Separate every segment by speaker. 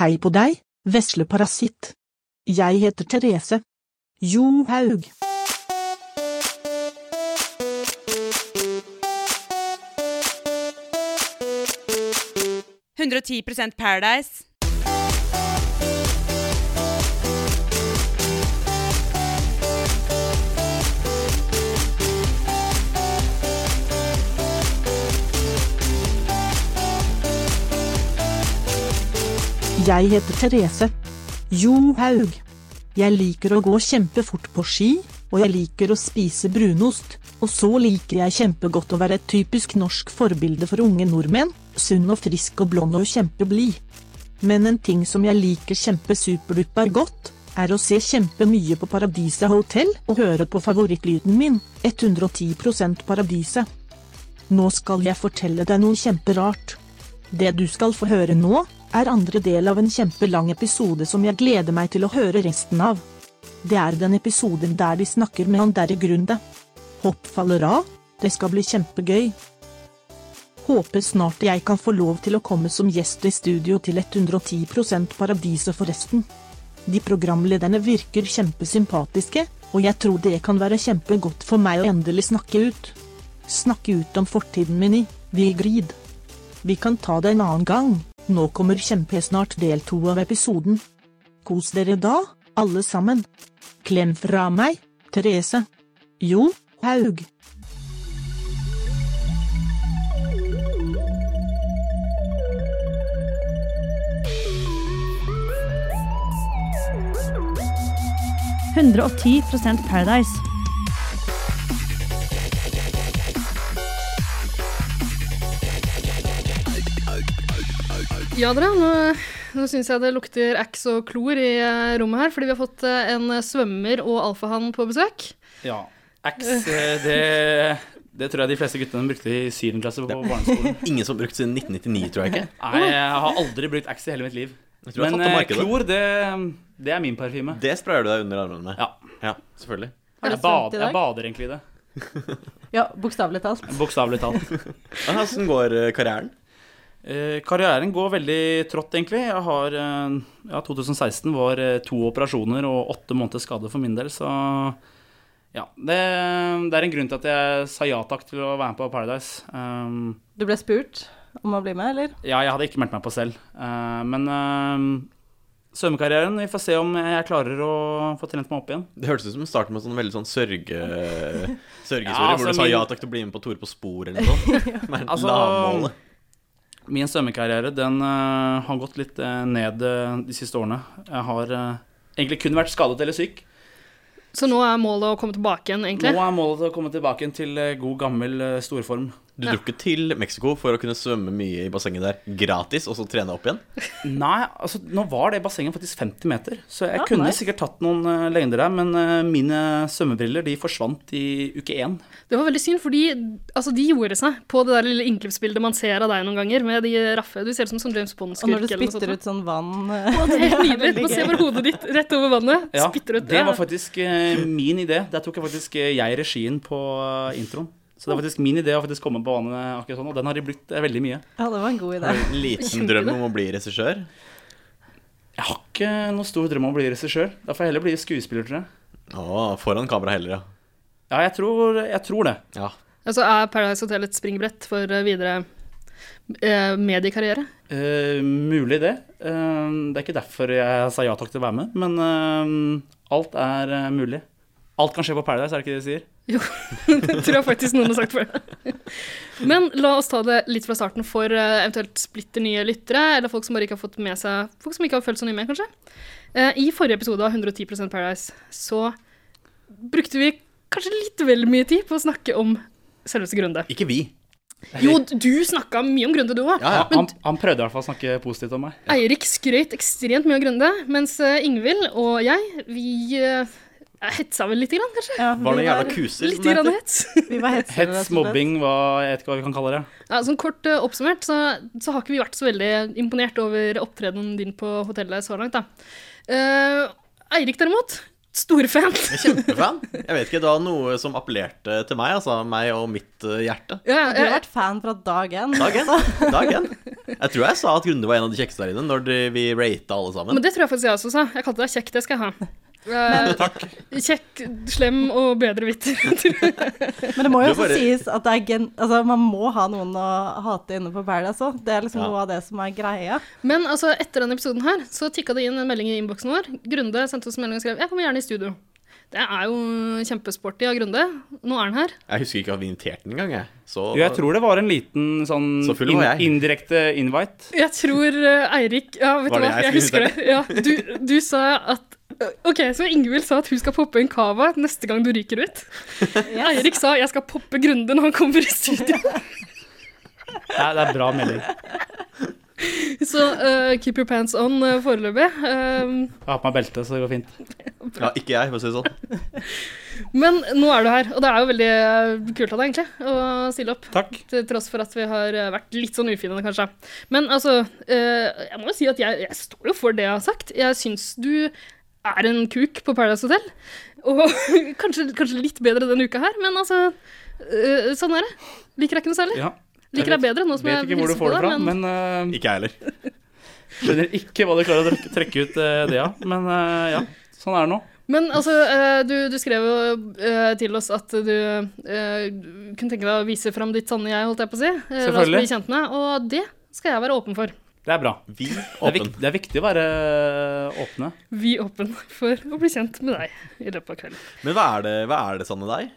Speaker 1: Hei på deg, vesle parasitt. Jeg heter Therese. Johaug.
Speaker 2: «110% Paradise».
Speaker 1: Jeg heter Therese. Johaug. Jeg liker å gå kjempefort på ski, og jeg liker å spise brunost, og så liker jeg kjempegodt å være et typisk norsk forbilde for unge nordmenn, sunn og frisk og blond og kjempeblid. Men en ting som jeg liker kjempesuperduper godt, er å se kjempemye på Paradiset Hotel og høre på favorittlyden min, 110 Paradiset. Nå skal jeg fortelle deg noe kjemperart. Det du skal få høre nå, er andre del av en kjempelang episode som jeg gleder meg til å høre resten av. Det er den episoden der de snakker med han derre Grunde. Hopp faller av, det skal bli kjempegøy. Håper snart jeg kan få lov til å komme som gjest i studio til 110 Paradiset forresten. De programlederne virker kjempesympatiske, og jeg tror det kan være kjempegodt for meg å endelig snakke ut. Snakke ut om fortiden min i Vigrid. Vi kan ta det en annen gang. Nå kommer kjempesnart del to av episoden. Kos dere da, alle sammen. Klem fra meg, Therese. Jo, Haug.
Speaker 3: Paradise.
Speaker 4: Ja, dere. Nå, nå syns jeg det lukter ax og klor i eh, rommet her, fordi vi har fått eh, en svømmer og alfahann på besøk.
Speaker 5: Ja. Axe, eh, det, det tror jeg de fleste guttene brukte i syrenklasse på barneskolen.
Speaker 6: Ingen som har brukt siden 1999, tror jeg ikke.
Speaker 5: Nei, jeg har aldri brukt Axe i hele mitt liv.
Speaker 6: Jeg tror jeg
Speaker 5: Men
Speaker 6: fant det
Speaker 5: eh,
Speaker 6: markedet.
Speaker 5: klor, det, det er min parfyme.
Speaker 6: Det sprayer du deg under armene med.
Speaker 5: Ja.
Speaker 6: selvfølgelig.
Speaker 7: Har du
Speaker 5: Jeg,
Speaker 7: svømt
Speaker 5: bad,
Speaker 7: i
Speaker 5: jeg
Speaker 7: dag?
Speaker 5: bader egentlig i det.
Speaker 7: Ja, bokstavelig talt.
Speaker 5: Bokstavelig talt.
Speaker 6: Ja, Åssen går eh, karrieren?
Speaker 5: Eh, Karrieren går veldig trått, egentlig. Jeg har, eh, ja, 2016 var eh, to operasjoner og åtte måneders skade for min del, så ja. Det, det er en grunn til at jeg sa ja takk til å være med på Paradise. Um,
Speaker 7: Du ble spurt om å bli med, eller?
Speaker 5: Ja, jeg hadde ikke meldt meg på selv. Eh, men eh, svømmekarrieren Vi får se om jeg klarer å få trent meg opp igjen.
Speaker 6: Det hørtes ut som starten med en sånn veldig sånn sørge, sørgehistorie,
Speaker 5: Ja, altså,
Speaker 6: hvor du sa
Speaker 5: min-
Speaker 6: ja takk til å bli med på Tore på sporet eller noe sånt. Men
Speaker 5: Altså-
Speaker 6: lavmålet.
Speaker 5: Min svømmekarriere den eh, har gått litt eh, ned eh, de siste årene. Jeg har eh, egentlig kun vært skadet eller syk.
Speaker 4: Så nå er målet å komme tilbake igjen,
Speaker 5: Nå
Speaker 4: egentlig.
Speaker 5: er målet å komme tilbake igjen til eh, god, gammel eh, storform.
Speaker 6: Du dro ikke til Mexico for å kunne svømme mye i bassenget der gratis, og så trene opp igjen?
Speaker 5: Nei, altså nå var det bassenget faktisk 50 meter, så jeg
Speaker 7: Ja,
Speaker 5: kunne
Speaker 7: nice.
Speaker 5: sikkert tatt noen eh, lengder der, men eh, mine svømmebriller de forsvant i uke én.
Speaker 4: Det var veldig synd, fordi altså, de gjorde seg på det der lille innklippsbildet man ser av deg noen ganger, med de raffe Du ser ut som sånn James
Speaker 7: Og
Speaker 4: Bond-skurk
Speaker 7: når du spytter ut sånn vann eh,
Speaker 4: Det er helt nydelig.
Speaker 7: veldig
Speaker 4: Man ser
Speaker 7: gøy.
Speaker 4: bare hodet ditt rett over vannet.
Speaker 5: Ja,
Speaker 4: spytter ut.
Speaker 5: Det var faktisk eh, min idé. Der tok jeg faktisk eh, jeg regien på eh, introen. Så det er faktisk min idé å faktisk komme på vannet akkurat sånn, og den har de brukt eh, veldig mye.
Speaker 7: Ja, det var en god idé.
Speaker 6: En liten drøm om å bli regissør?
Speaker 5: Jeg har ikke noe stor drøm om å bli regissør. Da får jeg heller bli skuespiller, tror jeg.
Speaker 6: Å, foran kamera heller, ja.
Speaker 5: Ja, jeg tror, jeg tror det.
Speaker 6: ja.
Speaker 4: Altså, er Paradise Hotel et springbrett for eh, videre eh, mediekarriere?
Speaker 5: Eh, mulig det. Eh, det er ikke derfor jeg sa ja takk til å være med, men eh, alt er eh, mulig. Alt kan skje på Paradise, er det ikke det de sier?
Speaker 4: Jo, det tror jeg faktisk noen har sagt før. Men la oss ta det litt fra starten for eh, eventuelt splitter nye lyttere, eller folk som bare ikke har fått med seg Folk som ikke har følt så nye med, kanskje. Eh, I forrige episode av 110 Paradise så brukte vi kanskje litt vel mye tid på å snakke om selveste Grunde.
Speaker 6: Ikke vi.
Speaker 4: Jo, du snakka mye om Grunde, du òg.
Speaker 6: Ja, ja.
Speaker 5: Han, han prøvde i hvert fall å snakke positivt om meg.
Speaker 4: Eirik skrøt ekstremt mye av Grunde, mens eh, Ingvild og jeg, vi eh, hetsa vel lite grann, kanskje?
Speaker 7: Ja,
Speaker 6: Var
Speaker 7: vi
Speaker 6: det jævla
Speaker 7: var-
Speaker 6: kuser? som
Speaker 4: Litt
Speaker 6: det
Speaker 4: grann
Speaker 6: heter?
Speaker 4: hets.
Speaker 7: Vi var hetsere, rett og
Speaker 5: Hets,
Speaker 7: slett.
Speaker 5: mobbing, hva, jeg vet ikke hva vi kan kalle det.
Speaker 4: Ja, sånn Kort eh, oppsummert så, så har ikke vi vært så veldig imponert over opptredenen din på hotellet så langt. da. Eh, Eirik derimot, Storfan.
Speaker 6: Kjempefan. Jeg vet ikke, det var noe som appellerte til meg, altså. Meg og mitt eh, hjerte.
Speaker 4: Ja,
Speaker 7: Du har
Speaker 4: jeg,
Speaker 7: vært fan fra dag én.
Speaker 6: Dag én. Dag én. Jeg tror jeg sa at Grunde var en av de kjekkeste der inne når de, vi rata alle sammen.
Speaker 4: men det tror jeg faktisk jeg også sa. Jeg kalte deg kjekk, det skal jeg ha. Eh, kjekk, slem og bedre hvitt.
Speaker 7: Men det må jo
Speaker 6: Du
Speaker 7: også
Speaker 6: bare-
Speaker 7: sies at det er gen... altså, man må ha noen å hate inne på Paradise òg. Det er liksom
Speaker 6: Ja.
Speaker 7: noe av det som er greia.
Speaker 4: Men altså, etter denne episoden her, så tikka det inn en melding i innboksen vår. Grunde sendte oss en melding og skrev 'Jeg kommer gjerne i studio'. Det er jo kjempesporty av Grunde. Nå er han her.
Speaker 6: Jeg husker ikke at vi inviterte den engang, jeg. Så
Speaker 5: Jo, jeg tror det var en liten sånn
Speaker 6: Så full var jeg.
Speaker 5: indirekte invite.
Speaker 4: Jeg tror eh, Eirik Ja, vet
Speaker 6: Var
Speaker 4: du
Speaker 6: det
Speaker 4: hva,
Speaker 6: jeg
Speaker 4: jeg
Speaker 6: som
Speaker 4: husker det. Ja, du, du sa at OK, så Ingvild sa at hun skal poppe en cava neste gang du ryker ut. Eirik sa 'jeg skal poppe Grunde når han kommer i studio'.
Speaker 5: Det er, det er bra melding.
Speaker 4: Så eh, keep your pants on eh, foreløpig. Eh,
Speaker 5: Jeg har på meg belte, så det går fint.
Speaker 6: Ja, ikke jeg, for å si det sånn.
Speaker 4: men nå er du her, og det er jo veldig eh, kult av deg, egentlig, å stille opp.
Speaker 5: Takk.
Speaker 4: Til tross for at vi har eh, vært litt sånn ufinende, kanskje. Men altså, eh, jeg må jo si at jeg, jeg står jo for det jeg har sagt. Jeg syns du er en kuk på Paradise Hotel. Og kanskje, kanskje litt bedre denne uka her, men altså eh, Sånn er det. Liker deg ikke noe særlig.
Speaker 5: Ja.
Speaker 4: Liker deg bedre nå som
Speaker 5: Vet
Speaker 4: jeg
Speaker 5: ikke hvor du
Speaker 4: hilser på
Speaker 5: får det
Speaker 4: deg,
Speaker 5: fra,
Speaker 4: men
Speaker 5: men eh,
Speaker 6: Ikke jeg heller.
Speaker 5: skjønner ikke hva du klarer å trekke, trekke ut eh, det av. Men eh, ja, sånn er det nå.
Speaker 4: Men altså, eh, du, du skrev jo eh, til oss at du eh, kunne tenke deg å vise fram ditt sanne jeg, holdt jeg på å si. Eh, la oss
Speaker 5: Selvfølgelig.
Speaker 4: bli kjent med, og det skal jeg være åpen for.
Speaker 5: Det er bra.
Speaker 6: Vi
Speaker 5: Det er,
Speaker 6: åpen.
Speaker 5: viktig, det er viktig å være eh, åpne.
Speaker 4: Vi er åpen for å bli kjent med deg i løpet av kvelden.
Speaker 6: Men hva er det, hva er det sanne deg?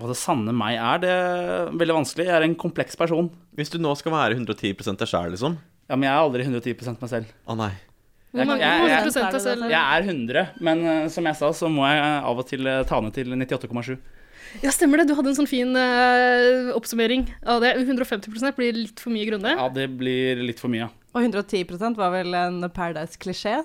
Speaker 5: Hva det sanne meg er, det er veldig vanskelig. Jeg er en kompleks person.
Speaker 6: Hvis du nå skal være 110 deg sjæl, liksom.
Speaker 5: Ja, men jeg er aldri 110 meg selv.
Speaker 6: Å nei.
Speaker 4: Hvor
Speaker 5: Jeg-
Speaker 4: mange
Speaker 5: jeg-
Speaker 4: hvor mange
Speaker 5: jeg-
Speaker 4: prosent av selv?
Speaker 5: Jeg er 100, men eh, som jeg sa, så må jeg eh, av og til eh, ta ned til 98,7.
Speaker 4: Ja, stemmer det. Du hadde en sånn fin eh, oppsummering av det. 150 blir litt for mye grunne.
Speaker 5: Ja, det blir litt for mye.
Speaker 7: Og 110 var vel en Paradise-klisjé.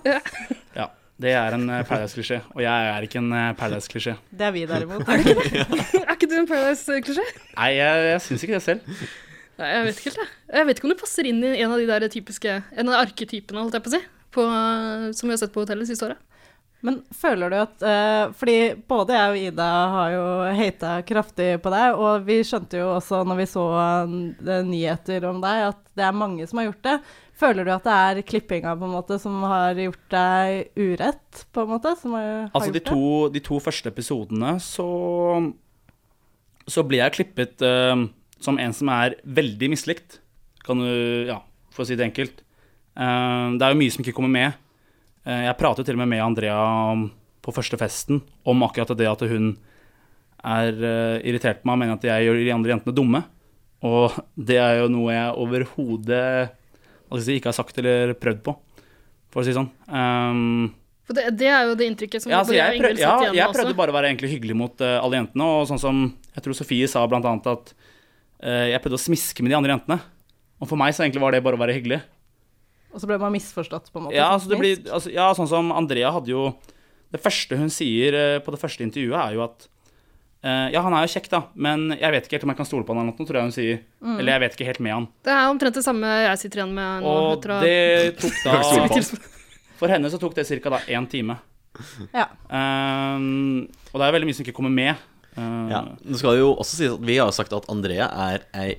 Speaker 5: Ja. Det er en eh, Paradise-klisjé, og jeg er ikke en eh, Paradise-klisjé.
Speaker 7: Det er vi derimot.
Speaker 4: Er ikke du en Paradise-klisjé?
Speaker 5: Nei, jeg, jeg syns ikke det selv.
Speaker 4: Nei, jeg vet ikke helt, jeg. Jeg vet ikke om du passer inn i en av de der typiske En av de arketypene, holdt jeg på å si, på, eh, som vi har sett på hotellet siste året.
Speaker 7: Men føler du at eh, Fordi både jeg og Ida har jo hata kraftig på deg, og vi skjønte jo også når vi så eh, det- nyheter om deg, at det er mange som har gjort det. Føler du at det er klippinga på en måte som har gjort deg urett, på en måte? Som har, har
Speaker 5: Altså, de
Speaker 7: gjort
Speaker 5: to, de to første episodene så Så ble jeg klippet eh, som en som er veldig mislikt. Kan du Ja, for å si det enkelt. Eh, det er jo mye som ikke kommer med. Eh, jeg pratet til og med med Andrea om, på første festen om akkurat det at hun er eh, irritert på meg og mener at jeg gjør de andre jentene dumme. Og det er jo noe jeg overhodet hva skal jeg si, ikke har sagt eller prøvd på, for å si det sånn. Eh,
Speaker 4: For det, det er jo det inntrykket som
Speaker 5: ja, altså,
Speaker 4: både
Speaker 5: jeg,
Speaker 4: jeg og
Speaker 5: prøv,
Speaker 4: Ingvild
Speaker 5: ja,
Speaker 4: satt igjen
Speaker 5: jeg
Speaker 4: med
Speaker 5: prøvde
Speaker 4: også.
Speaker 5: bare å være egentlig hyggelig mot eh, alle jentene. Og sånn som jeg tror Sofie sa blant annet at eh, jeg prøvde å smiske med de andre jentene. Og for meg så egentlig var det bare å være hyggelig.
Speaker 7: det? Og så ble man misforstått, på en måte?
Speaker 5: Ja,
Speaker 7: som
Speaker 5: altså, det
Speaker 7: minst.
Speaker 5: blir, altså, ja, sånn som Andrea hadde jo Det første hun sier eh, på det første intervjuet, er jo at eh, Ja, han er jo kjekk, da, men jeg vet ikke helt om jeg kan stole på han eller noe, tror jeg hun sier. Eller jeg vet ikke helt med han.
Speaker 4: Det er omtrent det samme jeg sitter igjen med Mm. nå.
Speaker 5: Og
Speaker 4: etter å ha-
Speaker 5: det tok
Speaker 6: Jeg kan
Speaker 5: da
Speaker 6: stole på han.
Speaker 5: For henne så tok det ca. én time.
Speaker 7: Ja.
Speaker 5: altså, Ehm, og det er veldig mye som ikke kommer med. Ehm,
Speaker 6: Ja. Nå skal det jo også sies at vi har jo sagt at Andrea er ei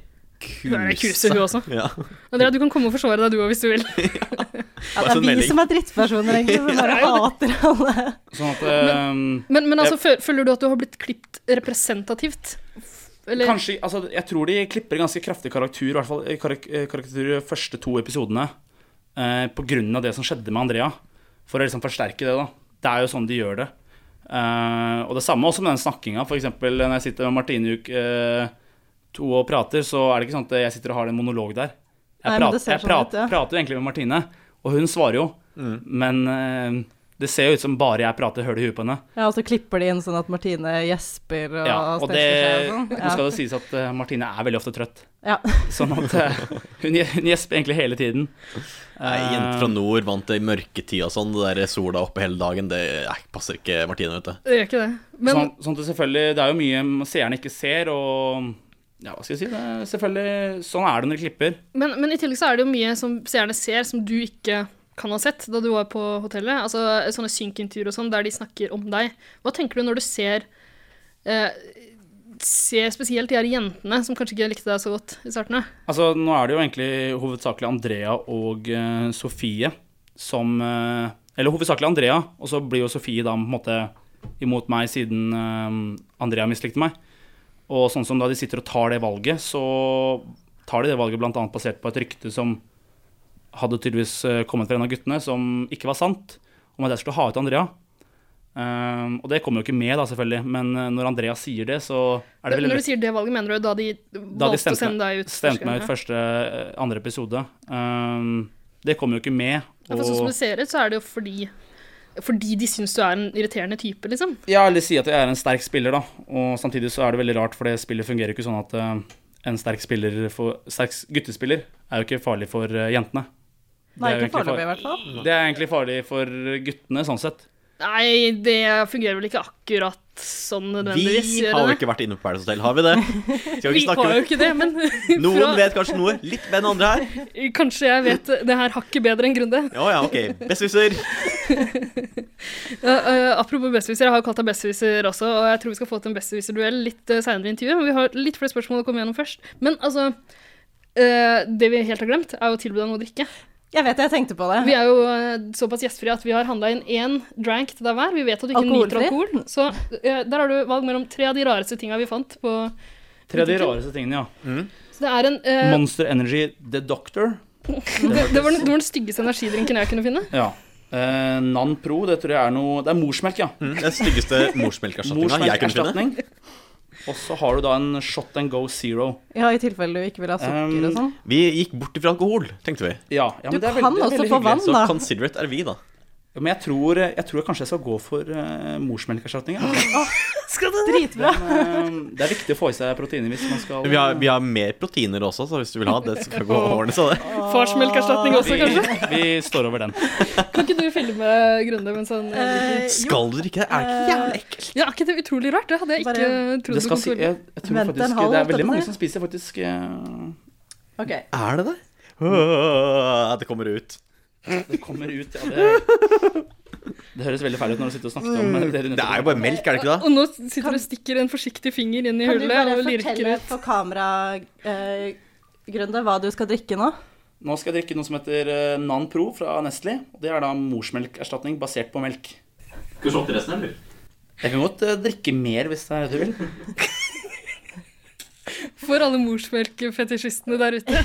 Speaker 6: kuse.
Speaker 4: Hun er ei kuse, hun også.
Speaker 6: Ja.
Speaker 4: Andrea, du kan komme og forsvare deg du òg, hvis du vil.
Speaker 7: ja,
Speaker 6: Bare
Speaker 7: det
Speaker 6: sånn
Speaker 7: er vi
Speaker 6: melding.
Speaker 7: som er drittpersoner, egentlig, som bare hater alle.
Speaker 5: Sånn at ehm,
Speaker 4: Men, men altså, fø- føler du at du har blitt klippet representativt? Eller
Speaker 5: Kanskje, altså Jeg tror de klipper ganske kraftig karakter, i hvert fall eh, karak eh, karakter de første to episodene, eh, på grunn av det som skjedde med Andrea. For å liksom forsterke det, da. Det er jo sånn de gjør det. Eh, og det samme også med den snakkinga. F.eks. når jeg sitter med Martine Uuk eh, to og prater, så er det ikke sånn at jeg sitter og har en monolog der. Jeg,
Speaker 7: Nei, men
Speaker 5: prater,
Speaker 7: det ser
Speaker 5: jeg
Speaker 7: sånn
Speaker 5: prat-
Speaker 7: ut, ja.
Speaker 5: prater jo egentlig med Martine, og hun svarer jo. Men eh, det ser jo ut som bare jeg prater høl i huet på henne.
Speaker 7: Ja, og så klipper de inn sånn at Martine gjesper og,
Speaker 5: Ja, og det,
Speaker 7: seg og
Speaker 5: nå skal altså.
Speaker 7: sånn.
Speaker 5: det sies at eh, Martine er veldig ofte trøtt.
Speaker 7: Ja. ja.
Speaker 5: Sånn at eh, hun, hun gjesper egentlig hele tiden. Eh, sånn,
Speaker 6: Ei
Speaker 4: Eh,
Speaker 6: jente fra nord vant det i mørketid og sånn. Det der sola oppe hele dagen, det eh, passer ikke Martine, vet du.
Speaker 4: det gjør ikke det. Men
Speaker 5: sånn, sånn at det selvfølgelig Det er jo mye seerne ikke ser, og ja, hva skal jeg si? Det er selvfølgelig Sånn er det når de klipper.
Speaker 4: Men, men i tillegg så er det jo mye som seerne ser, som du ikke kan ha sett da du var på hotellet. Altså sånne synkintervjuer og sånn, der de snakker om deg. Hva tenker du når du ser eh, Ser spesielt de her jentene som kanskje ikke likte deg så godt i starten? av?
Speaker 5: Altså, nå er det jo egentlig hovedsakelig Andrea og eh, Sofie som eh, Eller hovedsakelig Andrea, og så blir jo Sofie da på en måte imot meg siden eh, Andrea mislikte meg. Og sånn som da de sitter og tar det valget, så tar de det valget bl.a. basert på et rykte som hadde tydeligvis eh, kommet fra en av guttene, som ikke var sant, om at jeg skulle ha ut Andrea. Eh, og det kommer jo ikke med, da, selvfølgelig, men eh, når Andrea sier det, så er det veldig
Speaker 4: Når du sier det valget, mener du da de
Speaker 5: da de
Speaker 4: valgte å
Speaker 5: stemte,
Speaker 4: sende deg ut? første
Speaker 5: stemte meg
Speaker 4: gang,
Speaker 5: ut
Speaker 4: ja?
Speaker 5: første, eh, andre episode. Um, det kom jo ikke med.
Speaker 4: Ja, for sånn som det ser ut, så er det jo fordi fordi de syns du er en irriterende type, liksom.
Speaker 5: ja, eller si at jeg er en sterk spiller, da. Og samtidig så er det veldig rart, for det spillet fungerer jo ikke sånn at eh, en sterk, spiller for, sterk guttespiller er jo ikke farlig for eh, jentene.
Speaker 7: Nei,
Speaker 5: Det er
Speaker 7: ikke
Speaker 5: jo egentlig
Speaker 7: foreløpig, i hvert fall.
Speaker 5: Det er egentlig farlig for guttene, sånn sett.
Speaker 4: Nei, det fungerer vel ikke akkurat sånn nødvendigvis.
Speaker 6: Vi
Speaker 4: gjør
Speaker 6: har jo
Speaker 4: det det?
Speaker 6: ikke vært inne på Paradise Hotel, har vi det? Skal vi
Speaker 4: Vi
Speaker 6: ikke snakke
Speaker 4: har jo
Speaker 6: med
Speaker 4: ikke det, men
Speaker 6: Noen
Speaker 4: fra-
Speaker 6: vet kanskje noe litt mer enn andre her?
Speaker 4: kanskje jeg vet det her hakket bedre enn Grunde.
Speaker 6: Ja ja, ok. Besserwisser.
Speaker 4: Uh, uh, apropos besserwisser, jeg har jo kalt deg besserwisser også, og jeg tror vi skal få til en besserwisser-duell litt uh, seinere i intervjuet, men vi har litt flere spørsmål å komme gjennom først. Men altså uh, Det vi helt har glemt, er jo å tilby deg noe å drikke.
Speaker 7: Jeg vet det, jeg tenkte på
Speaker 4: Vi
Speaker 7: det.
Speaker 4: er jo eh, såpass gjestfrie at vi har handla inn én drank til deg hver. Vi vet at du ikke nyter
Speaker 7: Alkoholfri?
Speaker 4: alkohol, så eh, der har du valg mellom tre av de rareste tinga vi fant på
Speaker 5: Tre av de
Speaker 4: Butikken.
Speaker 5: rareste tingene, ja.
Speaker 4: Så det er en eh,
Speaker 5: Monster Energy The Doctor.
Speaker 4: det, det, var den, det var den styggeste energidrinken jeg kunne finne.
Speaker 5: Ja. Eh, Nan Pro, det tror jeg er noe Det er morsmelk, ja.
Speaker 6: Mm, Den styggeste morsmelkerstatninga jeg kunne finne.
Speaker 5: Morsmelkerstatning. Og så har du da en Shot and Go Zero.
Speaker 7: Ja, I tilfelle du ikke vil ha sukker og sånn.
Speaker 6: Vi gikk bort ifra alkohol, tenkte vi.
Speaker 5: Ja, ja men
Speaker 7: Du
Speaker 5: det er
Speaker 7: kan
Speaker 5: veldig, det er
Speaker 7: også
Speaker 5: veldig
Speaker 7: få
Speaker 5: hyggelig.
Speaker 7: vann.
Speaker 6: Så
Speaker 7: da.
Speaker 6: considerate er vi, da.
Speaker 5: Ja, Men jeg tror, jeg tror kanskje jeg skal gå for uh, morsmelkerstatning. ja.
Speaker 7: Dritbra.
Speaker 5: Men, eh, det er viktig å få i seg proteiner hvis man skal
Speaker 6: Vi har, vi har mer proteiner også, så hvis du vil ha det, så kan det gå og ordne seg, det.
Speaker 4: Farsmelkerstatning også, kanskje.
Speaker 5: vi, vi står over den.
Speaker 4: Kan ikke du filme Grunde mens han eh, drikker?
Speaker 6: Skal du drikke det? Er det
Speaker 4: Eh.
Speaker 6: ikke jævlig ekkelt?
Speaker 4: Ja, er ikke det utrolig rart? Det hadde jeg ikke
Speaker 7: Bare-
Speaker 4: trodd
Speaker 5: Det,
Speaker 4: du
Speaker 5: skal
Speaker 4: kom
Speaker 5: si,
Speaker 4: til å
Speaker 5: jeg, jeg tror
Speaker 7: Vent en
Speaker 5: faktisk,
Speaker 7: halv,
Speaker 5: det er
Speaker 7: holdt jeg
Speaker 5: veldig
Speaker 7: på å
Speaker 5: mange
Speaker 7: si.
Speaker 5: som spiser faktisk eh,
Speaker 7: Ok.
Speaker 6: Er det det? Åh, det kommer ut.
Speaker 5: Det kommer ut ja, det, det høres veldig feil ut når du sitter og snakker
Speaker 7: Mm.
Speaker 5: om
Speaker 4: Mm.
Speaker 5: det.
Speaker 6: Det er jo bare melk, er det ikke det?
Speaker 4: Og nå sitter du og stikker en forsiktig finger inn i
Speaker 7: Kan du
Speaker 4: hullet
Speaker 7: bare
Speaker 4: og lirker
Speaker 7: fortelle
Speaker 4: ut.
Speaker 7: for kamera, eh, Grunde, hva du skal drikke nå?
Speaker 5: Nå skal jeg drikke noe som heter eh, Nan Pro fra Nestle. og Det er da morsmelkerstatning basert på melk.
Speaker 6: Skal du slå til resten, eller?
Speaker 5: Jeg kan godt eh, drikke mer hvis det er det du vil.
Speaker 4: For alle morsmelkfetisjistene der ute,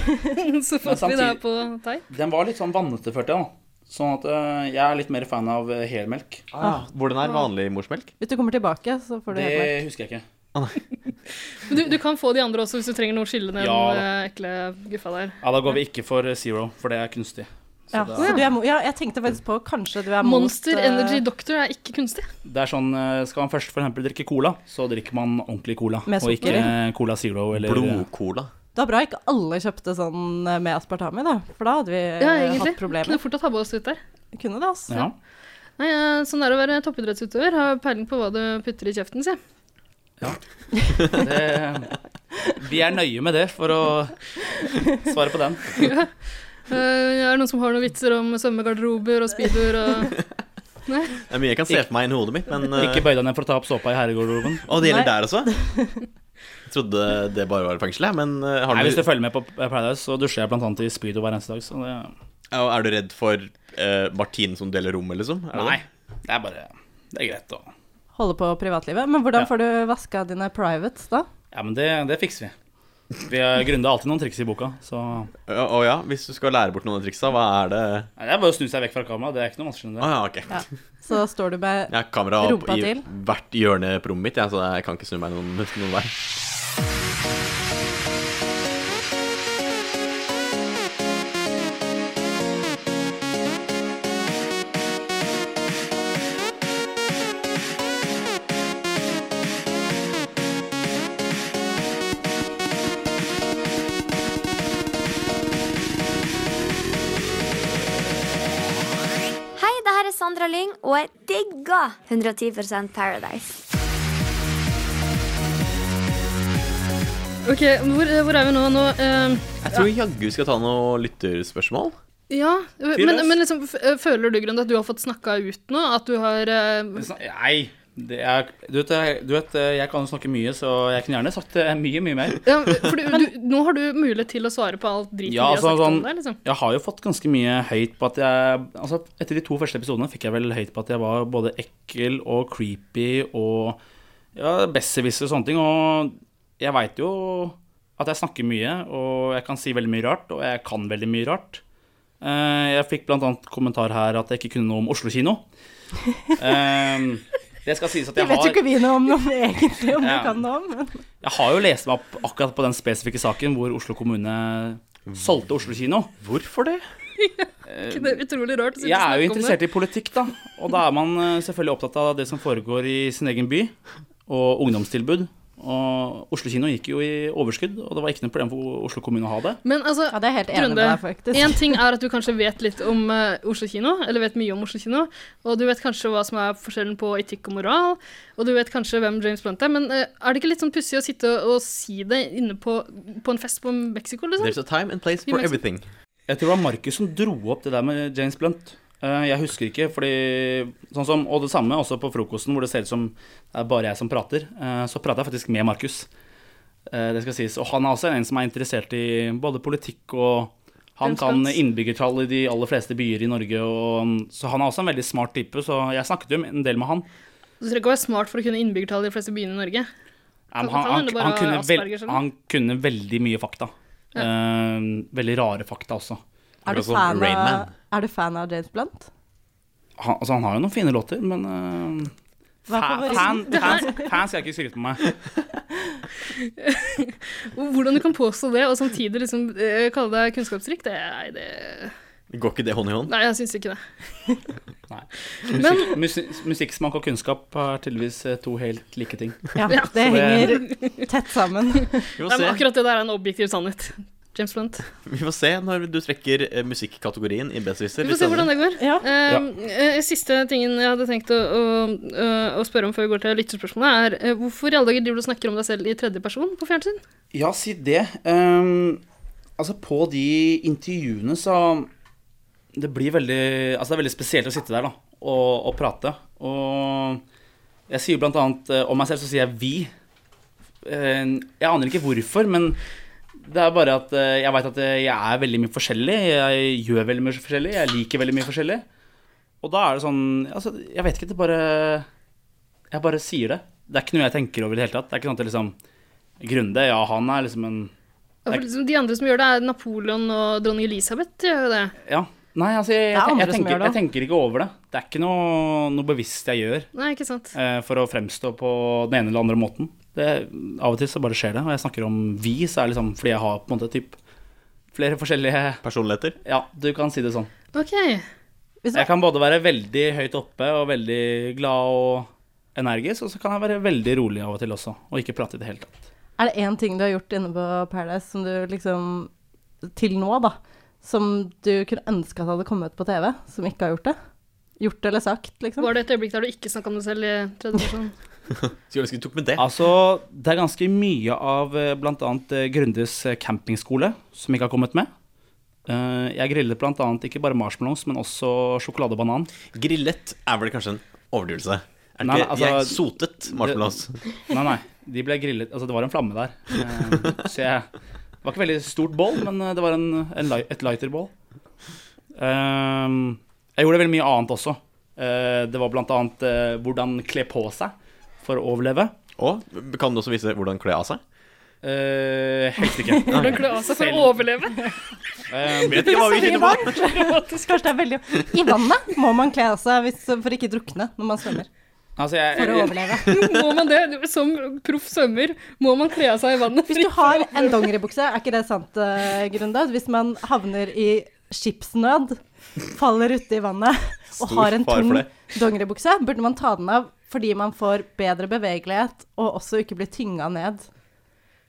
Speaker 4: så fant vi det her
Speaker 5: samtidig-
Speaker 4: på deg.
Speaker 5: Den var litt sånn vannete, følte jeg. da. Sånn at eh, jeg er litt mer fan av eh, helmelk.
Speaker 6: Ah, Hvordan er vanlig morsmelk?
Speaker 7: Hvis du kommer tilbake, så får du
Speaker 5: Det
Speaker 7: helt melk.
Speaker 5: husker jeg ikke.
Speaker 4: Men du, du kan få de andre også hvis du trenger noe å skille den
Speaker 5: Ja.
Speaker 4: eh, ekle guffa der.
Speaker 5: Ja, da går vi ikke for eh, Zero, for det er kunstig. Så
Speaker 7: Ja,
Speaker 5: det,
Speaker 7: så du er mo ja, jeg tenkte faktisk på kanskje du er mot
Speaker 4: Monster
Speaker 7: eh,
Speaker 4: Energy Doctor er ikke kunstig.
Speaker 5: er, det er sånn, eh, Skal man først for eksempel drikke cola, så drikker man ordentlig cola.
Speaker 7: Med
Speaker 5: Og
Speaker 7: sukker
Speaker 5: ikke Cola Zero eller
Speaker 6: Blodcola.
Speaker 7: Det var bra ikke alle kjøpte sånn eh, med aspartam i, da. For da hadde vi eh,
Speaker 4: Ja, egentlig.
Speaker 7: hatt
Speaker 4: Kunne
Speaker 7: problemer.
Speaker 4: fort ha tabba oss ut der.
Speaker 7: Kunne det, altså.
Speaker 5: Ja.
Speaker 4: Nei, eh, sånn er det å være toppidrettsutøver. Ha peiling på hva du putter i kjeften, si.
Speaker 5: Det, vi er nøye med det for å svare på den.
Speaker 4: Eh, er det noen som har noen vitser om svømmegarderober og speedoer og
Speaker 6: Det er mye jeg kan se for meg inni hodet mitt, men eh,
Speaker 5: Ikke bøy deg ned for å ta opp såpa i herregården.
Speaker 6: Å, det gjelder
Speaker 7: Nei.
Speaker 6: der også? Jeg trodde det bare var fengsel, jeg, men eh, har
Speaker 5: Nei, Hvis
Speaker 6: du,
Speaker 5: du følger med på Paradise, så dusjer jeg blant annet i Speedo hver eneste dag. Så det,
Speaker 6: Ja, er du redd for eh, Martine som deler rommet, liksom? Er det
Speaker 5: nei,
Speaker 6: det?
Speaker 5: det er bare Det er greit å
Speaker 7: Holde på privatlivet. Men hvordan
Speaker 5: Ja.
Speaker 7: får du vaska dine privates, da?
Speaker 5: Ja, men det, det fikser vi. Vi har grunda alltid noen triks i boka, så Nei,
Speaker 6: Å å ja, hvis du skal lære bort noen av triksa, hva er det
Speaker 5: Det er bare å snu seg vekk fra kameraet. Det er ikke noe vanskelig enn
Speaker 6: Å
Speaker 5: det.
Speaker 6: ja, ok.
Speaker 7: Ja. Så står du med
Speaker 6: Jeg har kamera opp
Speaker 7: Rumpa
Speaker 6: i
Speaker 7: til.
Speaker 6: hvert hjørne på rommet mitt, jeg, så jeg kan ikke snu meg noen, noen vei.
Speaker 2: Hei, det her er Sandra Lyng, og jeg digger 110 Paradise.
Speaker 4: OK, hvor, eh, hvor er vi nå? Nå eh,
Speaker 6: Jeg tror jaggu vi skal ta noen lytterspørsmål.
Speaker 4: Ja, men,
Speaker 5: løs.
Speaker 4: men liksom, f- eh, føler du, Grønn, at du har fått snakka ut nå? At du har eh,
Speaker 5: Det er sånn- Nei. Det er, du, vet, jeg- du vet, eh, jeg kan snakke mye, så jeg kunne gjerne sagt eh, mye, mye mer.
Speaker 4: ja, For du, du, nå har du mulighet til å svare på alt driten
Speaker 5: Ja,
Speaker 4: vi har
Speaker 5: altså,
Speaker 4: sagt om
Speaker 5: sånn-
Speaker 4: deg, liksom.
Speaker 5: Jeg har jo fått ganske mye høyt på at jeg Altså, etter de to første episodene fikk jeg vel høyt på at jeg var både ekkel og creepy og ja, besserwisser og sånne ting. Og jeg veit jo at jeg snakker mye, og jeg kan si veldig mye rart, og jeg kan veldig mye rart. Eh, Jeg fikk blant annet kommentar her at jeg ikke kunne noe om Oslo kino. Eh, Det skal sies at
Speaker 7: Det
Speaker 5: jeg
Speaker 7: vet jo
Speaker 5: har,
Speaker 7: ikke vi noe om noe egentlig, om
Speaker 5: Ja.
Speaker 7: du kan noe om, men
Speaker 5: jeg har jo lest meg opp akkurat på den spesifikke saken hvor Oslo kommune solgte Oslo kino.
Speaker 6: Hvorfor det?
Speaker 4: Ikke Det er utrolig rart. å sitte
Speaker 5: eh, Jeg
Speaker 4: og snakke om
Speaker 5: er jo
Speaker 4: det.
Speaker 5: interessert i politikk, da. Og da er man eh, selvfølgelig opptatt av det som foregår i sin egen by, og ungdomstilbud. Og Oslo kino gikk jo i overskudd, og det var ikke noe problem for Oslo kommune å ha det.
Speaker 4: Men altså,
Speaker 7: ja, det er helt enig med
Speaker 4: Grunde,
Speaker 7: deg, faktisk.
Speaker 4: en ting er at du kanskje vet litt om eh, Oslo kino, eller vet mye om Oslo kino, og du vet kanskje hva som er forskjellen på etikk og moral, og du vet kanskje hvem James Blunt er, men eh, er det ikke litt sånn pussig å sitte og si det inne på, på en fest på Mexico, liksom?
Speaker 6: There's a time and place
Speaker 4: Vi
Speaker 6: for
Speaker 4: må-
Speaker 6: everything.
Speaker 5: Jeg tror det var Markus som dro opp det der med James Blunt. Eh, Jeg husker ikke, fordi sånn som, Og det samme også på frokosten, hvor det ser ut som det er bare jeg som prater. eh, Så prater jeg faktisk med Markus. Eh, Det skal sies. Og han er også en som er interessert i både politikk og Han
Speaker 4: James
Speaker 5: kan
Speaker 4: Blunt.
Speaker 5: innbyggertall i de aller fleste byer i Norge, og, så han er også en veldig smart type. Så jeg snakket jo en del med han.
Speaker 4: Du trenger ikke å være smart for å kunne innbyggertall i de fleste byene i Norge.
Speaker 5: Ja,
Speaker 4: Kan-
Speaker 5: men han,
Speaker 4: kan
Speaker 5: han,
Speaker 4: hende bare
Speaker 5: han, kunne vel-
Speaker 4: Aspergers, eller?
Speaker 5: han kunne veldig mye fakta. Eh, veldig rare fakta også.
Speaker 7: Er du,
Speaker 6: Akkurat som
Speaker 7: fan
Speaker 6: Rain
Speaker 7: av,
Speaker 6: Man.
Speaker 7: er du fan av James Blunt?
Speaker 5: Han, altså, han har jo noen fine låter, men eh,
Speaker 7: Hva er
Speaker 5: Fa-
Speaker 7: favoritten?
Speaker 5: Fan, fans, fans skal ikke skryte på meg.
Speaker 4: Og Hvordan du kan påstå det, og samtidig liksom eh, kalle deg kunnskapsrik, det, nei, det
Speaker 6: Går ikke det hånd i hånd?
Speaker 4: Nei, jeg syns ikke det.
Speaker 5: Musikk, musi- musikksmak og kunnskap er tydeligvis eh, to helt like ting.
Speaker 7: Ja,
Speaker 4: Ja.
Speaker 7: det
Speaker 5: Så
Speaker 7: henger tett sammen.
Speaker 6: Vi
Speaker 4: Nei,
Speaker 6: får
Speaker 4: men
Speaker 6: se,
Speaker 4: akkurat det der er en objektiv sannhet. James Blunt.
Speaker 6: vi får se når du trekker eh, musikkategorien i Besserwisser.
Speaker 4: Vi får se hvordan det går.
Speaker 7: Ja.
Speaker 4: Eh, eh, siste tingen jeg hadde tenkt å, å, eh, å spørre om før vi går til lytterspørsmålet, er eh, hvorfor i alle dager driver du og snakker om deg selv i tredje person på fjernsyn?
Speaker 5: Ja, si det. Ehm, altså, på de intervjuene så Det blir veldig Altså, det er veldig spesielt å sitte der, da, og, og prate. Og jeg sier blant annet eh, om meg selv, så sier jeg 'vi'. Eh, jeg aner ikke hvorfor, men det er bare at eh, jeg veit at eh, jeg er veldig mye forskjellig. Jeg gjør veldig mye forskjellig. Jeg liker veldig mye forskjellig. Og da er det sånn Altså, jeg vet ikke, det bare Jeg bare sier det. Det er ikke noe jeg tenker over i det hele tatt. Det er ikke sånn at det liksom Grunde, ja, han er liksom en
Speaker 4: Ja, for liksom, de andre som gjør det, er Napoleon og dronning Elisabeth. gjør jo det.
Speaker 5: Ja. Nei, altså, jeg, jeg,
Speaker 7: Det er
Speaker 5: jeg,
Speaker 7: andre som
Speaker 5: tenker,
Speaker 7: gjør det.
Speaker 5: jeg tenker ikke over det. Det er ikke noe, noe bevisst jeg gjør
Speaker 4: Nei, ikke sant.
Speaker 5: eh, for å fremstå på den ene eller andre måten. Det, av og til så bare skjer det. Og jeg snakker om vi, så er det liksom fordi jeg har på en måte typ flere forskjellige
Speaker 6: Personligheter.
Speaker 5: Ja, du kan si det sånn.
Speaker 4: Ok.
Speaker 7: Hvis
Speaker 5: Jeg kan både være veldig høyt oppe og veldig glad og energisk, og så kan jeg være veldig rolig av og til også, og ikke prate i det hele tatt.
Speaker 7: Er det én ting du har gjort inne på Paradise som du liksom Til nå, da. Som du kunne ønske at hadde kommet på TV, som ikke har gjort det? Gjort eller sagt, liksom?
Speaker 4: Var det et øyeblikk der du ikke snakka om deg selv i tredje person?
Speaker 6: Skulle ønske du tok med det.
Speaker 5: Altså, det er ganske mye av eh, blant annet eh, Grundes eh, campingskole som ikke har kommet med. Eh, Jeg grillet blant annet ikke bare marshmallows, men også sjokolade og banan.
Speaker 6: Grillet er vel kanskje en overdrivelse. Er det
Speaker 5: Nei,
Speaker 6: ikke,
Speaker 5: nei, altså-
Speaker 6: jeg sotet marshmallows.
Speaker 5: Nei, nei, de ble grillet, altså det var en flamme der. Eh, Så jeg, det var ikke veldig stort bål, men eh, det var en, en, li- et lighter-bål. Ehm, jeg gjorde veldig mye annet også. Eh, Det var blant annet eh, hvordan kle på seg for å overleve.
Speaker 6: Og kan du også vise hvordan kle av seg?
Speaker 5: Eh, helst ikke.
Speaker 4: Hvordan klø av seg for å overleve?
Speaker 5: Eh,
Speaker 6: Vet ikke hva vi finner på!
Speaker 7: Kanskje det er veldig I vannet må man kle av seg hvis, for ikke drukne når man svømmer.
Speaker 5: altså jeg,
Speaker 7: For å overleve.
Speaker 4: Må man det? Som proff svømmer må man kle av seg i vannet.
Speaker 7: Hvis du har en dongeribukse, er ikke det sant, eh, Grunde? Hvis man havner i skipsnød, faller uti vannet og
Speaker 6: Stor
Speaker 7: har en
Speaker 6: fare
Speaker 7: tung
Speaker 6: for det.
Speaker 7: dongeribukse, burde man ta den av fordi man får bedre bevegelighet og også ikke blir tynga ned.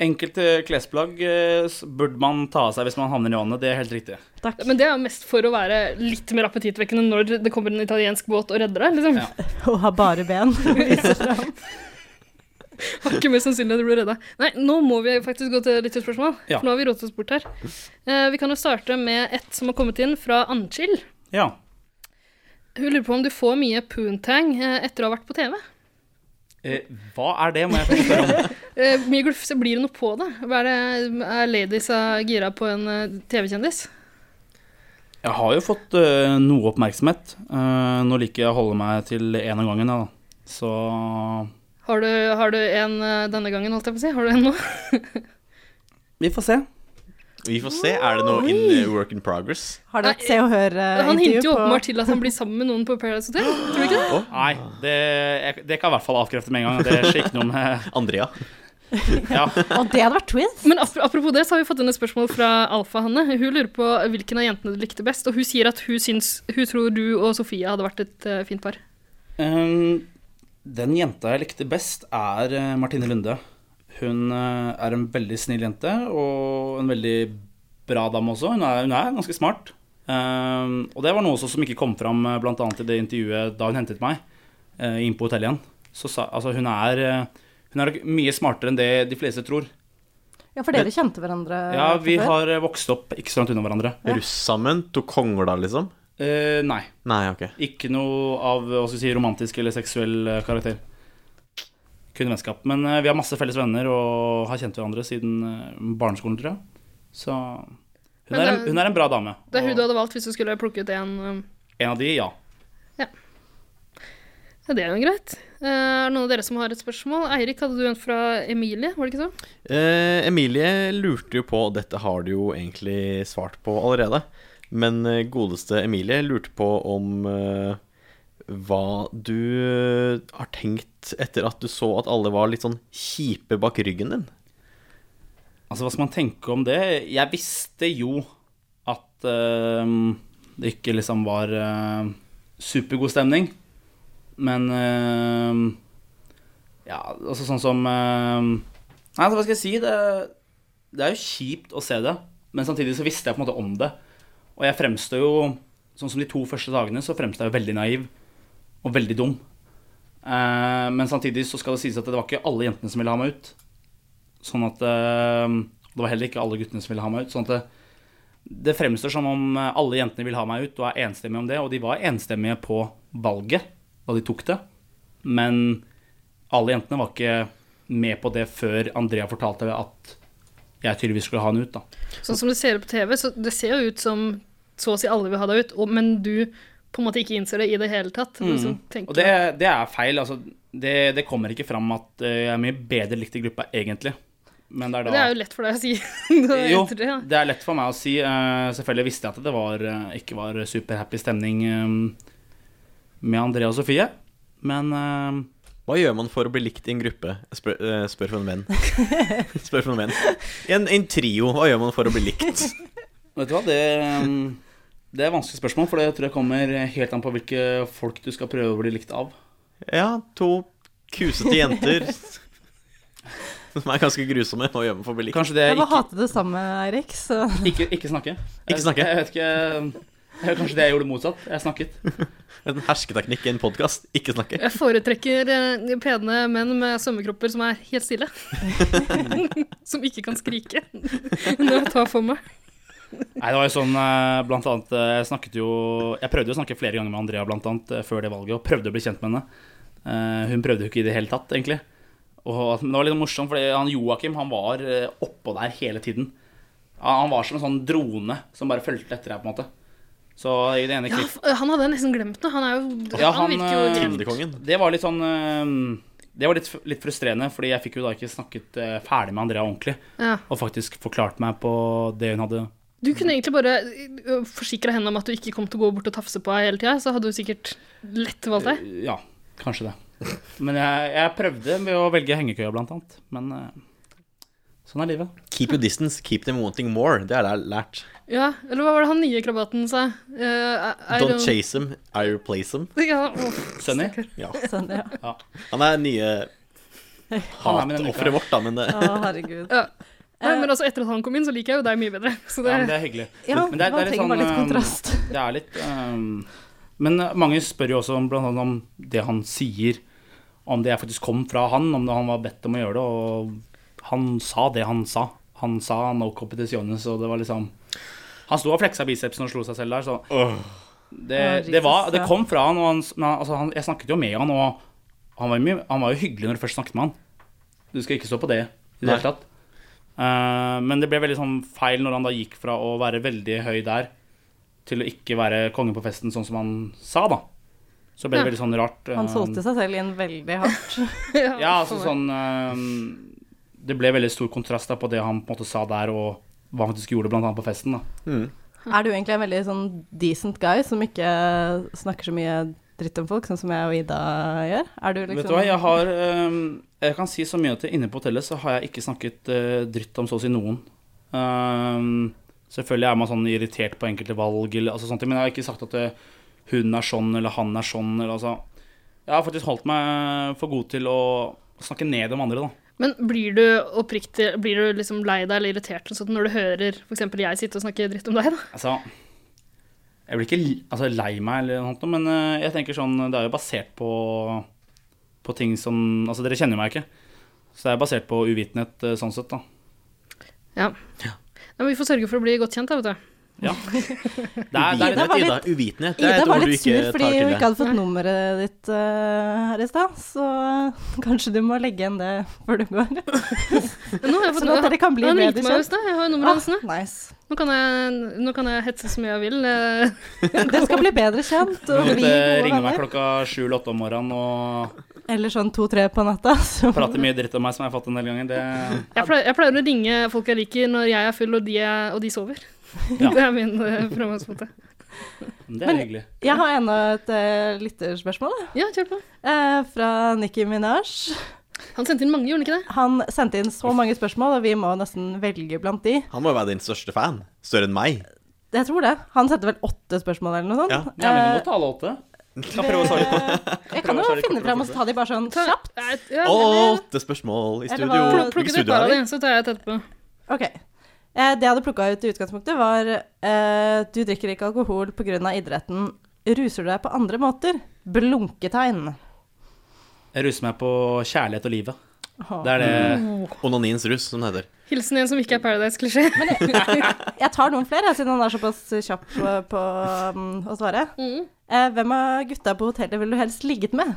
Speaker 5: Enkelte klesplagg eh, s- burde man ta av seg hvis man havner i vannet, det er helt riktig.
Speaker 7: Takk.
Speaker 4: Men det er jo mest for å være litt mer appetittvekkende når det kommer en italiensk båt og redder deg. liksom.
Speaker 5: Ja.
Speaker 7: Og har bare ben.
Speaker 4: Har ikke mer sannsynlig at du blir redda. Nei, nå må vi faktisk gå til lytterspørsmål.
Speaker 5: Ja.
Speaker 4: For nå har vi rotet oss bort her. Eh, vi kan jo starte med ett som har kommet inn fra Anchill.
Speaker 5: Ja.
Speaker 4: Hun lurer på om du får mye poontang eh, etter å ha vært på TV.
Speaker 5: Eh, hva er det, må jeg først spørre om?
Speaker 4: Eh, mye glufse, blir det noe på det? Hva er, det, er ladies eh, gira på en eh, TV-kjendis?
Speaker 5: Jeg har jo fått eh, noe oppmerksomhet. Eh, nå liker jeg å holde meg til én av gangen, jeg, da. Så
Speaker 4: Har du, har du en eh, denne gangen, holdt jeg på å si? Har du en nå?
Speaker 5: vi får se.
Speaker 6: Vi får se. Er det noe in work in progress?
Speaker 7: Har du et Se og
Speaker 4: han hinter
Speaker 7: Hør-intervju
Speaker 4: jo
Speaker 7: Eh, på
Speaker 4: åpenbart til at han blir sammen med noen på Paradise Hotel. Tror du ikke det?
Speaker 5: Nei, det, jeg, det kan jeg i hvert fall avkrefte med en gang. Det skjer ikke noe med
Speaker 6: Andrea.
Speaker 5: Ja.
Speaker 7: Og det hadde vært twist!
Speaker 4: Men ap- apropos det, så har vi fått inn et spørsmål fra Alfa-Hanne. Hun lurer på hvilken av jentene du likte best, og hun sier at hun, syns, hun tror du og Sofie hadde vært et eh, fint par.
Speaker 5: Um, den jenta jeg likte best, er eh, Martine Lunde. Hun eh, er en veldig snill jente, og en veldig bra dame også. Hun er, hun er ganske smart. Um, og det var noe også som ikke kom fram eh, blant annet i det intervjuet da hun hentet meg eh, inn på hotellet igjen. Så sa, altså, hun er eh, hun er nok mye smartere enn det de fleste tror.
Speaker 7: Ja, for dere kjente hverandre
Speaker 5: Ja, vi
Speaker 7: fra før.
Speaker 5: har eh, vokst opp ikke så langt unna hverandre.
Speaker 6: Russ sammen? To konger, da, liksom?
Speaker 5: Eh, nei.
Speaker 6: Nei, ok.
Speaker 5: Ikke noe av hva skal vi si, romantisk eller seksuell eh, karakter. Kun vennskap. Men eh, vi har masse felles venner og har kjent hverandre siden eh, barneskolen, tror jeg. Så hun
Speaker 4: Men det
Speaker 5: er, en,
Speaker 4: er-
Speaker 5: hun er en bra dame.
Speaker 4: Det er hun
Speaker 5: og
Speaker 4: du hadde valgt hvis du skulle plukket en. eh,
Speaker 5: En av de, ja.
Speaker 4: Ja, det er jo greit. Eh, Er det noen av dere som har et spørsmål? Eirik, hadde du en fra Emilie, var det ikke så?
Speaker 6: Eh, Emilie lurte jo på, og dette har du jo egentlig svart på allerede, men eh, godeste Emilie lurte på om eh, hva du eh, har tenkt etter at du så at alle var litt sånn kjipe bak ryggen din.
Speaker 5: Altså, hva skal man tenke om det? Jeg visste jo at eh, det ikke liksom var eh, supergod stemning. Men eh, Ja, altså sånn som eh, Nei, altså, hva skal jeg si? Det, det er jo kjipt å se det, men samtidig så visste jeg på en måte om det. Og jeg fremstår jo Sånn som de to første dagene, så fremstår jeg jo veldig naiv og veldig dum. Eh, men samtidig så skal det sies at det var ikke alle jentene som ville ha meg ut. Sånn at eh, Det var heller ikke alle guttene som ville ha meg ut. Sånn at det, det fremstår som om eh, alle jentene vil ha meg ut og er enstemmige om det. Og de var enstemmige på valget da de tok det. Men alle jentene var ikke med på det før Andrea fortalte at jeg tydeligvis skulle ha henne ut, da.
Speaker 4: Sånn som det ser ut på TV, så det ser jo ut som så å si alle vil ha deg ut, og, men du på en måte ikke innser det i det hele tatt. Du liksom tenker-
Speaker 5: Mm. Og det, det er feil. Altså, det, det kommer ikke fram at eh, jeg er mye bedre likt i gruppa, egentlig. Men det er da
Speaker 4: Det er jo lett for deg å si. da
Speaker 5: Jo,
Speaker 4: etter det, ja.
Speaker 5: det er lett for meg å si. Eh, Selvfølgelig visste jeg at det var, eh, ikke var superhappy stemning eh, med Andrea og Sofie. Men eh,
Speaker 6: Hva gjør man for å bli likt i en gruppe? Spør, eh, spør for en venn. spør for en venn. I en, en trio, hva gjør man for å bli likt?
Speaker 5: vet du hva, det, eh, det er vanskelig spørsmål, for det tror jeg kommer helt an på hvilke folk du skal prøve å bli likt av.
Speaker 6: Ja, to kusete jenter som er ganske grusomme. Hva gjør man for å bli likt?
Speaker 5: Kanskje det
Speaker 7: Jeg bare
Speaker 5: eh, ikke,
Speaker 7: hater det samme, Eirik, så
Speaker 5: ikke, ikke snakke.
Speaker 6: Ikke snakke.
Speaker 5: Jeg, jeg vet ikke jeg- Kanskje det jeg gjorde motsatt. Jeg snakket.
Speaker 6: En hersketeknikk i en podkast. Ikke snakke.
Speaker 4: Jeg foretrekker eh, pene menn med svømmekropper som er helt stille. som ikke kan skrike når jeg tar for meg.
Speaker 5: Nei, det var jo sånn eh, blant annet eh, Jeg snakket jo Jeg prøvde jo å snakke flere ganger med Andrea blant annet eh, før det valget, og prøvde å bli kjent med henne. Eh, Hun prøvde jo ikke i det hele tatt, egentlig. Og, men det var litt morsomt, for han Joakim han var eh, oppå der hele tiden. Han han var som en sånn drone som bare fulgte etter deg, på en måte. Så i det ene
Speaker 4: Ja,
Speaker 5: klippet
Speaker 4: f- han hadde jeg nesten glemt nå. Han er jo
Speaker 5: Ja,
Speaker 4: han,
Speaker 5: han, eh,
Speaker 4: virker jo
Speaker 6: Tinderkongen.
Speaker 5: Det var litt sånn eh, Det var litt, litt frustrerende, fordi jeg fikk jo da ikke snakket eh, ferdig med Andrea ordentlig,
Speaker 4: ja.
Speaker 5: og faktisk forklart meg på det hun hadde
Speaker 4: Du kunne egentlig bare eh, forsikra henne om at du ikke kom til å gå bort og tafse på henne hele tida, så hadde hun sikkert lett valgt deg.
Speaker 5: Ja, kanskje det. Men jeg, jeg prøvde med å velge hengekøya, blant annet. Men eh, sånn er livet.
Speaker 6: Keep your distance, keep them wanting more. Det er det jeg har lært.
Speaker 4: Ja, eller hva var det han nye krabaten sa? Eh, I, I
Speaker 6: Don't chase them, I replace them.
Speaker 4: Ja, åh,
Speaker 5: Sunny?
Speaker 6: Ja.
Speaker 7: sånn, ja.
Speaker 6: Han er nye
Speaker 5: Han er med denne uka.
Speaker 6: hatofferet vårt, da, men eh, det
Speaker 7: Å, herregud.
Speaker 4: ja. Nei, men altså, etter at han kom inn, så liker jeg jo deg mye bedre. Så det,
Speaker 5: Ja, men det er hyggelig.
Speaker 7: Ja,
Speaker 5: Men det er- det er
Speaker 7: man
Speaker 5: litt
Speaker 7: trenger
Speaker 5: sånn,
Speaker 7: bare litt
Speaker 5: eh,
Speaker 7: kontrast.
Speaker 5: Det eh, er litt eh, Men mange spør jo også om, blant annet om det han sier, om det faktisk kom fra han, om det han var bedt om å gjøre det. Og han sa det han sa. Han sa no competitiones, og det var liksom Han sto og fleksa bicepsen og slo seg selv der, så det, det, var, det kom fra han, og han, men han- altså, han, jeg snakket jo med han, og han var, mye, han var jo hyggelig når du først snakket med han. Du skal ikke stå på det i det
Speaker 6: Nei.
Speaker 5: hele tatt. Eh, men det ble veldig sånn feil når han da gikk fra å være veldig høy der til å ikke være konge på festen, sånn som han sa, da. Så ble det
Speaker 4: Ja.
Speaker 5: veldig sånn rart.
Speaker 7: Han
Speaker 5: eh,
Speaker 7: solgte seg selv inn veldig hardt.
Speaker 5: Ja, altså sånn eh, Det ble veldig stor kontrast da på det han på en måte sa der, og hva han faktisk gjorde, blant annet på festen, da.
Speaker 7: Er du egentlig en veldig sånn decent guy som ikke snakker så mye dritt om folk, sånn som jeg og Ida gjør? Er du liksom
Speaker 5: Vet du hva, jeg har ehm, Jeg kan si så mye at inne på hotellet så har jeg ikke snakket eh, dritt om så å si noen. Ehm, selvfølgelig er man sånn irritert på enkelte valg, eller, altså, sånne ting, men jeg har ikke sagt at eh, hun er sånn eller han er sånn. Eller, altså. Jeg har faktisk holdt meg for god til å snakke ned om andre, da.
Speaker 4: Men blir du oppriktig Blir du liksom lei deg eller irritert sånn når du hører f.eks. jeg sitte og snakke dritt om deg? da?
Speaker 5: Altså, jeg blir ikke li- altså, lei meg eller noe sånt, men eh, jeg tenker sånn Det er jo basert på, på ting som Altså, dere kjenner jo meg ikke. Så det er basert på uvitenhet, eh, sånn sett, da.
Speaker 4: Ja. Nei, men vi får sørge for å bli godt kjent, da, vet du.
Speaker 5: Ja. Det er, det er,
Speaker 7: Ida var
Speaker 6: Ida, uvitenhet. Det er
Speaker 7: Ida
Speaker 6: et
Speaker 7: var
Speaker 6: ord du
Speaker 7: litt
Speaker 6: ikke
Speaker 7: sur fordi
Speaker 6: tar
Speaker 7: hun
Speaker 6: til
Speaker 7: ikke
Speaker 6: deg.
Speaker 7: hadde fått nummeret ditt eh, her i stad, så eh, kanskje du må legge igjen det før du går.
Speaker 4: Men Nå har jeg fått,
Speaker 7: Sånn at dere kan bli
Speaker 4: han
Speaker 7: bedre
Speaker 4: ringte meg
Speaker 7: kjent.
Speaker 4: i stad. Jeg har jo nummeret hans nå.
Speaker 7: Ah, nice.
Speaker 4: Nå kan, jeg, nå kan jeg hetse så mye jeg vil. eh.
Speaker 7: Dere skal bli bedre kjent og bli
Speaker 5: Måtte
Speaker 7: gode
Speaker 5: ringe eh, meg
Speaker 7: venner.
Speaker 5: klokka sju eller åtte om morgenen og
Speaker 7: Eller sånn to-tre på natta. Så.
Speaker 5: prate mye dritt om meg som jeg har fått en del ganger. Det,
Speaker 4: Jeg pleier, jeg pleier å ringe folk jeg liker når jeg er full og de, er, og de sover.
Speaker 5: Ja.
Speaker 4: Det er min eh, fremgangsmåte.
Speaker 5: det er
Speaker 7: Men-
Speaker 5: hyggelig.
Speaker 7: Jeg har enda et eh, lytterspørsmål jeg.
Speaker 4: Ja, kjør på.
Speaker 7: Eh, fra Nikki Minaj.
Speaker 4: Han sendte inn mange, gjorde han ikke det?
Speaker 7: Han sendte inn så mange spørsmål, og vi må nesten velge blant de.
Speaker 6: Han må jo være din største fan. Større enn meg.
Speaker 7: Jeg tror det. Han sendte vel åtte spørsmål eller noe sånt.
Speaker 5: Ja, vi kan
Speaker 7: Eh,
Speaker 5: godt ta alle åtte. Skal prøve å svare litt.
Speaker 7: jeg kan
Speaker 5: prøve å
Speaker 7: jo
Speaker 5: svare
Speaker 7: finne
Speaker 5: kort og
Speaker 7: fram og ta de bare sånn
Speaker 4: Ta-
Speaker 7: kjapt.
Speaker 4: Nei, eh, ja,
Speaker 6: Åtte spørsmål i
Speaker 7: Eller
Speaker 6: studio.
Speaker 7: hva- Plukk-
Speaker 4: Plukk
Speaker 6: Hvilket
Speaker 4: plukket ut
Speaker 6: studio
Speaker 4: bare
Speaker 6: er
Speaker 4: av
Speaker 6: vi?
Speaker 4: de, så tar jeg et etterpå.
Speaker 7: Ok. Eh, det jeg hadde plukka ut i utgangspunktet, var eh, Du drikker ikke alkohol pga. idretten. Ruser du deg på andre måter? Blunketegn.
Speaker 5: Jeg ruser meg på kjærlighet og livet.
Speaker 7: Åh.
Speaker 5: Det er det
Speaker 7: Mm.
Speaker 6: Onanins rus, som det heter.
Speaker 4: Hilsen en som ikke er Paradise-klisjé.
Speaker 7: Jeg tar noen flere, siden han er såpass kjapp på, på mm, å svare. Eh, hvem av gutta på hotellet ville du helst ligget med?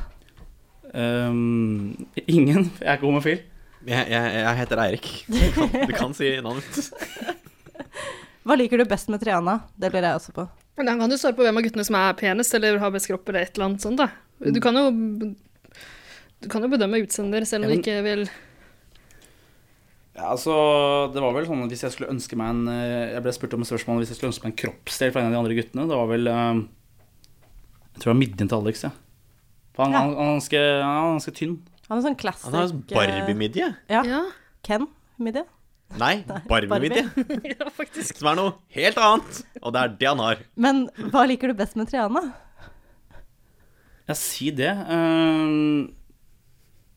Speaker 5: Ehm, Ingen. Jeg er ikke homofil.
Speaker 6: Jeg, jeg, jeg heter Eirik. Du kan, du kan si navnet mitt.
Speaker 7: Hva liker du best med Triana? Det lurer jeg også på.
Speaker 4: Men Da kan du svare på hvem av guttene som er penest eller har best kropp eller et eller annet sånt, da. Du kan jo du kan jo bedømme utsender selv om du
Speaker 5: Ja,
Speaker 4: ikke
Speaker 5: men-
Speaker 4: vil
Speaker 5: Ja, altså, det var vel sånn at hvis jeg skulle ønske meg en eh, Jeg ble spurt om et spørsmål hvis jeg skulle ønske meg en kroppsdel fra en av de andre guttene. Det var vel eh, Jeg tror det var midjen til Alex, ja. For han,
Speaker 7: Ja.
Speaker 5: han, han, er ganske, han er ganske tynn.
Speaker 7: Han er sånn classic
Speaker 6: Han har
Speaker 7: eh,
Speaker 6: Barbie-midje.
Speaker 4: Ja,
Speaker 7: Ken-midje.
Speaker 6: Nei, Barbie-midje.
Speaker 4: ja faktisk.
Speaker 6: Som er noe helt annet. Og det er det han har.
Speaker 7: Men hva liker du best med Triana?
Speaker 5: Ja, si det. Ehm,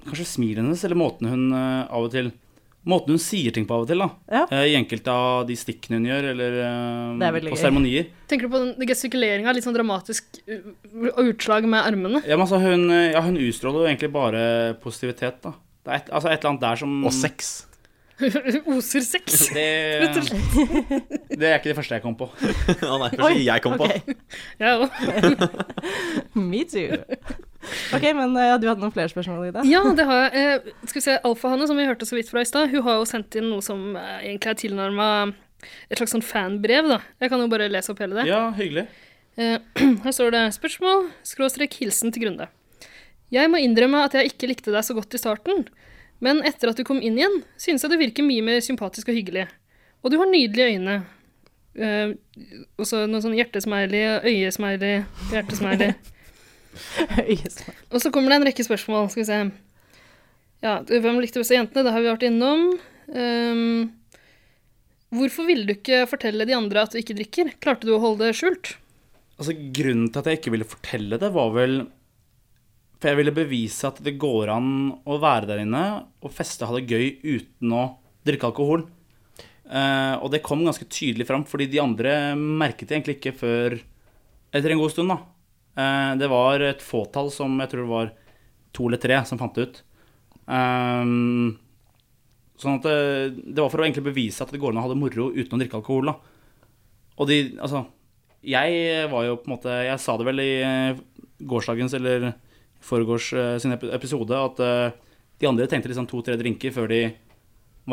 Speaker 5: kanskje smilet hennes, eller måten hun eh, av og til Måten hun sier ting på av og til, da.
Speaker 7: Ja.
Speaker 5: Eh, I enkelte av de stikkene hun gjør, eller eh,
Speaker 7: Det er veldig
Speaker 5: på
Speaker 7: gøy.
Speaker 5: seremonier.
Speaker 4: Tenker du på den gestikuleringa, litt sånn dramatisk u- u- utslag med armene?
Speaker 5: Ja, men altså, hun, eh, ja, hun utstråler jo egentlig bare positivitet, da. Det er et, altså, et eller annet der som
Speaker 6: Og sex.
Speaker 4: Oser sex.
Speaker 5: Det,
Speaker 4: Rett og
Speaker 5: det er ikke det første jeg kom på.
Speaker 6: Å nei, første jeg kom på.
Speaker 7: Ok.
Speaker 4: Ja, og-
Speaker 7: Me too. Ok, men eh, du hadde noen flere spørsmål, Ida?
Speaker 4: ja, det har jeg. Eh, skal vi se, Alfahanne, som vi hørte så vidt fra i stad, hun har jo sendt inn noe som eh, egentlig er tilnærma et slags sånn fanbrev, da. Jeg kan jo bare lese opp hele det.
Speaker 5: Ja, hyggelig.
Speaker 4: Eh, Her står det 'Spørsmål skråstrek hilsen til Grunde'. Jeg må innrømme at jeg ikke likte deg så godt i starten, men etter at du kom inn igjen, synes jeg du virker mye mer sympatisk og hyggelig. Og du har nydelige øyne. Eh, og så noe sånn hjertesmiley, øyesmiley, hjertesmiley. Og så kommer det en rekke spørsmål. Skal vi se. Ja, hvem likte best av jentene? Det har vi vært innom. Ehm, hvorfor ville du ikke fortelle de andre at du ikke drikker? Klarte du å holde det skjult?
Speaker 5: Altså, grunnen til at jeg ikke ville fortelle det, var vel For jeg ville bevise at det går an å være der inne og feste og ha det gøy uten å drikke alkohol. Eh, og det kom ganske tydelig fram, fordi de andre merket det egentlig ikke før etter en god stund, da. Eh, det var et fåtall som jeg tror det var to eller tre som fant det ut. Ehm, sånn at det, det var for å egentlig bevise at det går an å ha det moro uten å drikke alkohol. Da. Og de, altså Jeg var jo på en måte Jeg sa det vel i eh, gårsdagens eller foregårs eh, sin epi- episode at eh, de andre tenkte liksom to-tre drinker før de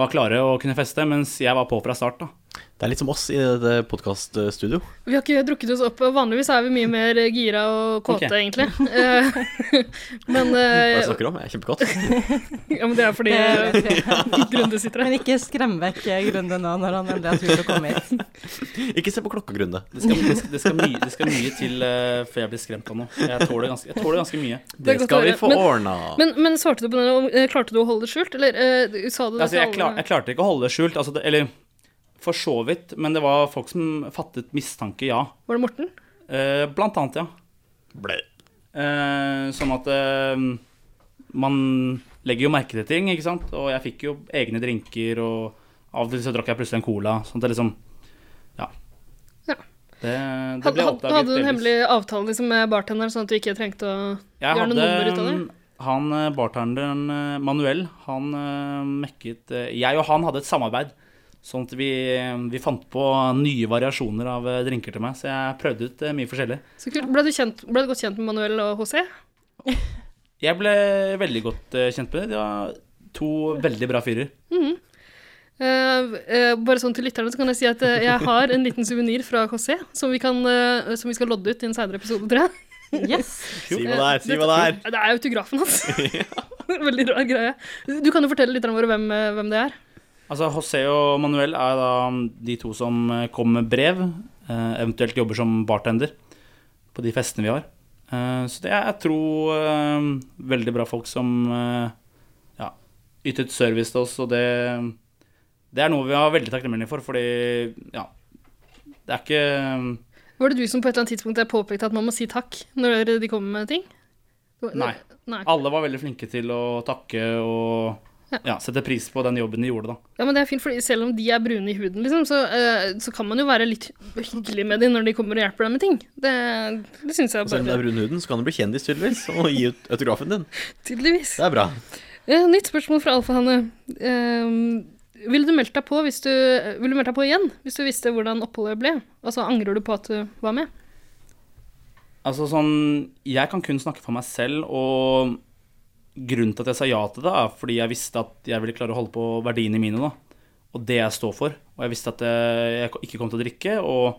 Speaker 5: var klare og kunne feste, mens jeg var på fra start, da.
Speaker 6: Det er litt som oss i dette podkaststudio.
Speaker 4: Vi har ikke drukket oss opp. Vanligvis er vi mye mer gira og kåte,
Speaker 5: Ok. Altså-
Speaker 4: egentlig. Eh, men,
Speaker 6: Hva jeg
Speaker 4: eh,
Speaker 6: snakker om, er kjempegodt.
Speaker 4: ja, men det er fordi eh, Grunde sitter her.
Speaker 7: Men ikke skrem vekk eh, Grunde nå når han endelig har tur til å komme hit.
Speaker 6: Ikke se på klokka, Grunde.
Speaker 5: Det skal, det skal, det skal, mye, det skal mye til eh, før jeg blir skremt av noe. Jeg tåler ganske, jeg tåler ganske mye.
Speaker 4: Det er
Speaker 6: Det
Speaker 4: godt å
Speaker 6: skal vi
Speaker 4: høre.
Speaker 6: få
Speaker 4: Men-
Speaker 6: ordna.
Speaker 4: Men, men svarte du på den, om- eh, klarte du å holde det skjult, eller eh, du- sa du det
Speaker 5: Altså,
Speaker 4: til
Speaker 5: jeg, klar,
Speaker 4: alle?
Speaker 5: jeg klarte ikke å holde det skjult. Altså, det, eller for så vidt, men det var folk som fattet mistanke, ja.
Speaker 4: Var det Morten?
Speaker 5: Eh, blant annet, ja.
Speaker 6: Ble-
Speaker 5: Eh, sånn at eh, man legger jo merke til ting, ikke sant. Og jeg fikk jo egne drinker, og av og til så drakk jeg plutselig en cola. Sånn at det liksom Ja.
Speaker 4: Ja.
Speaker 5: Det, det
Speaker 4: Hadde,
Speaker 5: ble
Speaker 4: hadde,
Speaker 5: oppdaget.
Speaker 4: hadde du en
Speaker 5: delvis.
Speaker 4: hemmelig avtale liksom, med bartenderen, sånn at du ikke trengte å
Speaker 5: Jeg
Speaker 4: gjøre noe nummer ut av
Speaker 5: hadde
Speaker 4: det?
Speaker 5: han eh, bartenderen eh, Manuel, han eh, mekket eh, Jeg og han hadde et samarbeid. Sånn at vi, vi fant på nye variasjoner av eh, drinker til meg. Så jeg prøvde ut eh, mye forskjellig.
Speaker 4: Så kult. Ble du, kjent, ble du godt kjent med Manuel og José?
Speaker 5: Jeg ble veldig godt eh, kjent med dem. De var to veldig bra fyrer.
Speaker 4: Eh, eh, bare sånn til lytterne så kan jeg si at eh, jeg har en liten suvenir fra José som vi, kan, eh, som vi skal lodde ut i en senere episode, tror jeg.
Speaker 7: Yes.
Speaker 6: Si hva det er, si hva det er.
Speaker 4: Det er autografen hans. Veldig rar greie. Du kan jo fortelle litt om våre hvem, eh, hvem det er.
Speaker 5: Altså, José og Manuel er da de to som eh, kommer med brev, eh, eventuelt jobber som bartender på de festene vi har. Eh, Så det er, jeg tror, eh, veldig bra folk som eh, ja, ytet service til oss, og det, det er noe vi er veldig takknemlige for, fordi, ja, det er ikke
Speaker 4: Var det du som på et eller annet tidspunkt der påpekte at man må si takk når de kommer med ting?
Speaker 5: Nei.
Speaker 4: Nei.
Speaker 5: Alle var veldig flinke til å takke og
Speaker 4: Ja.
Speaker 5: ja, sette pris på den jobben de gjorde, da.
Speaker 4: Ja, men det er fint, for selv om de er brune i huden, liksom, så, eh, så kan man jo være litt hyggelig med dem når de kommer og hjelper deg med ting. Det, det syns jeg
Speaker 6: Og selv om det er
Speaker 4: bare
Speaker 6: brun huden, så kan du bli kjendis, tydeligvis, og gi ut autografen din.
Speaker 4: Tydeligvis.
Speaker 6: Det er bra.
Speaker 4: Eh, nytt spørsmål fra Alfahanne. Eh, ville du meldt deg på hvis du eh, Ville du meldt deg på igjen hvis du visste hvordan oppholdet ble? Altså, angrer du på at du var med?
Speaker 5: Altså sånn, jeg kan kun snakke for meg selv, og grunnen til at jeg sa ja til det, er fordi jeg visste at jeg ville klare å holde på verdiene mine, da. Og det jeg står for. Og jeg visste at jeg, jeg ikke kom til å drikke, og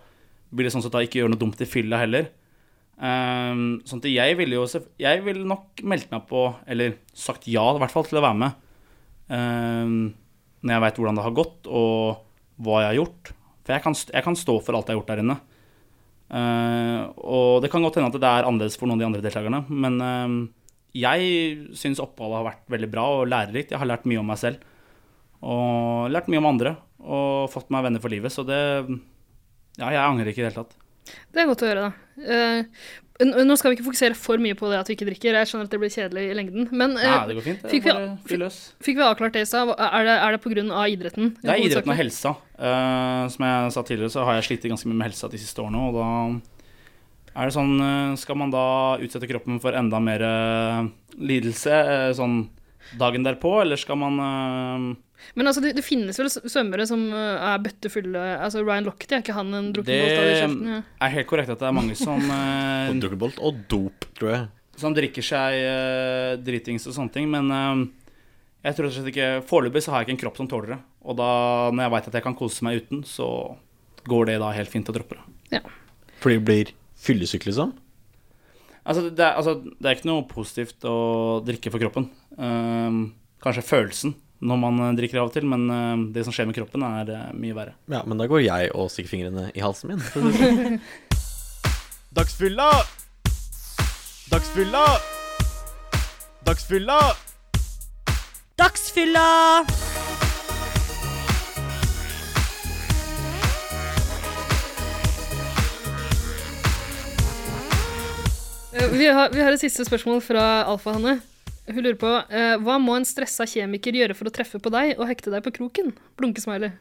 Speaker 5: ville sånn sett da ikke gjøre noe dumt i fylla heller. Ehm, sånn at jeg ville jo selv- Jeg ville nok meldt meg på, eller sagt ja i hvert fall, til å være med. Ehm, når jeg veit hvordan det har gått, og hva jeg har gjort. For jeg kan, st- jeg kan stå for alt jeg har gjort der inne. Eh, og det kan godt hende at det er annerledes for noen av de andre deltakerne, men eh, jeg syns oppholdet har vært veldig bra og lærerikt. Jeg har lært mye om meg selv og lært mye om andre og fått meg venner for livet, så det Ja, jeg angrer ikke i det hele tatt.
Speaker 4: Det er godt å høre, da. Eh, n- nå skal vi ikke fokusere for mye på det at vi ikke drikker. Jeg skjønner at det blir kjedelig i lengden. Men eh,
Speaker 5: Nei, det går fint. Det
Speaker 4: fikk vi-
Speaker 5: er bare fyr løs.
Speaker 4: fikk vi avklart det i stad? Hva- Er det, er det pga. idretten?
Speaker 5: Det er idretten
Speaker 4: Hovedsakelig?
Speaker 5: og helsa. Eh, som jeg sa tidligere, så har jeg slitt ganske mye med helsa de siste årene. Og da er det sånn eh, Skal man da utsette kroppen for enda mer eh, lidelse eh, sånn dagen derpå, eller skal man eh,
Speaker 4: Men altså, det, det finnes vel s- svømmere som eh, er bøttefulle Altså Ryan Lochte, er ikke han en drukken
Speaker 5: Det-
Speaker 4: bolt av i kjeften? Ja.
Speaker 5: er helt korrekt at det er mange som, eh,
Speaker 6: Og Drukkenbolt og dop, tror jeg.
Speaker 5: som drikker seg eh, dritings og sånne ting, men eh, jeg tror rett og slett ikke Foreløpig så har jeg ikke en kropp som tåler det. Og da, når jeg veit at jeg kan kose meg uten, så går det da helt fint å droppe det.
Speaker 6: Fordi du blir fyllesyk, liksom?
Speaker 5: Altså, det er, altså, det er ikke noe positivt å drikke for kroppen. Eh, kanskje følelsen når man eh, drikker av og til, men eh, det som skjer med kroppen, er eh, mye verre.
Speaker 6: Ja, men da går jeg og stikker fingrene i halsen min. for å si det sånn. Dagsfylla! Dagsfylla! Dagsfylla!
Speaker 7: Dagsfylla!
Speaker 4: Eh, Vi, har, vi har et siste spørsmål fra Alfahanne. Hun lurer på eh, hva må en stressa kjemiker gjøre for å treffe på deg og hekte deg på kroken? Blunkesmiley.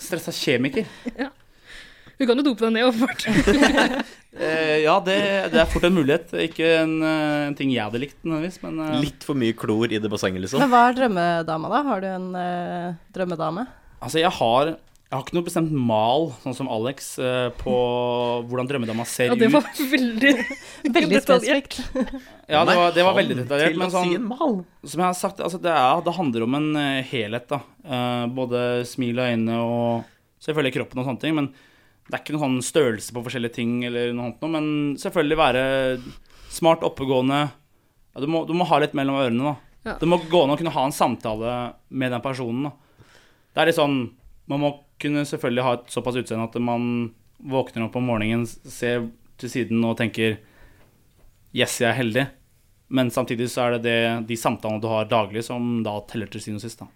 Speaker 5: Stressa kjemiker.
Speaker 4: Ja. Hun kan jo dope deg ned, åpenbart.
Speaker 5: Eh, ja, det, det er fort en mulighet. Ikke en, eh, en ting jeg hadde likt, nødvendigvis, men eh,
Speaker 6: Litt for mye klor i det bassenget, liksom.
Speaker 7: Men hva er drømmedama, da? Har du en eh, drømmedame?
Speaker 5: altså, jeg har jeg har ikke noe bestemt mal, sånn som Alex, eh, på hvordan drømmedama ser
Speaker 4: Ja, det
Speaker 5: ut.
Speaker 4: var veldig
Speaker 7: Veldig
Speaker 4: Detaljert.
Speaker 7: spesifikt.
Speaker 5: Ja, det var, det var
Speaker 6: Nei,
Speaker 5: veldig
Speaker 6: han
Speaker 5: detaljert.
Speaker 6: til
Speaker 5: Men
Speaker 6: å si
Speaker 5: sånn,
Speaker 6: en mal.
Speaker 5: som jeg har sagt, altså, det, er, det handler om en eh, helhet, da. Eh, både smil og øyne og selvfølgelig kroppen og sånne ting. Men det er ikke noen sånn størrelse på forskjellige ting eller noe annet noe. Men selvfølgelig være smart, oppegående. Ja, du, må, du må ha litt mellom ørene, da.
Speaker 4: Ja.
Speaker 5: Det må gå an å kunne ha en samtale med den personen, da. Det er litt sånn Man må kunne selvfølgelig ha et såpass utseende at man våkner opp om morgenen, ser til siden og tenker Yes, jeg er heldig. Men samtidig så er det, det de samtalene du har daglig, som da teller til siden og sist. da.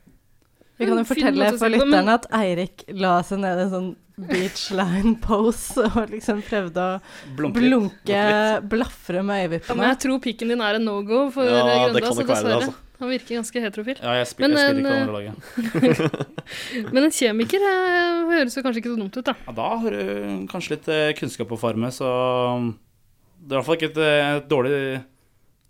Speaker 7: Vi kan jo
Speaker 4: En fin
Speaker 7: fortelle
Speaker 4: måte å si
Speaker 7: for
Speaker 4: det på, men-
Speaker 7: lytterne at Eirik la seg ned i en sånn beachline pose og liksom prøvde å
Speaker 5: Blunke litt.
Speaker 7: blunke, blafre med
Speaker 4: Ja, men
Speaker 7: øyevippene.
Speaker 4: jeg tror pikken din er en no-go for eh,
Speaker 6: Ja,
Speaker 4: Grøndahl,
Speaker 6: det kan
Speaker 4: så
Speaker 6: nok være det,
Speaker 4: dessverre.
Speaker 6: altså.
Speaker 4: Han virker ganske heterofil.
Speaker 5: Ja, jeg, spil,
Speaker 4: Men eh,
Speaker 5: jeg spiller ikke
Speaker 4: en,
Speaker 5: det andre laget.
Speaker 4: Men en kjemiker eh, høres jo kanskje ikke så dumt ut, da.
Speaker 5: Ja, da har du kanskje litt eh, kunnskap å farme, så det er i hvert fall ikke et eh, dårlig,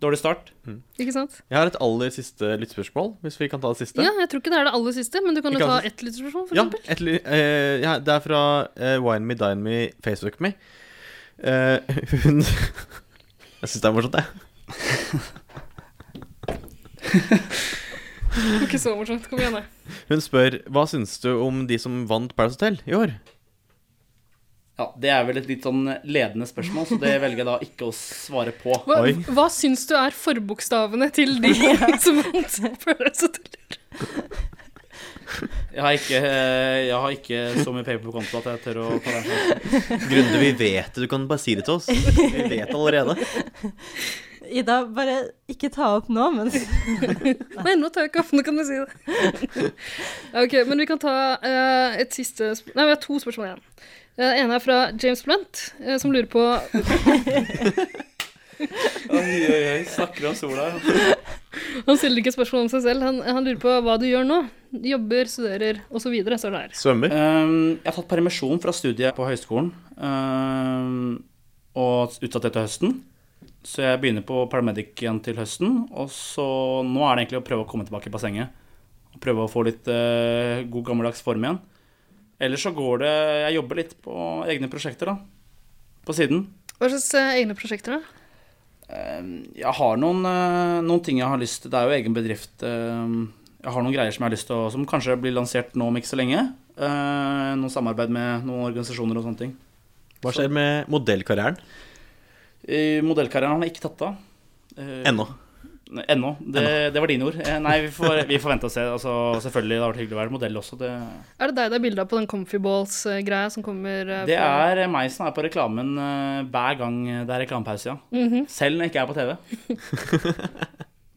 Speaker 5: dårlig start.
Speaker 4: Ikke sant?
Speaker 6: Jeg har et aller siste lyttespørsmål, hvis vi kan ta det siste.
Speaker 4: Ja, jeg tror ikke det er det aller siste, men du kan jo
Speaker 6: Ikke
Speaker 4: ta
Speaker 6: aller
Speaker 4: ett lytterspørsmål, for
Speaker 6: Ja,
Speaker 4: eksempel.
Speaker 6: et, ly- eh, ja, det er fra eh, Wine Me, Dine Me, Facebook Me. Eh, hun Jeg syns det er morsomt, jeg.
Speaker 4: Ikke så morsomt. Kom igjen, da.
Speaker 6: Hun spør hva syns du om de som vant Paradise Hotel i år?
Speaker 5: Ja, Det er vel et litt sånn ledende spørsmål, så det velger jeg da ikke å svare på.
Speaker 4: Hva,
Speaker 6: Oi.
Speaker 4: hva syns du er forbokstavene til de som føler seg til?
Speaker 5: Jeg har ikke, eh, jeg har ikke så mye penger på konto at jeg tør å ta den sjansen.
Speaker 6: Grunde, vi vet det. Du kan bare si det til oss. Vi vet allerede.
Speaker 7: Ida, bare ikke ta opp nå, men
Speaker 4: Nei, nå tar jeg ikke opp, nå kan du si det. Ja, ok, men vi kan ta eh, et siste sp- Nei, vi har to spørsmål igjen. Eh, Det ene er fra James Blunt, eh, som lurer på
Speaker 5: Oi, oi, oi, snakker om sola.
Speaker 4: Han stiller ikke spørsmål om seg selv, han, han lurer på hva du gjør nå. Jobber, studerer osv., står det her.
Speaker 6: Svømmer.
Speaker 5: Ehm, jeg har tatt permisjon fra studiet på høyskolen ehm, og utsatt det til høsten. Så jeg begynner på paramedic igjen til høsten. Og så nå er det egentlig å prøve å komme tilbake i bassenget. Og prøve å få litt eh, god gammeldags form igjen. Ellers så går det Jeg jobber litt på egne prosjekter, da. På siden.
Speaker 4: Hva slags eh, egne prosjekter, da?
Speaker 5: Ehm, jeg har noen, eh, noen ting jeg har lyst til. Det er jo egen bedrift. ehm, jeg har noen greier som jeg har lyst til å Som kanskje blir lansert nå om ikke så lenge. Eh, noen samarbeid med noen organisasjoner og sånne ting.
Speaker 6: Hva skjer med modellkarrieren?
Speaker 5: Eh, Modellkarrieren har jeg ikke tatt av. Eh,
Speaker 6: Ennå.
Speaker 5: Nei, Ennå. Det, det var dine ord. Eh, Nei, vi får, vi får vente og se. Altså, selvfølgelig, det har vært hyggelig å være modell også. Det,
Speaker 4: Er det deg det er bilde av på den Comfy Balls-greia som kommer eh,
Speaker 5: det
Speaker 4: på-
Speaker 5: er meg som er på reklamen eh, hver gang det er reklamepause, ja.
Speaker 4: Mhm.
Speaker 5: Selv når jeg ikke er på TV.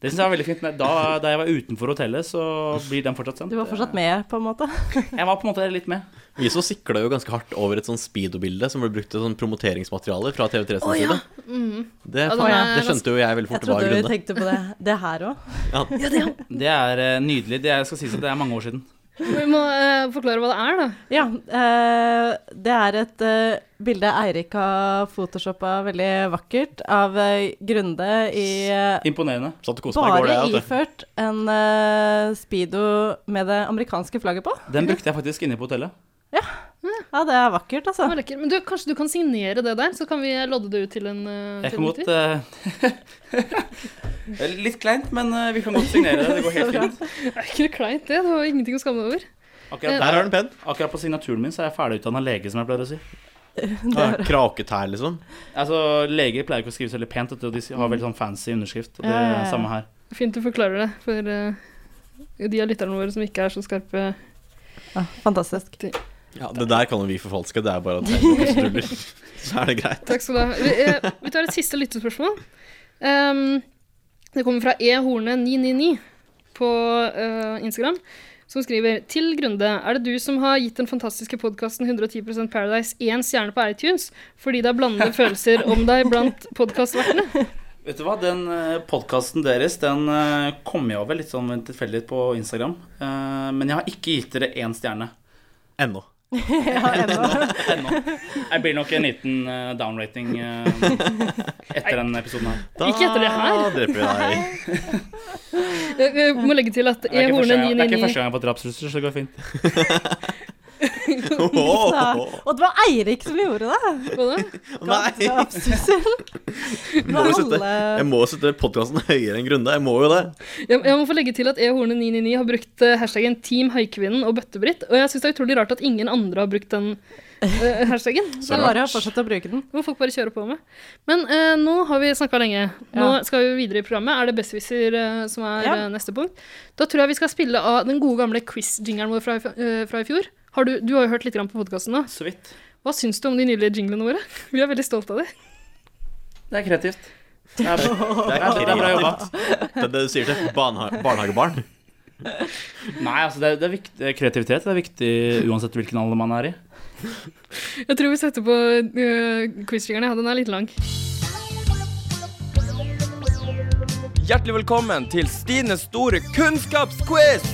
Speaker 5: Det syns jeg er veldig fint. Da, da jeg var utenfor hotellet, så blir den fortsatt sendt.
Speaker 7: du var fortsatt med, på en måte.
Speaker 5: Jeg var på en måte litt med.
Speaker 6: Vi så sikla jo ganske hardt over et sånn speedo-bilde som ble brukt til sånn promoteringsmateriale fra TV3 sin side. Det,
Speaker 4: Ja, den er
Speaker 6: det skjønte jo jeg veldig
Speaker 7: Jeg
Speaker 6: fort var
Speaker 7: trodde du
Speaker 6: Grunde.
Speaker 7: tenkte på det, det her òg.
Speaker 5: Det er eh, nydelig. Det er, skal sies at det er mange år siden.
Speaker 4: Vi må eh, forklare hva det er, da.
Speaker 7: Ja, eh, det er et eh, bilde Eirik har photoshoppa veldig vakkert av eh, Grunde i eh,
Speaker 5: Imponerende.
Speaker 6: Satt og koste meg i går,
Speaker 7: bare
Speaker 6: det. vet du.
Speaker 7: iført en eh, speedo med det amerikanske flagget på.
Speaker 5: Den brukte jeg faktisk inne på hotellet.
Speaker 7: Ja, det er vakkert,
Speaker 4: Det
Speaker 7: altså.
Speaker 4: var lekker. Men du, kanskje du kan signere det der, så kan vi lodde det ut til en eh,
Speaker 5: Jeg
Speaker 4: til
Speaker 5: kan
Speaker 4: en
Speaker 5: godt
Speaker 4: lytter?
Speaker 5: eh, Litt kleint, men eh, vi kan godt signere det. Det går helt fint.
Speaker 4: Det er ikke noe kleint, det. Det var ingenting å skamme deg over.
Speaker 5: Akkurat,
Speaker 6: Der
Speaker 5: der,
Speaker 6: har du en penn.
Speaker 5: akkurat på signaturen min så er jeg ferdigutdanna lege, som jeg pleier å si.
Speaker 6: Ja, Kraketær, liksom.
Speaker 5: Altså, Leger pleier ikke å skrive så veldig pent, vet du, og de har veldig sånn fancy underskrift. Og det
Speaker 7: Ja,
Speaker 5: er
Speaker 7: ja, ja.
Speaker 5: det samme her.
Speaker 4: Fint du forklarer det for eh, de av lytterne våre som ikke er så skarpe.
Speaker 7: Ja, fantastisk.
Speaker 6: Ja, Det der kan jo vi forfalske. Det er bare at jeg stuller. Så er det greit.
Speaker 4: Takk skal du ha. Vi, eh, vi tar et siste lyttespørsmål. Ehm, det kommer fra ehorne999 på eh, Instagram, som skriver til Grunde er det du som har gitt den fantastiske podkasten 110 Paradise én stjerne på iTunes fordi det er blandede følelser om deg blant podkastvertene.
Speaker 5: Vet du hva, den podkasten deres den eh, kom jeg over litt sånn tilfeldig på Instagram. Eh, Men jeg har ikke gitt dere én stjerne.
Speaker 6: Ennå.
Speaker 7: ja, ennå.
Speaker 5: Ennå. Jeg blir nok en liten eh, downrating eh, etter den episoden her.
Speaker 6: Da
Speaker 4: Ikke etter det her.
Speaker 6: dreper vi deg.
Speaker 4: Jeg, jeg må legge til at
Speaker 5: Det
Speaker 4: E.
Speaker 5: er ikke første
Speaker 4: Horne
Speaker 5: gang, det er
Speaker 4: 999
Speaker 5: ikke første gang jeg har fått drapstrusler, så det går fint.
Speaker 6: Åh,
Speaker 7: Og det var Eirik som gjorde det!
Speaker 4: Hva da?
Speaker 6: Nei,
Speaker 7: Absusen.
Speaker 6: jeg må jo sette, jeg må jo sette podkasten høyere enn Grunde. Jeg må jo det.
Speaker 4: Jeg, jeg må få legge til at E. Horne 999 har brukt eh, hashtaggen Team Haikvinnen og Bøttebritt, og jeg syns det er utrolig rart at ingen andre har brukt den eh, hashtaggen.
Speaker 7: Så bare fortsett å bruke den.
Speaker 4: Det må folk bare kjøre på med. Men eh, nå har vi snakka lenge. Nå
Speaker 7: Ja.
Speaker 4: skal vi videre i programmet. Er det Besserwisser eh, som er
Speaker 7: Ja.
Speaker 4: eh, neste punkt? Da tror jeg vi skal spille av den gode gamle quiz-jingeren vår fra, i f- eh, fra i fjor. Har du, du har jo hørt litt grann på podkasten nå.
Speaker 5: Så vidt.
Speaker 4: Hva syns du om de nydelige jinglene våre? Vi er veldig stolte av dem.
Speaker 5: Det er kreativt. Det er, bra.
Speaker 6: Det
Speaker 5: Ja, det er bra jobba.
Speaker 6: Det er det du sier til barneha barnehagebarn.
Speaker 5: Nei, altså, det er, det er viktig, kreativitet det er viktig uansett hvilken alder man er i.
Speaker 4: Jeg tror vi setter på uh, quiz-jingeren. Ja, den er litt lang.
Speaker 3: Hjertelig velkommen til Stines store kunnskapsquiz!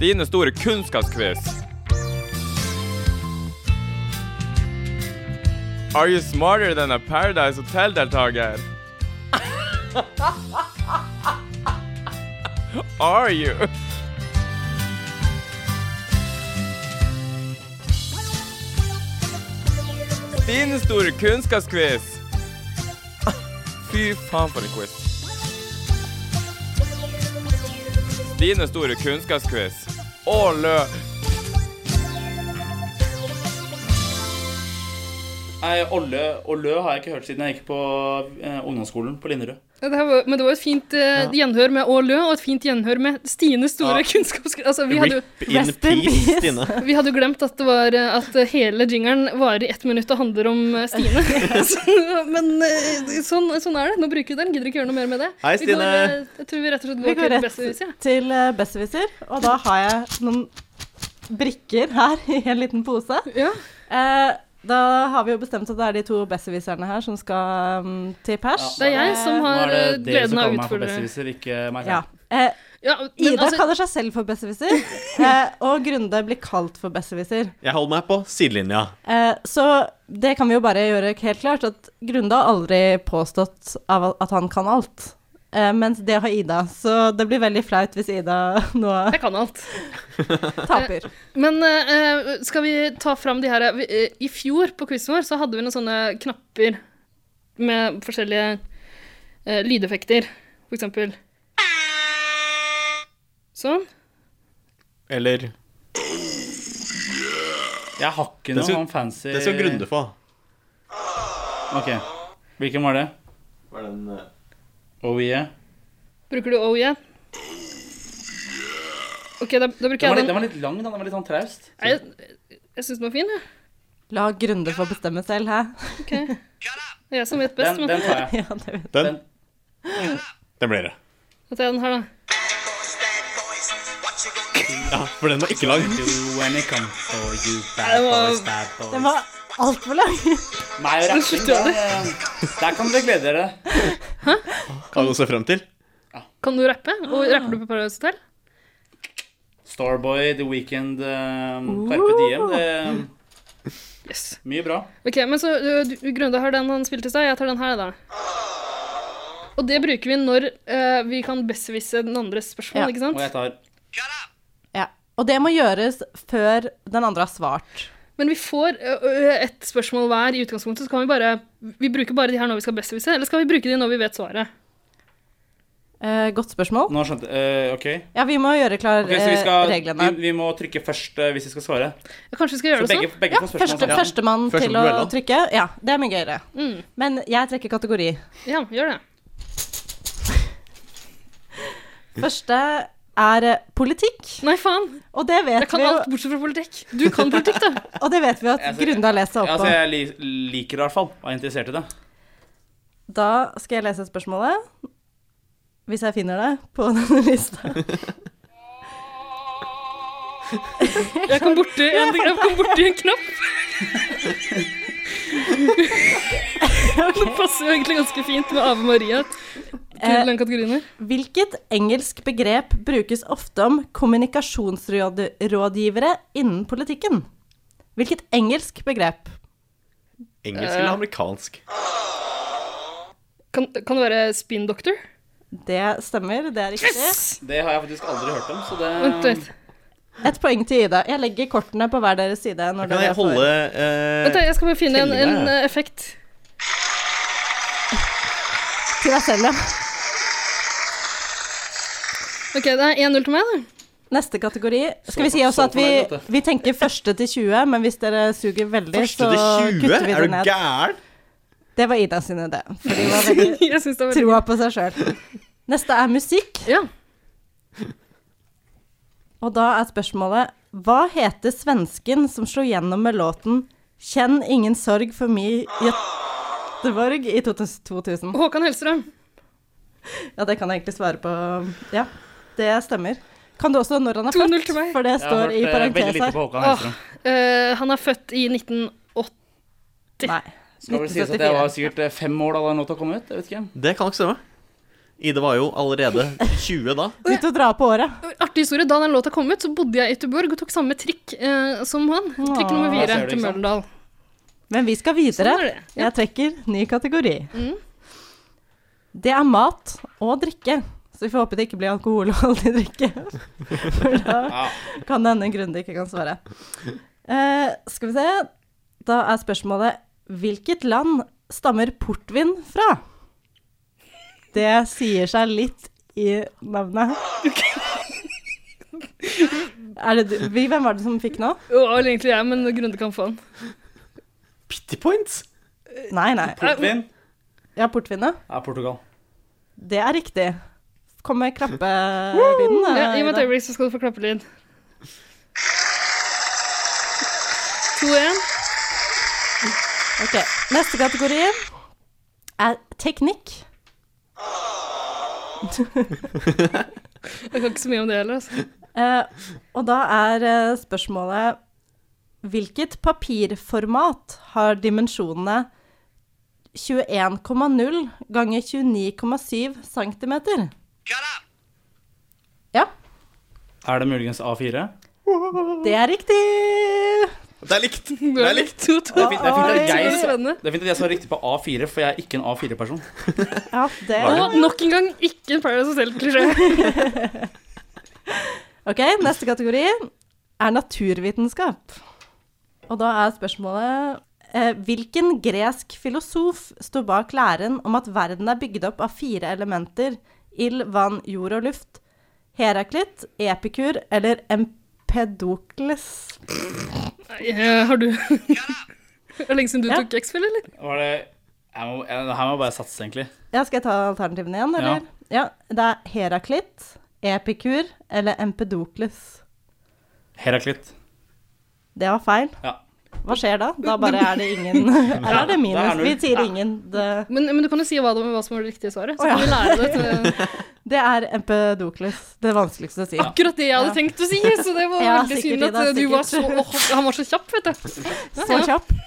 Speaker 3: Stines store kunnskapsquiz. Are you smarter than a Paradise Hotel-deltaker? Are you? Stines store kunnskapsquiz. Fy faen for en quiz. Dine store kunnskapsquiz. Å, lø!
Speaker 5: Nei, Olle og Lø har jeg ikke hørt siden jeg gikk på eh, ungdomsskolen på Linderud.
Speaker 4: Ja, Det her var, men det var et fint eh, gjenhør med Å Lø, og et fint gjenhør med Stines store
Speaker 6: Ja.
Speaker 4: kunnskapsgreier. Altså, vi hadde jo
Speaker 6: Rip in
Speaker 7: Rest in
Speaker 6: peace,
Speaker 7: peace.
Speaker 6: Stine.
Speaker 4: Vi hadde jo glemt at, det var, eh, at hele jingeren varer i ett minutt og handler om eh, Stine. Så- Men eh, sånn, sånn er det. Nå bruker vi den. Gidder ikke gjøre noe mer med det.
Speaker 6: Hei,
Speaker 4: Vi går,
Speaker 6: Stine.
Speaker 4: eh, jeg tror vi rett og slett
Speaker 7: Vi
Speaker 4: går
Speaker 7: går
Speaker 4: til
Speaker 7: rett
Speaker 4: Besserwisser. Ja.
Speaker 7: til eh, besserwisser, og da har jeg noen brikker her i en liten pose.
Speaker 4: Ja.
Speaker 7: Eh, da har vi jo bestemt at det er de to besserwisserne her som skal mm, til pers.
Speaker 4: Det er jeg som
Speaker 5: Nå
Speaker 4: har
Speaker 5: er det
Speaker 4: eh,
Speaker 5: dere
Speaker 4: gleden av å
Speaker 5: som kaller meg for
Speaker 4: utfordre
Speaker 5: besserwisser, ikke meg
Speaker 7: Ja.
Speaker 5: selv.
Speaker 7: Eh,
Speaker 4: ja, men,
Speaker 7: Ida
Speaker 4: altså,
Speaker 7: kaller seg selv for besserwisser, eh, og Grunde blir kalt for besserwisser.
Speaker 6: Jeg holder meg på sidelinja.
Speaker 7: Eh, så det kan vi jo bare gjøre helt klart, at Grunde har aldri påstått av at han kan alt. Eh, mens det har Ida, så det blir veldig flaut hvis Ida nå
Speaker 4: jeg kan alt.
Speaker 7: taper.
Speaker 4: Men eh, eh, skal vi ta fram de her eh, vi- eh, I fjor på quizen vår så hadde vi noen sånne knapper med forskjellige eh, lydeffekter, for eksempel. Sånn.
Speaker 6: Eller
Speaker 5: Jeg har ikke
Speaker 6: Det
Speaker 5: noe
Speaker 6: skal-
Speaker 5: sånn fancy
Speaker 6: Det skal Grunde få.
Speaker 5: Ok. Hvilken var det?
Speaker 6: Var den, eh,
Speaker 5: Oh yeah.
Speaker 4: Bruker du O igjen? OK, da, da bruker
Speaker 5: Den var,
Speaker 4: jeg
Speaker 5: litt,
Speaker 4: den.
Speaker 5: den var litt lang, da. Den var litt sånn traust.
Speaker 4: Nei, Jeg, jeg syns den var fin, jeg.
Speaker 7: La Grunde få bestemme selv, hæ?
Speaker 4: Det er jeg som vet best.
Speaker 5: Den,
Speaker 4: Men
Speaker 5: den tar jeg.
Speaker 7: Ja, det vet jeg.
Speaker 6: den,
Speaker 5: Den.
Speaker 6: den blir det.
Speaker 4: da tar jeg den her, da.
Speaker 6: Ja, for den var ikke lang.
Speaker 5: Do when it comes for you,
Speaker 4: Det
Speaker 5: bad
Speaker 4: var-
Speaker 5: boys, bad boys.
Speaker 7: Den var altfor lang.
Speaker 5: Meg og rapping,
Speaker 4: Slutt å gjøre det.
Speaker 5: der, der kan dere glede dere.
Speaker 6: Har du noe å se frem til?
Speaker 4: Kan du rappe? Og rapper du på Paradise Hotel?
Speaker 5: Starboy, The Weekend, Carpe Diem. Det er
Speaker 4: Yes.
Speaker 5: mye bra.
Speaker 4: OK, men så ø, du, Grunde har den han spilte i stad. Jeg tar den her, da. Og det bruker vi når ø, vi kan besserwisse den andres spørsmål,
Speaker 7: Ja.
Speaker 4: ikke
Speaker 5: Og jeg
Speaker 4: sant?
Speaker 5: tar
Speaker 7: Ja. Og det må gjøres før den andre har svart.
Speaker 4: Men vi får ø, ø, ett spørsmål hver i utgangspunktet, så kan vi bare Vi bruker bare de her når vi skal besserwisse, eller skal vi bruke de når vi vet svaret?
Speaker 7: Eh, godt spørsmål.
Speaker 5: Nå skjønte eh, OK.
Speaker 7: Ja, vi må gjøre klar
Speaker 5: Ok, så vi,
Speaker 7: eh,
Speaker 5: skal, vi,
Speaker 7: reglene.
Speaker 5: vi må trykke først eh, hvis vi skal svare.
Speaker 4: Kanskje vi skal
Speaker 5: Så
Speaker 4: gjøre det
Speaker 5: begge,
Speaker 4: sånn?
Speaker 5: begge
Speaker 7: Ja,
Speaker 5: får spørsmål altså.
Speaker 7: første, førstemann
Speaker 5: sammen.
Speaker 6: Første
Speaker 7: til
Speaker 6: på
Speaker 7: å
Speaker 6: duellen.
Speaker 7: trykke. Ja, det er mye gøyere.
Speaker 4: Mm.
Speaker 7: Men jeg trekker kategori.
Speaker 4: Ja, gjør det.
Speaker 7: Første er eh, politikk,
Speaker 4: Nei, faen.
Speaker 7: og det vet
Speaker 4: Jeg kan
Speaker 7: vi jo
Speaker 4: alt bortsett fra politikk. Du kan politikk, da.
Speaker 7: og det vet vi at
Speaker 5: Jeg ser-
Speaker 7: Grunde har lest seg
Speaker 5: Ja,
Speaker 7: opp på.
Speaker 5: altså, jeg li liker det i hvert fall. og Er interessert i det.
Speaker 7: Da skal jeg lese spørsmålet, hvis jeg finner det på denne lista.
Speaker 4: Jeg kom borti en, jeg kom borti en knapp. Det passer jo egentlig ganske fint med Ave Maria. til den kategorien her.
Speaker 7: Hvilket engelsk begrep brukes ofte om kommunikasjonsrådgivere innen politikken? Hvilket engelsk begrep?
Speaker 6: Engelsk eller amerikansk?
Speaker 4: Kan, kan det være spin doctor?
Speaker 7: Det stemmer, det er riktig.
Speaker 5: Det har jeg faktisk aldri hørt om, så det
Speaker 4: Vent litt.
Speaker 7: Et poeng til Ida. Jeg legger kortene på hver deres side. Når
Speaker 6: Kan jeg
Speaker 7: dere får-
Speaker 6: holde
Speaker 4: Vent, da,
Speaker 6: eh,
Speaker 4: jeg skal bare finne en, en
Speaker 6: tellinga,
Speaker 4: eh, effekt.
Speaker 7: Til deg selv, ja.
Speaker 4: Ok, det er 1-0 til meg, da.
Speaker 7: Neste kategori. Skal vi
Speaker 5: Så-
Speaker 7: si også
Speaker 5: så
Speaker 7: at vi,
Speaker 5: fornøyd, Lotte.
Speaker 7: vi tenker første til 20, men hvis dere suger veldig,
Speaker 6: første
Speaker 7: så
Speaker 6: til 20?
Speaker 7: kutter vi
Speaker 6: Er
Speaker 7: det
Speaker 6: du
Speaker 7: ned.
Speaker 6: gæren?
Speaker 7: Det var Ida sin idé, for de var veldig
Speaker 4: Jeg synes det var veldig...
Speaker 7: troa på seg sjøl. Neste er musikk,
Speaker 4: Ja.
Speaker 7: og da er spørsmålet Hva heter svensken som slo gjennom med låten 'Kjenn ingen sorg for mi Göteborg' i 2000?
Speaker 4: Håkan Hellstrøm.
Speaker 7: Ja, det kan jeg egentlig svare på. Ja, det stemmer. Kan du også når han er
Speaker 4: 2-0 til
Speaker 7: født?
Speaker 4: meg.
Speaker 7: For det
Speaker 5: Jeg har
Speaker 7: står
Speaker 5: hørt
Speaker 7: i
Speaker 5: eh, veldig
Speaker 7: parentes
Speaker 5: lite
Speaker 7: her.
Speaker 5: på Håkan
Speaker 4: Åh.
Speaker 5: Hellstrøm.
Speaker 4: Eh, han er født i 1980.
Speaker 7: Nei.
Speaker 5: Skal vel sies at jeg
Speaker 7: 1974.
Speaker 5: var sikkert eh, fem år da den låta kom ut. Jeg vet ikke.
Speaker 6: Det kan ikke stemme. Ida var jo allerede 20 da.
Speaker 7: Ut og dra på året.
Speaker 4: Artig historie, Da den låta kom ut, så bodde jeg i Göteborg og tok samme trikk eh, som han. Trikk nummer
Speaker 5: ser
Speaker 4: fire
Speaker 5: du,
Speaker 4: til
Speaker 5: ikke sant?
Speaker 4: Møllendal.
Speaker 7: Men vi skal videre.
Speaker 4: Sånn er det, ja. Mm.
Speaker 7: Jeg trekker ny kategori. Det er mat og drikke. Så vi får håpe det ikke blir alkoholholdig drikke. For da kan det hende Grunde ikke kan svare. Eh, skal vi se. Da er spørsmålet Hvilket land stammer portvin fra? Det sier seg litt i navnet. Er det du? vi- Hvem var det som fikk nå?
Speaker 4: Å, eller egentlig jeg, men Grunde kan få den.
Speaker 6: Pity points?
Speaker 7: Nei, nei.
Speaker 5: Portvin
Speaker 7: Ja, portvin, ja.
Speaker 5: er Portugal.
Speaker 7: Det er riktig. Kom med klappelyden. da,
Speaker 4: Ja, I og med et
Speaker 7: Ida.
Speaker 4: øyeblikk så skal du få klappelyd. 2-1.
Speaker 7: Ok, Neste kategori er teknikk.
Speaker 4: Jeg kan ikke så mye om det heller. Altså.
Speaker 7: Eh, og da er eh, spørsmålet Hvilket papirformat har dimensjonene 21,0 ganger 29,7 cm? Ja,
Speaker 5: Er det muligens A4?
Speaker 7: det er riktig.
Speaker 6: Det er likt.
Speaker 4: Det
Speaker 6: er likt.
Speaker 4: To, to.
Speaker 5: Det er fint, det er fint, at,
Speaker 4: Det
Speaker 5: jeg,
Speaker 4: er
Speaker 5: sa-
Speaker 4: spennende.
Speaker 5: det er fint at jeg sa riktig på A4, for jeg er ikke en A4-person.
Speaker 7: Ja, det.
Speaker 4: Og nok en gang ikke en Paradise Hotel-klisjé.
Speaker 7: Ok, neste kategori er naturvitenskap. Og da er spørsmålet eh, Hvilken gresk filosof sto bak læren om at verden er bygd opp av fire elementer ild, vann, jord og luft? Heraklit, Epikur eller Empedokles?
Speaker 4: Eh, Har du Er det lenge siden du
Speaker 7: Ja.
Speaker 4: tok X-Fill, eller?
Speaker 5: Var det jeg må, jeg, Her må jeg bare satse, egentlig.
Speaker 7: Ja, skal jeg ta alternativene igjen, eller? Ja. Det er Heraklit, Epikur eller Empedokles.
Speaker 5: Heraklit.
Speaker 7: Det var feil.
Speaker 5: Ja.
Speaker 7: Hva skjer da? Da bare er det ingen Eller er det
Speaker 5: Da
Speaker 7: minus?
Speaker 5: er null.
Speaker 7: Vi sier ingen. Det
Speaker 4: Men, men du kan jo si hva, det- hva som var det riktige svaret.
Speaker 7: Å,
Speaker 4: Så
Speaker 7: ja.
Speaker 4: kan vi lære det til
Speaker 7: Det er Empedokles. Det vanskeligste å si.
Speaker 4: akkurat det jeg hadde tenkt å si. Så det var
Speaker 7: Ja,
Speaker 4: veldig
Speaker 7: sikkert,
Speaker 4: synd at
Speaker 7: Ida,
Speaker 4: eh, du var så
Speaker 7: sikkert.
Speaker 4: åh, Han var så kjapp, vet du.
Speaker 7: Så kjapp.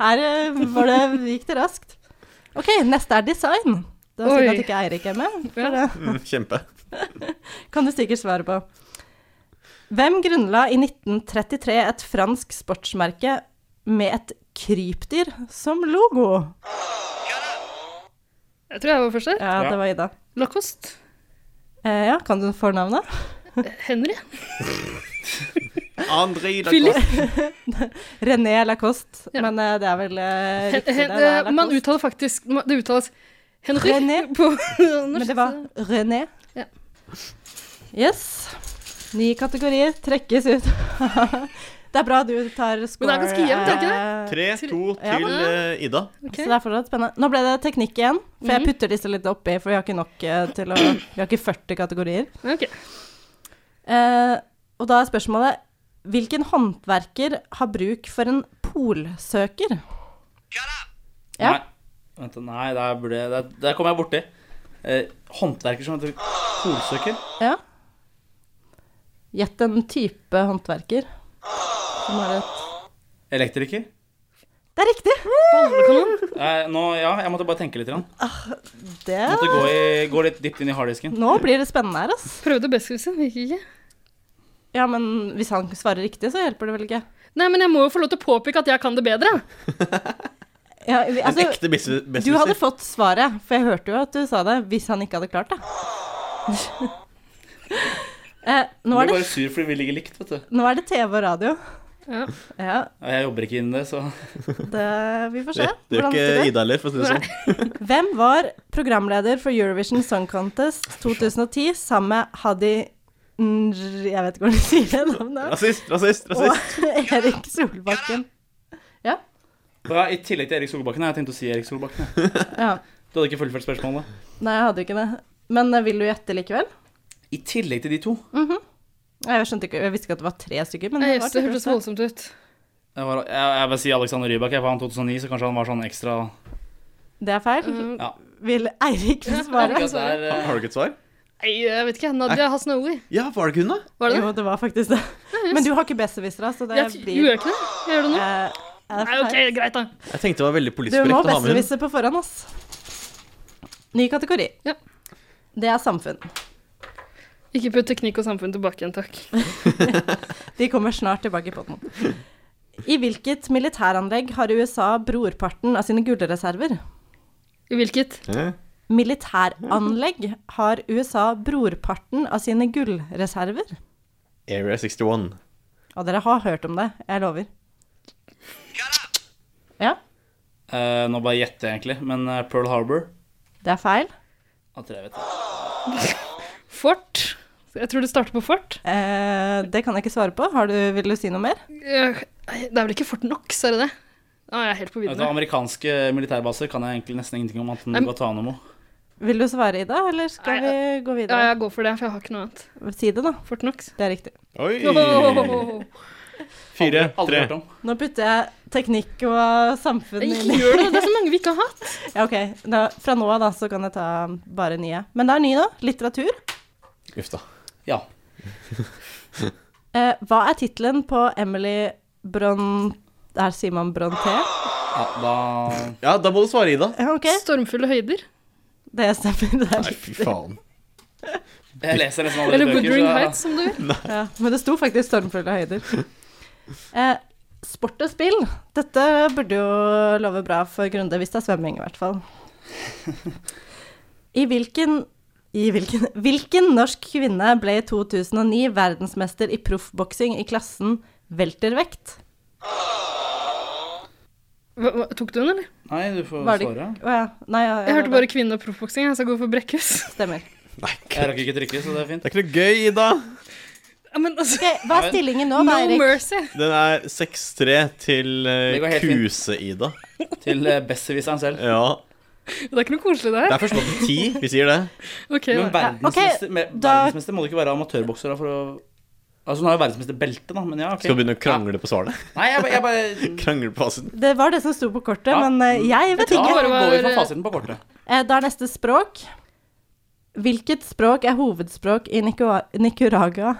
Speaker 7: Her eh, var det, gikk det raskt. OK, neste er design. Det var
Speaker 4: Oi.
Speaker 7: synd at ikke Eirik er med. for
Speaker 4: Ja.
Speaker 7: det
Speaker 6: Mm, Kjempe.
Speaker 7: Kan du sikkert svare på. Hvem grunnla i 1933 et fransk sportsmerke med et krypdyr som logo?
Speaker 4: Jeg tror jeg var først der.
Speaker 7: Ja,
Speaker 5: Ja.
Speaker 7: det var Ida.
Speaker 4: Lacoste.
Speaker 7: Eh, ja, kan du fornavnet?
Speaker 4: Henry.
Speaker 6: André
Speaker 4: Philip.
Speaker 7: René Lacoste.
Speaker 4: Ja.
Speaker 7: Men eh, det er vel eh,
Speaker 4: Hen,
Speaker 7: riktig.
Speaker 4: hen,
Speaker 7: det, det er
Speaker 4: eh, man
Speaker 7: Lacoste.
Speaker 4: uttaler faktisk ma- Det uttales Henry
Speaker 7: René.
Speaker 4: på
Speaker 7: Men
Speaker 4: norsk.
Speaker 7: det var René.
Speaker 4: Ja.
Speaker 7: Yes. Ny kategori trekkes ut. det er bra du tar score.
Speaker 4: Men det er ganske jevnt, er det ikke
Speaker 7: eh,
Speaker 6: 3-2 til eh, Ida.
Speaker 4: Ok.
Speaker 7: Så det er fortsatt spennende. Nå ble det teknikk igjen, for
Speaker 4: Mhm.
Speaker 7: jeg putter disse litt oppi, for vi har ikke nok eh, til å Vi har ikke 40 kategorier.
Speaker 4: Ok.
Speaker 7: Eh, og da er spørsmålet Hvilken håndverker har bruk for en polsøker? Ja.
Speaker 5: Nei, vent, da, nei der, burde, jeg- der, der kom jeg borti. Eh, håndverker som heter polsøker.
Speaker 7: Ja. Gjett en type håndverker. Som har et
Speaker 5: Elektriker.
Speaker 7: Det er riktig!
Speaker 4: Ballekanon.
Speaker 5: Eh, Nå, ja, jeg måtte bare tenke litt. Grann.
Speaker 7: Det
Speaker 5: Måtte gå, i, gå litt dypt inn i harddisken.
Speaker 7: Nå blir det spennende her, ass.
Speaker 4: Prøvde best, Kristin. Gikk ikke.
Speaker 7: Ja, men hvis han svarer riktig, så hjelper det vel ikke?
Speaker 4: Nei, men jeg må jo få lov til å påpeke at jeg kan det bedre.
Speaker 7: Ja, vi-
Speaker 6: En
Speaker 7: altså,
Speaker 6: ekte bes-
Speaker 7: du hadde
Speaker 6: besserwisser.
Speaker 7: fått svaret, for jeg hørte jo at du sa det, hvis han ikke hadde klart det. eh,
Speaker 5: Du
Speaker 7: nå, er
Speaker 5: blir
Speaker 7: det
Speaker 5: bare sur fordi vi ligger likt, vet du.
Speaker 7: nå er det TV og radio.
Speaker 4: Ja.
Speaker 7: Ja,
Speaker 5: Ja, Jeg jobber ikke innen det, så
Speaker 7: det, vi får se.
Speaker 6: Det det gjør
Speaker 7: hvordan det går.
Speaker 6: ikke Ida heller, for å si det sånn.
Speaker 7: Hvem var programleder for Eurovision Song Contest 2010 sammen med Hadi Nr... Jeg vet ikke hvordan de sier det navnet.
Speaker 6: Rasist, rasist, rasist.
Speaker 7: Og Erik Solbakken.
Speaker 5: ja, I tillegg til Erik Solbakken. Jeg tenkte å si Erik Solbakken. jeg.
Speaker 7: Ja.
Speaker 5: Du hadde ikke fullført spørsmålet.
Speaker 7: Nei, jeg hadde jo ikke det. Men eh, vil du gjette likevel?
Speaker 5: I tillegg til de to.
Speaker 7: Nei, Jeg skjønte ikke, jeg visste ikke at det var tre stykker, men
Speaker 4: Jeg
Speaker 7: det
Speaker 4: helst,
Speaker 7: var
Speaker 4: det hørtes voldsomt ut.
Speaker 5: Jeg, var, jeg, jeg vil si Alexander Rybak. Jeg var han 2009, så kanskje han var sånn ekstra
Speaker 7: Det er feil.
Speaker 4: Mm.
Speaker 7: Vil Eirik
Speaker 4: Ja,
Speaker 7: svare?
Speaker 4: Eirik.
Speaker 5: Der,
Speaker 6: Har
Speaker 5: eh,
Speaker 6: har du ikke et svar?
Speaker 4: Nei, jeg vet ikke. Nadia Hasnaoui.
Speaker 6: Ja, var det ikke hun, da?
Speaker 4: Var det det?
Speaker 7: Jo, det var faktisk det. Men du har ikke besserwissere, så det
Speaker 4: Jeg t-
Speaker 7: blir
Speaker 4: gjorde jeg ikke det? Jeg gjør det nå.
Speaker 7: eh, er
Speaker 4: Nei, ok,
Speaker 7: feil.
Speaker 4: greit da.
Speaker 6: Jeg tenkte det var veldig
Speaker 7: Du
Speaker 6: politisk
Speaker 7: må
Speaker 6: korrekt å ha med hun.
Speaker 7: besserwisse på forhånd, ass. Ny kategori.
Speaker 4: Ja.
Speaker 7: Det er samfunn.
Speaker 4: Ikke putt teknikk og samfunn tilbake igjen, takk.
Speaker 7: De kommer snart tilbake i podden. I hvilket militæranlegg har USA brorparten av sine gullreserver?
Speaker 4: I hvilket?
Speaker 6: Hæ?
Speaker 7: Militæranlegg har USA brorparten av sine gullreserver?
Speaker 6: Area 61.
Speaker 7: Og dere har hørt om det, jeg lover. Ja,
Speaker 5: eh, Nå bare gjetter jeg, egentlig. Men eh, Pearl Harbor
Speaker 7: det er feil.
Speaker 5: Ja, tror jeg vet det.
Speaker 4: Fort. Jeg tror det starter på fort.
Speaker 7: Eh, det kan jeg ikke svare på. Har du, vil du si noe mer?
Speaker 4: Eh, Det er vel ikke Fort Knox, er det det? Nå er jeg helt på
Speaker 5: Vet du,
Speaker 4: vidden. her.
Speaker 5: amerikanske militærbaser kan jeg egentlig nesten ingenting om, annet
Speaker 4: Nei,
Speaker 5: enn
Speaker 4: men-
Speaker 5: Guatánamo.
Speaker 7: Vil du svare, Ida, eller skal
Speaker 4: Nei,
Speaker 7: vi gå
Speaker 4: Ja,
Speaker 7: videre?
Speaker 4: jeg går for det, for jeg har ikke noe annet.
Speaker 7: Si det, da.
Speaker 4: Fort Knox.
Speaker 7: Det er riktig.
Speaker 6: Oi!
Speaker 4: Åh,
Speaker 6: Fire,
Speaker 5: Aldri- aldri
Speaker 6: tre.
Speaker 5: hørt om.
Speaker 7: Nå putter jeg teknikk og samfunn
Speaker 4: Ikke
Speaker 7: inn i
Speaker 4: gjør det, det er så mange vi ikke har hatt.
Speaker 7: Ja, ok. Da, fra nå av da, så kan jeg ta bare nye. Men det er nye nå. Litteratur.
Speaker 6: Uff da.
Speaker 5: Ja.
Speaker 7: Eh, hva er tittelen på Emily Bron... Der sier man Brontë.
Speaker 5: ja da
Speaker 6: Ja, da må du svare, Ida.
Speaker 7: Ja, ok.
Speaker 4: Stormfulle høyder.
Speaker 7: Det stemmer. Det er
Speaker 6: Nei, fy
Speaker 7: riktig.
Speaker 6: faen.
Speaker 5: Jeg leser nesten alle
Speaker 4: Eller
Speaker 5: bøker,
Speaker 4: Woodring
Speaker 5: så
Speaker 4: Heights, som du vil.
Speaker 7: Ja, men det sto faktisk 'Stormfulle høyder'. Eh, sport og spill. Dette burde jo love bra for Grunde, hvis det er svømming i hvert fall. I hvilken i hvilken, hvilken norsk kvinne ble i 2009 verdensmester i proffboksing i klassen weltervekt?
Speaker 4: Hva, hva, tok du den, eller?
Speaker 5: Nei, du får
Speaker 7: Var det-
Speaker 5: svare.
Speaker 7: Å ja. Nei, ja, ja,
Speaker 4: Jeg hørte
Speaker 7: det-
Speaker 4: bare kvinne- og proffboksing, jeg skal gå for Brekkhus.
Speaker 7: Stemmer.
Speaker 6: Nei,
Speaker 5: Jeg
Speaker 6: det
Speaker 5: rakk ikke trykke, så det er fint.
Speaker 6: er ikke noe gøy, Ida.
Speaker 4: Ja, men altså,
Speaker 7: Ok, Hva er stillingen nå,
Speaker 4: no
Speaker 7: da, Eirik?
Speaker 4: mercy.
Speaker 6: Den er 6-3 til
Speaker 5: Det går
Speaker 6: eh,
Speaker 5: helt fint.
Speaker 6: Kuse-Ida.
Speaker 5: Til eh, besserwisseren selv.
Speaker 6: Ja.
Speaker 4: Det er ikke noe koselig det
Speaker 6: Det
Speaker 4: her.
Speaker 6: er først nå til ti, vi sier det.
Speaker 4: Ok,
Speaker 5: Men
Speaker 4: da.
Speaker 5: verdensmester, med,
Speaker 7: da-
Speaker 5: verdensmester må du ikke være amatørbokser da, for å Altså, hun har jo verdensmesterbeltet, da, men ja, OK.
Speaker 6: Skal vi begynne å krangle på svarene?
Speaker 5: Nei, jeg, ba- jeg bare
Speaker 6: Krangle på fasiten.
Speaker 7: Det var det som sto på kortet,
Speaker 5: Ja.
Speaker 7: men eh, jeg vet
Speaker 5: Da
Speaker 7: ikke.
Speaker 4: bare
Speaker 5: går vi
Speaker 4: var-
Speaker 5: for fasiten på kortet.
Speaker 7: Eh, Da er neste språk. Hvilket språk er hovedspråk i Nicoa- Nicaragua?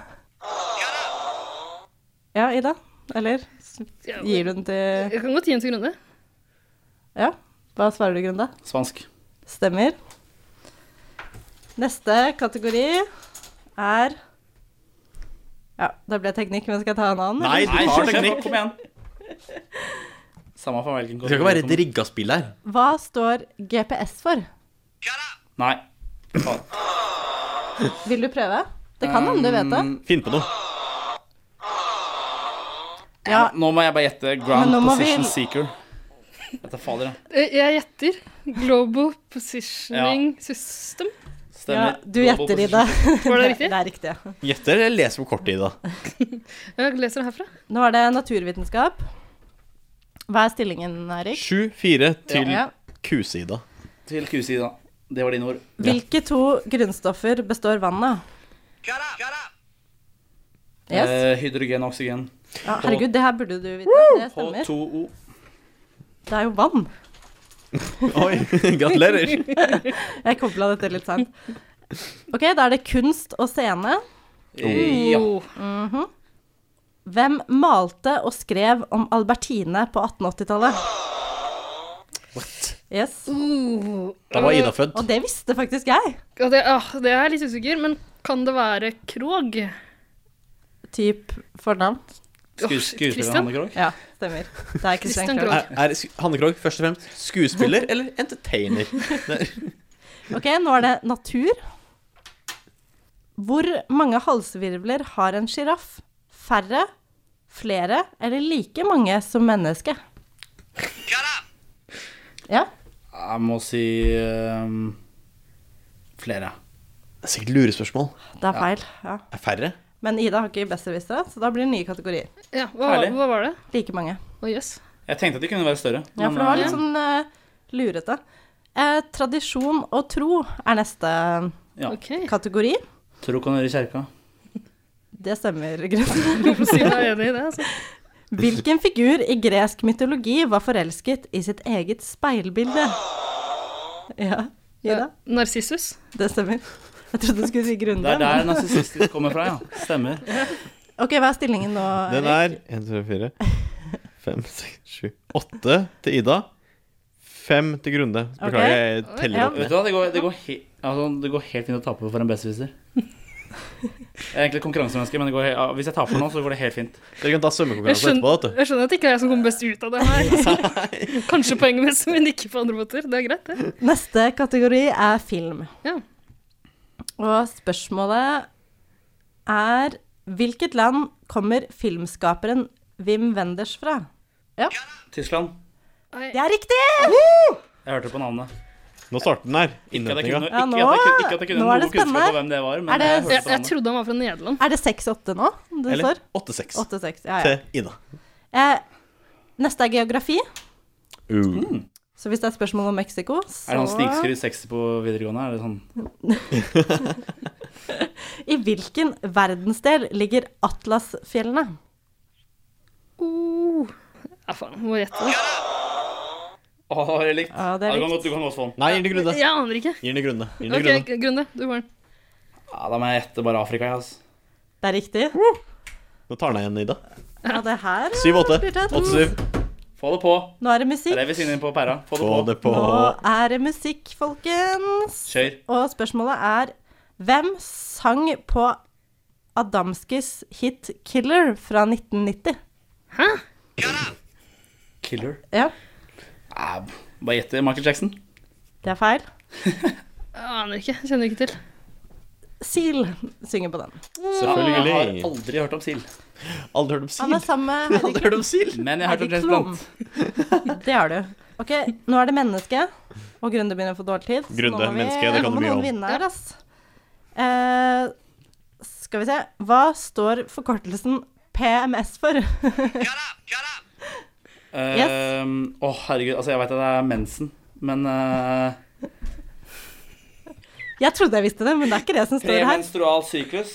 Speaker 7: Ja, Ida? Eller s-
Speaker 4: Ja,
Speaker 7: gir du den til
Speaker 4: Jeg kan godt gi en til grunne.
Speaker 7: Ja, hva svarer du, Grunde?
Speaker 5: Svansk.
Speaker 7: Stemmer. Neste kategori er Ja, det ble teknikk, men skal jeg ta en annen?
Speaker 6: Nei, du
Speaker 5: Nei,
Speaker 6: har
Speaker 5: kjør,
Speaker 6: teknikk.
Speaker 5: Kom igjen. Samme for hvilken
Speaker 6: Det skal ikke være et rigga spill her.
Speaker 7: Hva står GPS for?
Speaker 5: Nei.
Speaker 7: Vil du prøve? Mm, Det kan hende du vet det.
Speaker 5: Mm,
Speaker 6: Finn på noe.
Speaker 7: Ja,
Speaker 5: Nå må jeg bare gjette Ground
Speaker 7: Men nå må vi-
Speaker 5: Position Seeker. Dette er fader, ja.
Speaker 4: Eh, Jeg gjetter. Global Positioning System.
Speaker 7: ja
Speaker 5: Stemmer.
Speaker 7: du gjetter, Ida.
Speaker 4: Var det riktig?
Speaker 7: Det er riktig, ja.
Speaker 6: Gjette eller lese på kortet, Ida.
Speaker 4: Jeg leser det herfra.
Speaker 7: Nå er det naturvitenskap. Hva er stillingen, Erik?
Speaker 6: 7-4 til
Speaker 7: Ja.
Speaker 6: Kuse-Ida.
Speaker 5: Til kusi, da. Det var dine ord.
Speaker 7: Hvilke to grunnstoffer består vannet av? Yes.
Speaker 5: Eh, hydrogen og oksygen.
Speaker 7: Ja, herregud, det her burde du vite. Det stemmer.
Speaker 5: H2O.
Speaker 7: Det er jo vann.
Speaker 6: Oi, gratulerer.
Speaker 7: Jeg kobla dette litt seint. Ok, da er det kunst og scene.
Speaker 5: Eh, Ja.
Speaker 4: Oh,
Speaker 7: Hvem malte og skrev om Albertine på 1880-tallet? Yes.
Speaker 6: Da var Ida født.
Speaker 7: Og det visste faktisk jeg.
Speaker 4: Ja, Uh, det, ah, det er jeg litt usikker, men kan det være Krog?
Speaker 7: Typ fornavn.
Speaker 4: Åh, shit,
Speaker 5: Skuespiller
Speaker 4: Christian.
Speaker 5: Hanne Krogh.
Speaker 7: Ja, stemmer. Det er Christian
Speaker 4: Christian
Speaker 7: Krogh.
Speaker 6: Er, er sk- Hanne Krogh først og fremst skuespiller eller entertainer?
Speaker 7: Ok, nå er det natur. Hvor mange halsvirvler har en sjiraff? Færre, flere eller like mange som menneske? Ja,
Speaker 5: Jeg må si ehm, flere.
Speaker 6: Det er sikkert lurespørsmål.
Speaker 7: det er feil. Ja.
Speaker 6: Er færre?
Speaker 7: Men Ida har ikke besserwisser, så da blir det nye kategorier.
Speaker 4: Ja, hva,
Speaker 5: Herlig.
Speaker 4: hva var det?
Speaker 7: Like mange.
Speaker 4: Å, jøss.
Speaker 5: Jeg tenkte at de kunne være større.
Speaker 7: Ja,
Speaker 5: men,
Speaker 7: for det var
Speaker 5: eh,
Speaker 7: litt sånn eh, lurete. Eh, tradisjon og tro er neste
Speaker 5: ja.
Speaker 4: OK.
Speaker 7: kategori.
Speaker 5: Tro kan høre i kjerka.
Speaker 7: Det stemmer, Grønn.
Speaker 4: Hvorfor sier jeg er enig i det? Altså.
Speaker 7: Hvilken figur i gresk mytologi var forelsket i sitt eget speilbilde? Ja, Ida?
Speaker 4: Narsissus.
Speaker 7: Det stemmer. Jeg trodde du skulle si
Speaker 5: Det er
Speaker 7: Grunde.
Speaker 5: der narsissistisk kommer fra, ja. Stemmer.
Speaker 7: Ok, hva er stillingen nå?
Speaker 6: Den
Speaker 7: Erik?
Speaker 6: er 1, 2, 4, 5, 6, 7, 8 til Ida. 5 til Grunde. Beklager,
Speaker 7: Ok.
Speaker 6: jeg teller
Speaker 7: Ja.
Speaker 6: opp
Speaker 5: Vet
Speaker 6: ned.
Speaker 5: du hva, det går, det går, he altså, det går helt fint å tape for en besserwisser. Jeg er egentlig et konkurransemenneske, men det går he ja, hvis jeg taper nå, så går det helt fint.
Speaker 6: Dere kan ta
Speaker 4: Jeg
Speaker 6: svømmekonkurranse etterpå.
Speaker 4: skjønner,
Speaker 6: Vet du.
Speaker 4: jeg skjønner at det ikke er jeg som kommer best ut av det her. Kanskje poengmessig, men ikke på andre måter. Det er greit, det.
Speaker 7: Neste kategori er film.
Speaker 4: Ja.
Speaker 7: Og spørsmålet er Hvilket land kommer filmskaperen Wim Wenders fra?
Speaker 5: Tyskland.
Speaker 7: Det er riktig!
Speaker 5: Jeg hørte på navnet.
Speaker 6: Nå starter den her.
Speaker 5: Ikke at jeg kunne,
Speaker 6: Innretninga.
Speaker 5: ikke
Speaker 7: Ja,
Speaker 5: at
Speaker 7: nå-
Speaker 5: jeg, kunne- ikke at jeg kunne
Speaker 7: nå er det
Speaker 5: noe kunnskap om
Speaker 7: spennende.
Speaker 5: hvem det var,
Speaker 7: Er
Speaker 5: men
Speaker 7: det-
Speaker 5: jeg
Speaker 4: Jeg,
Speaker 5: hørte på
Speaker 4: jeg
Speaker 5: navnet.
Speaker 4: trodde han var fra Nederland.
Speaker 7: Er det 6-8 nå det
Speaker 6: Eller
Speaker 7: står?
Speaker 6: 8-6
Speaker 7: 8-6, ja, ja.
Speaker 6: til Ida.
Speaker 7: Eh, neste er geografi.
Speaker 6: Uh.
Speaker 5: Hmm.
Speaker 7: Så hvis det er spørsmål om Mexico,
Speaker 5: Er det sånn
Speaker 7: så
Speaker 5: snikskryt 60 på videregående? Er det sånn
Speaker 7: I hvilken verdensdel ligger Atlasfjellene?
Speaker 4: Oh. Ja, faen, jeg må gjette. det.
Speaker 5: Å, det er likt.
Speaker 7: Ja, det
Speaker 5: Ja,
Speaker 7: er
Speaker 5: du, kan
Speaker 7: likt.
Speaker 5: godt, du kan godt få den.
Speaker 6: Nei, gi den til Grunde.
Speaker 4: Jeg aner ikke.
Speaker 6: Gi den til Grunde. Gi den til
Speaker 4: OK,
Speaker 6: Grunde.
Speaker 4: Grunde, du får den.
Speaker 5: Ja, da må jeg gjette bare Afrika, jeg, altså.
Speaker 7: Det er riktig.
Speaker 6: Nå tar den igjen, Ida.
Speaker 7: Ja, det her
Speaker 6: 7-8.
Speaker 7: blir tett.
Speaker 6: 8-7.
Speaker 5: Få det på.
Speaker 7: Nå er det
Speaker 5: Det
Speaker 7: musikk.
Speaker 5: er det vi synger inn på pæra. Få det
Speaker 6: Få
Speaker 5: på.
Speaker 6: det på.
Speaker 7: Nå er det musikk, folkens.
Speaker 5: Kjør.
Speaker 7: Og spørsmålet er Hvem sang på Adamskis hit 'Killer' fra 1990?
Speaker 5: Killer.
Speaker 7: Ja,
Speaker 5: Ah, bare gjette Michael Jackson.
Speaker 7: det er feil.
Speaker 4: Jeg aner ikke. Kjenner ikke til.
Speaker 7: Seal synger på den.
Speaker 5: Jeg har
Speaker 6: Selvfølgelig.
Speaker 5: aldri hørt om sild.
Speaker 6: Aldri hørt om
Speaker 7: Han
Speaker 6: sil.
Speaker 7: er sammen med Heidi
Speaker 6: Aldri hørt om sil.
Speaker 5: Men jeg har hørt om
Speaker 7: Heidi
Speaker 5: James Blunt.
Speaker 7: Klum. Det har du. Ok, nå er det menneske, og Grunde begynner å få dårlig tid. så nå
Speaker 6: Grunde,
Speaker 7: må vi-
Speaker 6: menneske, det kan
Speaker 7: nå må
Speaker 6: du mye
Speaker 7: noen
Speaker 6: om.
Speaker 7: vinne her, ass. Eh, skal vi se. Hva står forkortelsen PMS for?
Speaker 5: Eh, Å,
Speaker 7: Yes.
Speaker 5: herregud. Altså, jeg veit at det er mensen, men eh,
Speaker 7: Jeg trodde jeg visste det, men det er ikke det som står her.
Speaker 5: Premenstrual syklus.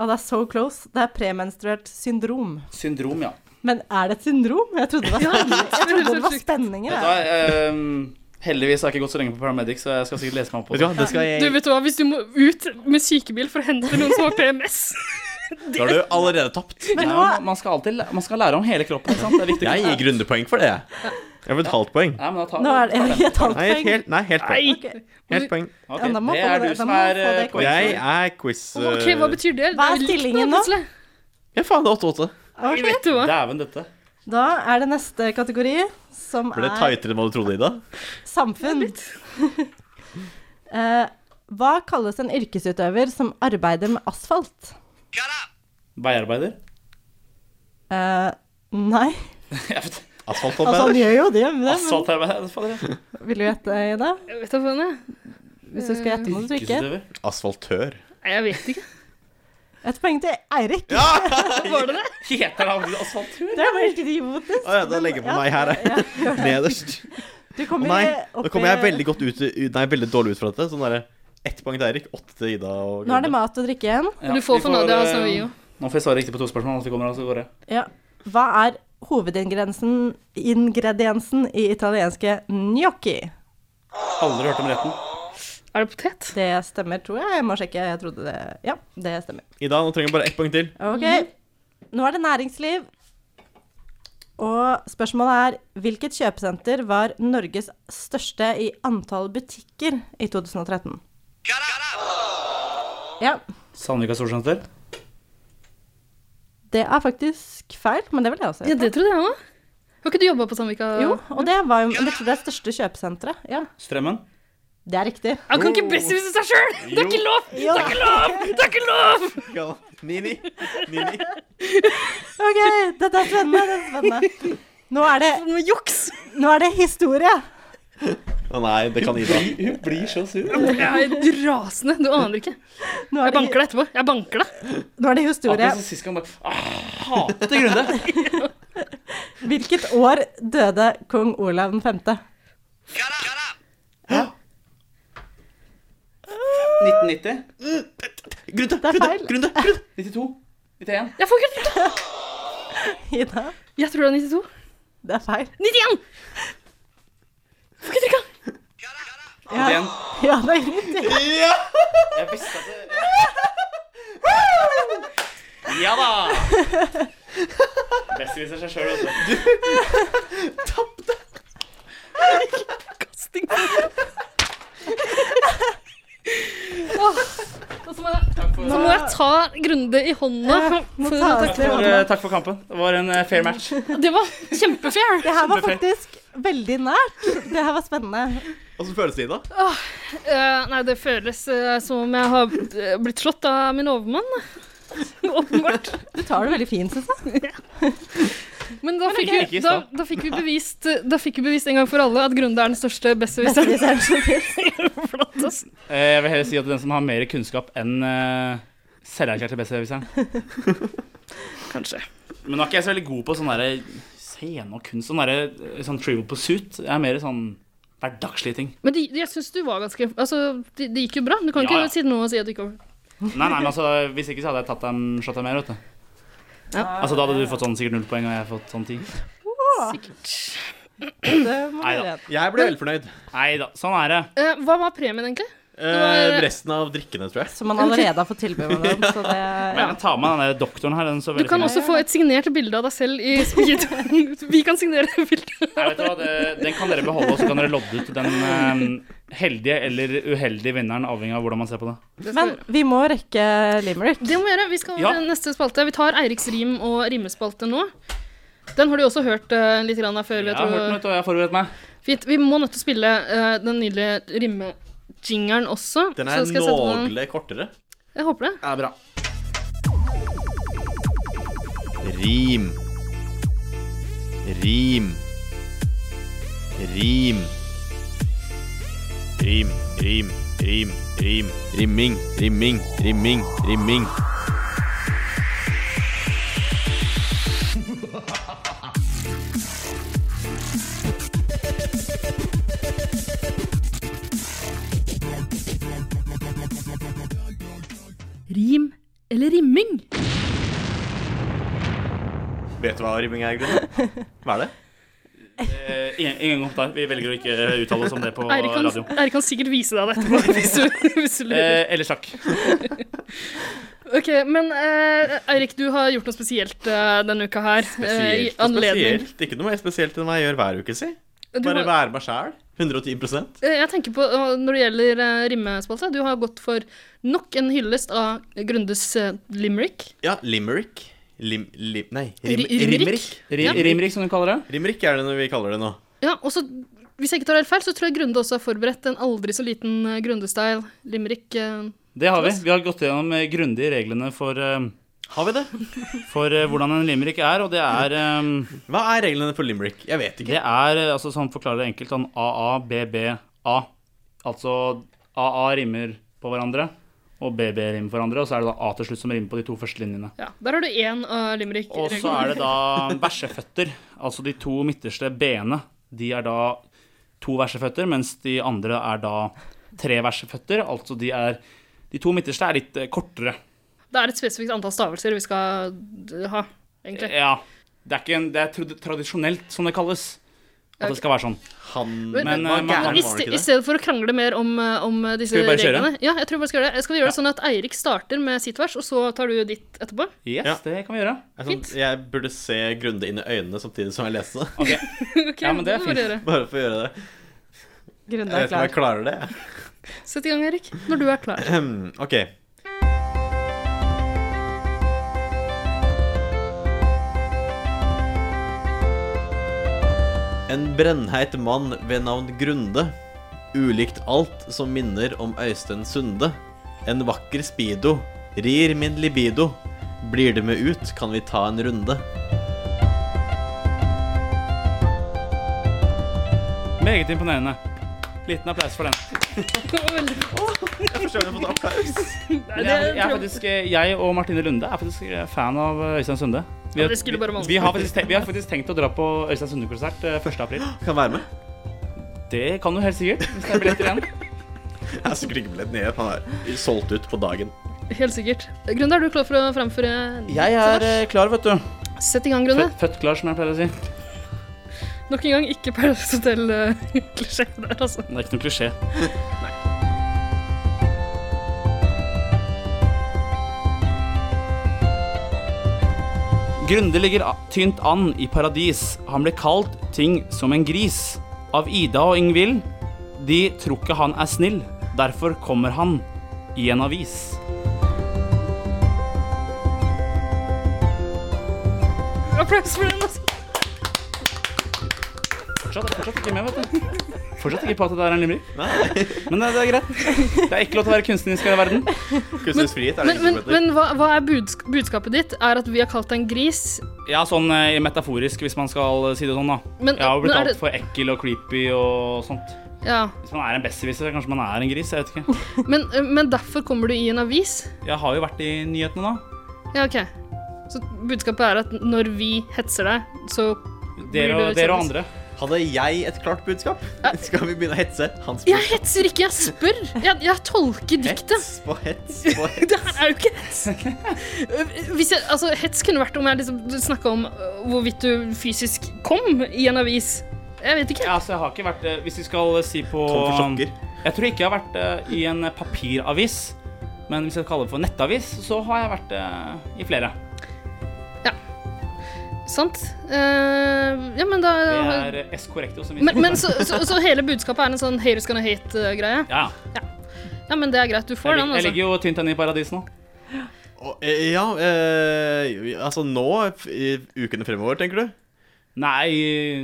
Speaker 7: Og det er so close. Det er premenstruert syndrom.
Speaker 5: Syndrom, ja.
Speaker 7: Men er det et syndrom? Jeg trodde det var, spenning. jeg trodde det var spenninger.
Speaker 5: Vet du
Speaker 7: jeg.
Speaker 5: hva, ehm, heldigvis har jeg ikke gått så lenge på Paramedic, så jeg skal sikkert lese meg opp på
Speaker 6: Vet du
Speaker 5: det.
Speaker 6: hva, det skal
Speaker 4: Du,
Speaker 6: jeg
Speaker 4: vet du hva, hvis du må ut med sykebil for å hente noen som har PMS
Speaker 6: Da har du allerede tapt.
Speaker 7: Men
Speaker 5: Ja,
Speaker 7: nå
Speaker 5: man- man skal alltid man skal lære om hele kroppen, ikke sant? Det er viktig.
Speaker 6: Jeg gir Grunde poeng for det. Jeg får et halvt poeng.
Speaker 5: Nei, men da tar
Speaker 7: Nå er det jeg vil gi et halvt
Speaker 6: Nei, et
Speaker 7: poeng.
Speaker 6: helt, nei, helt poeng.
Speaker 4: Nei!
Speaker 7: Ok,
Speaker 6: Helt poeng.
Speaker 5: Ok,
Speaker 7: Ja, da må
Speaker 5: det
Speaker 7: få
Speaker 5: er
Speaker 7: det-
Speaker 5: du
Speaker 7: da
Speaker 5: som
Speaker 7: må
Speaker 5: er
Speaker 7: få det
Speaker 5: eh, poeng.
Speaker 6: Jeg er quiz... eh,
Speaker 4: OK, hva betyr det?
Speaker 7: Hva er
Speaker 4: Det likt
Speaker 7: stillingen nå?
Speaker 4: plutselig.
Speaker 6: Ja, faen, det er 8-8.
Speaker 4: Jeg vet du hva.
Speaker 5: Dæven, dette.
Speaker 7: Da er det neste kategori, som
Speaker 6: Ble det
Speaker 7: er
Speaker 6: tightere enn hva du trodde, Ida?
Speaker 7: Samfunn. Eh, hva kalles en yrkesutøver som arbeider med asfalt?
Speaker 5: Veiarbeider.
Speaker 7: Eh, nei.
Speaker 5: Jeg vet-
Speaker 7: Altså, han
Speaker 6: Asfaltarbeider?
Speaker 7: gjør jo det, men det men
Speaker 5: Asfaltarbeider. fader,
Speaker 7: vil du gjette, Ida?
Speaker 4: Jeg vet, da faen jeg.
Speaker 7: Hvis du skal gjette noe du ikke
Speaker 5: Yrkesutøver.
Speaker 6: Asfaltør.
Speaker 4: Nei, jeg vet ikke.
Speaker 7: Et poeng til Eirik.
Speaker 4: Var det det?
Speaker 5: Heter det aldri asfaltur?
Speaker 7: Det var ikke idiotisk.
Speaker 6: Å ja, da legger jeg på meg her, jeg. Nederst.
Speaker 7: Du
Speaker 6: Å
Speaker 7: kommer
Speaker 6: nei,
Speaker 7: opp
Speaker 6: nå kommer jeg
Speaker 7: i-
Speaker 6: veldig godt ut ut- Nei, veldig dårlig ut fra dette. Sånn derre ett poeng til Eirik, åtte til Ida og
Speaker 7: Nå er det
Speaker 6: Grunde.
Speaker 7: mat og drikke igjen.
Speaker 5: Ja,
Speaker 4: Du får
Speaker 5: vi
Speaker 4: for Nadia
Speaker 5: eh,
Speaker 7: altså
Speaker 4: Hasnavio.
Speaker 5: Nå får jeg svare riktig på to spørsmål, ellers vi kommer oss av gårde.
Speaker 7: Ja. Hva er hovedingrediensen ingrediensen i italienske gnocchi?
Speaker 5: Aldri hørt om retten.
Speaker 4: Er det potet?
Speaker 7: Det stemmer, tror jeg. Jeg må sjekke. Jeg trodde det Ja, det stemmer.
Speaker 6: Ida, nå trenger jeg bare ett poeng til.
Speaker 7: Ok. Nå er det næringsliv. Og spørsmålet er hvilket kjøpesenter var Norges største i antall butikker i 2013? Ja,
Speaker 5: Sandvika Storsenter.
Speaker 7: det er faktisk feil, men det vil jeg også
Speaker 4: Ja,
Speaker 7: gjøre.
Speaker 4: det trodde jeg òg. Har ikke du jobba på Sandvika?
Speaker 7: Jo, og det var jo det tror jeg er det største kjøpesenteret. Ja,
Speaker 5: Strømmen.
Speaker 7: det er riktig.
Speaker 4: Han kan ikke besvise seg sjøl! Det er ikke lov! Det er ikke lov! Det er ikke lov!
Speaker 6: Nini. Nini.
Speaker 7: OK, dette er spennende. Dette er spennende. Nå er det,
Speaker 4: Med juks!
Speaker 7: nå er det historie.
Speaker 6: Å nei, det kan Ida.
Speaker 5: Hun blir så sur.
Speaker 4: Jeg er rasende. Du aner ikke.
Speaker 7: Nå
Speaker 4: Jeg
Speaker 7: er
Speaker 4: banker
Speaker 7: det,
Speaker 4: deg etterpå. Jeg banker deg.
Speaker 7: nå er det historie.
Speaker 5: Akkurat som sist gang bare ah, Hater Grunde.
Speaker 7: Hvilket år døde kong Olav 5.?
Speaker 5: 1990.
Speaker 7: Det
Speaker 6: Grunde,
Speaker 7: er
Speaker 6: Grunde,
Speaker 7: feil.
Speaker 6: Grunde, Grunde.
Speaker 5: 92. 91.
Speaker 4: Jeg får ikke
Speaker 7: Ida,
Speaker 4: Jeg tror det er 92.
Speaker 7: det er feil.
Speaker 4: 91! Får ikke trykka!
Speaker 5: 91.
Speaker 7: Ja, det er riktig.
Speaker 5: Jeg visste at det Ja da! Best viser seg altså. sjøl, vet du.
Speaker 4: Kasting. Åh, og så må jeg- så må jeg ta Grunde i hånda.
Speaker 7: Må
Speaker 4: for-
Speaker 7: ta oss til
Speaker 5: For,
Speaker 7: hånda.
Speaker 5: eh, takk for kampen. Det var en eh, fair match.
Speaker 4: Det var kjempefair.
Speaker 7: Det her var
Speaker 5: Kjempefett.
Speaker 7: faktisk veldig nært. Det her var spennende.
Speaker 6: Åssen føles det, Ida?
Speaker 4: Eh, nei, det føles eh, som om jeg har eh, blitt slått av min overmann. Åpenbart.
Speaker 7: Du tar det veldig fint, syns jeg.
Speaker 4: Men da fikk,
Speaker 5: ikke
Speaker 4: vi,
Speaker 5: i
Speaker 4: da,
Speaker 5: stad.
Speaker 4: da fikk vi bevist Da fikk vi bevist en gang for alle at Grunde er den største
Speaker 7: Vi
Speaker 4: besserwisseren.
Speaker 7: ser det sånn ut.
Speaker 4: Flott, ass.
Speaker 5: Eh, Jeg vil heller si at den som har mer kunnskap enn uh, selverklærte bestserviceren
Speaker 4: Kanskje.
Speaker 5: Men nå er ikke jeg så veldig god på sånn derre scene og kunst, sånn derre eh, sånn trivial pursuit. Jeg er mer sånn hverdagslige ting.
Speaker 4: Men de, jeg syns du var ganske Altså, det de gikk jo bra. Du kan
Speaker 5: Ja, ja.
Speaker 4: ikke si noe og si at du ikke var
Speaker 5: Nei, nei, men altså, hvis ikke så hadde jeg tatt dem, slått dem mer, vet du. Altså, da hadde du fått sånn sikkert null poeng, og jeg fått sånn ti.
Speaker 4: sikkert.
Speaker 7: Det må
Speaker 5: Nei da.
Speaker 7: være redd.
Speaker 6: Jeg ble velfornøyd.
Speaker 5: Nei da, sånn er det.
Speaker 4: Eh, hva var premien, egentlig?
Speaker 6: Eh, resten av drikkene, tror jeg.
Speaker 7: Så man allerede har fått tilbud om den, så det
Speaker 5: Men jeg kan ta med den der doktoren her. Den så
Speaker 4: Du
Speaker 5: veldig
Speaker 4: kan
Speaker 5: fin ut.
Speaker 4: også få et signert bilde av deg selv i speedoen. Vi kan signere det bildet.
Speaker 5: Nei, vet du hva, det, Den kan dere beholde, og så kan dere lodde ut den eh, heldige eller uheldige vinneren, avhengig av hvordan man ser på det.
Speaker 7: Men vi må rekke Limerick.
Speaker 4: Det må vi gjøre. Vi skal over
Speaker 5: Ja.
Speaker 4: til neste spalte. Vi tar Eiriks rim og rimespalte nå. Den har du også hørt eh, litt grann av før.
Speaker 5: Jeg
Speaker 4: Vet
Speaker 5: har hørt den,
Speaker 4: du.
Speaker 5: vet du, og jeg har forberedt meg.
Speaker 4: Fint. Vi må nødt til å spille eh, den nydelige rimejingeren også.
Speaker 6: Den
Speaker 4: så
Speaker 6: er
Speaker 4: skal jeg sette på den.
Speaker 6: någle kortere.
Speaker 4: Jeg håper det.
Speaker 5: Ja, bra.
Speaker 6: Rim. Rim. Rim. Rim, rim, rim, rim. Rimming, rimming, rimming, rimming.
Speaker 4: Rim eller rimming?
Speaker 6: Vet du hva rimming er, Grunn? Hva er det?
Speaker 5: Eh, ingen, ingen kommentar. Vi velger å ikke uttale oss om det på
Speaker 4: Eirik kan,
Speaker 5: radio.
Speaker 4: Eirik kan sikkert vise deg det etterpå. Hvis du, hvis du lurer.
Speaker 5: Eh, ellers takk.
Speaker 4: Ok, Men eh, Eirik, du har gjort noe spesielt eh, denne uka her. eh, I
Speaker 6: Spesielt og
Speaker 4: anledning
Speaker 6: spesielt. Ikke noe mer spesielt enn hva jeg gjør hver uke, si.
Speaker 4: Du
Speaker 6: Bare
Speaker 4: har-
Speaker 6: være meg sjæl. 110
Speaker 4: Eh, Jeg tenker på, eh, Når det gjelder eh, rimespalte, du har gått for nok en hyllest av Grundes eh, limerick.
Speaker 6: Ja, limerick. Lim... lim nei, rim,
Speaker 4: Ri- rimerick?
Speaker 6: rimerick.
Speaker 5: Rim,
Speaker 4: Ja.
Speaker 5: Rimrik, som du kaller det.
Speaker 6: Rimerick er det når vi kaller det nå.
Speaker 4: Ja, og så, Hvis jeg ikke tar helt feil, så tror jeg Grunde også har forberedt en aldri så liten eh, Grunde-style limerick. eh.
Speaker 5: Det har vi. Vi har gått gjennom eh, grundig reglene for, eh,
Speaker 6: Har vi det?
Speaker 5: for eh, hvordan en limerick er, og det er eh,
Speaker 6: Hva er reglene for limerick? Jeg vet ikke.
Speaker 5: Det er, eh, altså sånn forklarer det enkelt, sånn AABBA. Altså AA rimer på hverandre, og BB rimer på hverandre, og så er det da A til slutt som rimer på de to første linjene.
Speaker 4: Ja, Der har du én av limerick.
Speaker 5: Og så er det da verseføtter, altså de to midterste B-ene. De er da to verseføtter, mens de andre er da tre verseføtter. Altså de er De to midterste er litt eh, kortere.
Speaker 4: Det er et spesifikt antall stavelser vi skal eh, ha, egentlig.
Speaker 5: Ja. Det er, ikke en, det er trad- tradisjonelt, som det kalles. At det skal være sånn.
Speaker 6: Han
Speaker 4: Men-
Speaker 5: Men, eh,
Speaker 6: var gæren,
Speaker 4: I,
Speaker 5: man-
Speaker 6: var han
Speaker 4: ste,
Speaker 6: ikke
Speaker 4: I
Speaker 6: det?
Speaker 4: stedet for å krangle mer om, eh, om eh, disse
Speaker 5: Skal vi bare kjøre?
Speaker 4: reglene Ja, jeg tror vi bare skal gjøre det. Skal vi gjøre det sånn at Eirik starter med sitt vers, og så tar du ditt etterpå?
Speaker 5: Yes,
Speaker 6: Ja.
Speaker 5: det kan vi gjøre.
Speaker 6: Jeg, er sånn, jeg burde se Grunde inn i øynene samtidig som jeg leste det.
Speaker 5: Ok,
Speaker 4: Ok,
Speaker 5: Ja, men det er
Speaker 4: må vi bare gjøre.
Speaker 6: Bare for å gjøre det. Jeg
Speaker 7: Grunde
Speaker 6: vet
Speaker 7: er
Speaker 6: ikke om jeg
Speaker 7: klar.
Speaker 6: klarer det. jeg.
Speaker 4: Sett i gang, Eirik, når du er klar.
Speaker 6: Ok. En brennheit mann ved navn Grunde. Ulikt alt som minner om Øystein Sunde. En vakker speedo. Rir min libido. Blir du med ut, kan vi ta en runde.
Speaker 5: Meget imponerende. Liten applaus for den.
Speaker 4: Det var veldig
Speaker 6: Jeg forstår jeg har fått applaus.
Speaker 4: Nei,
Speaker 5: Men
Speaker 4: det,
Speaker 5: jeg, jeg, er faktisk, eh, jeg og Martine Lunde er faktisk eh, fan av Øystein Sunde. Vi,
Speaker 4: Ja, det skulle bare mangle.
Speaker 5: vi, har faktisk tenkt, vi har faktisk tenkt å dra på Øystein Sunde-konsert eh, 1. april.
Speaker 6: Kan være med.
Speaker 5: Det kan du helt sikkert. Hvis det er billetter igjen.
Speaker 6: Jeg er sikkert ikke blitt ned. Han er solgt ut på dagen.
Speaker 4: Helt sikkert. Grunde, er du klar for å fremføre ditt vers?
Speaker 5: eh, klar, vet du.
Speaker 4: Sett i gang, Grunde.
Speaker 5: Født, født klar, som jeg pleier å si.
Speaker 4: Nok en gang ikke Paradise Hotel-klisjé der, altså.
Speaker 5: Det er ikke noe klisjé. Grunde ligger a- tynt an i paradis. Han ble kalt ting som en gris. Av Ida og Ingvild. De tror ikke han er snill. Derfor kommer han i en avis.
Speaker 4: Applaus for den, altså.
Speaker 5: Fortsatt, fortsatt ikke med, vet du. Fortsatt ikke på at det der er en limerick. Men eh, det, det er greit. Det er ikke lov til å være kunstnerisk her i verden.
Speaker 6: Kunstnerisk frihet er det
Speaker 4: Men,
Speaker 6: ikke
Speaker 4: men,
Speaker 6: som heter.
Speaker 4: men hva, hva er budsk budskapet ditt? Er at vi har kalt deg en gris?
Speaker 5: Ja, sånn eh, metaforisk, hvis man skal eh, si det sånn, da.
Speaker 4: Men-
Speaker 5: jeg har
Speaker 4: men
Speaker 5: jo blitt
Speaker 4: er det-
Speaker 5: altfor ekkel og creepy og sånt.
Speaker 4: Ja.
Speaker 5: Hvis man er en besserwisser, kanskje man er en gris. Jeg vet ikke.
Speaker 4: Men, eh, men derfor kommer du i en avis?
Speaker 5: Jeg har jo vært i nyhetene, da.
Speaker 4: Ja, OK. Så budskapet er at når vi hetser deg, så Blir
Speaker 5: Dere
Speaker 4: du
Speaker 5: og, dere og
Speaker 4: kjendis?
Speaker 5: andre.
Speaker 6: Hadde jeg et klart budskap? Skal vi begynne å hetse? Hans
Speaker 4: Jeg
Speaker 6: budskap.
Speaker 4: hetser ikke, jeg spør! Jeg, jeg tolker diktet.
Speaker 6: Hets på hets på hets.
Speaker 4: Det her er jo ikke hets. Hvis jeg, altså, hets kunne vært om jeg liksom snakka om øh, hvorvidt du fysisk kom i en avis. Jeg vet ikke.
Speaker 5: Ja, altså, jeg har ikke vært eh, Hvis vi skal eh, si på
Speaker 6: Tom for sjokker.
Speaker 5: Jeg tror ikke jeg har vært eh, i en eh, papiravis. Men hvis jeg kaller det for nettavis, så har jeg vært eh, i flere.
Speaker 4: Sant? Eh, ja, men da
Speaker 5: Det er eh, S correcto som vi
Speaker 4: Men, men så, så, så hele budskapet er en sånn haters gonna hate-greie?
Speaker 5: Ja.
Speaker 4: Ja, men det er greit. Du får
Speaker 5: Jeg,
Speaker 4: den,
Speaker 5: jeg
Speaker 4: altså.
Speaker 5: ligger jo tynt an i paradis nå.
Speaker 6: Og, eh, Ja, eh, altså nå i ukene fremover, tenker du?
Speaker 5: Nei,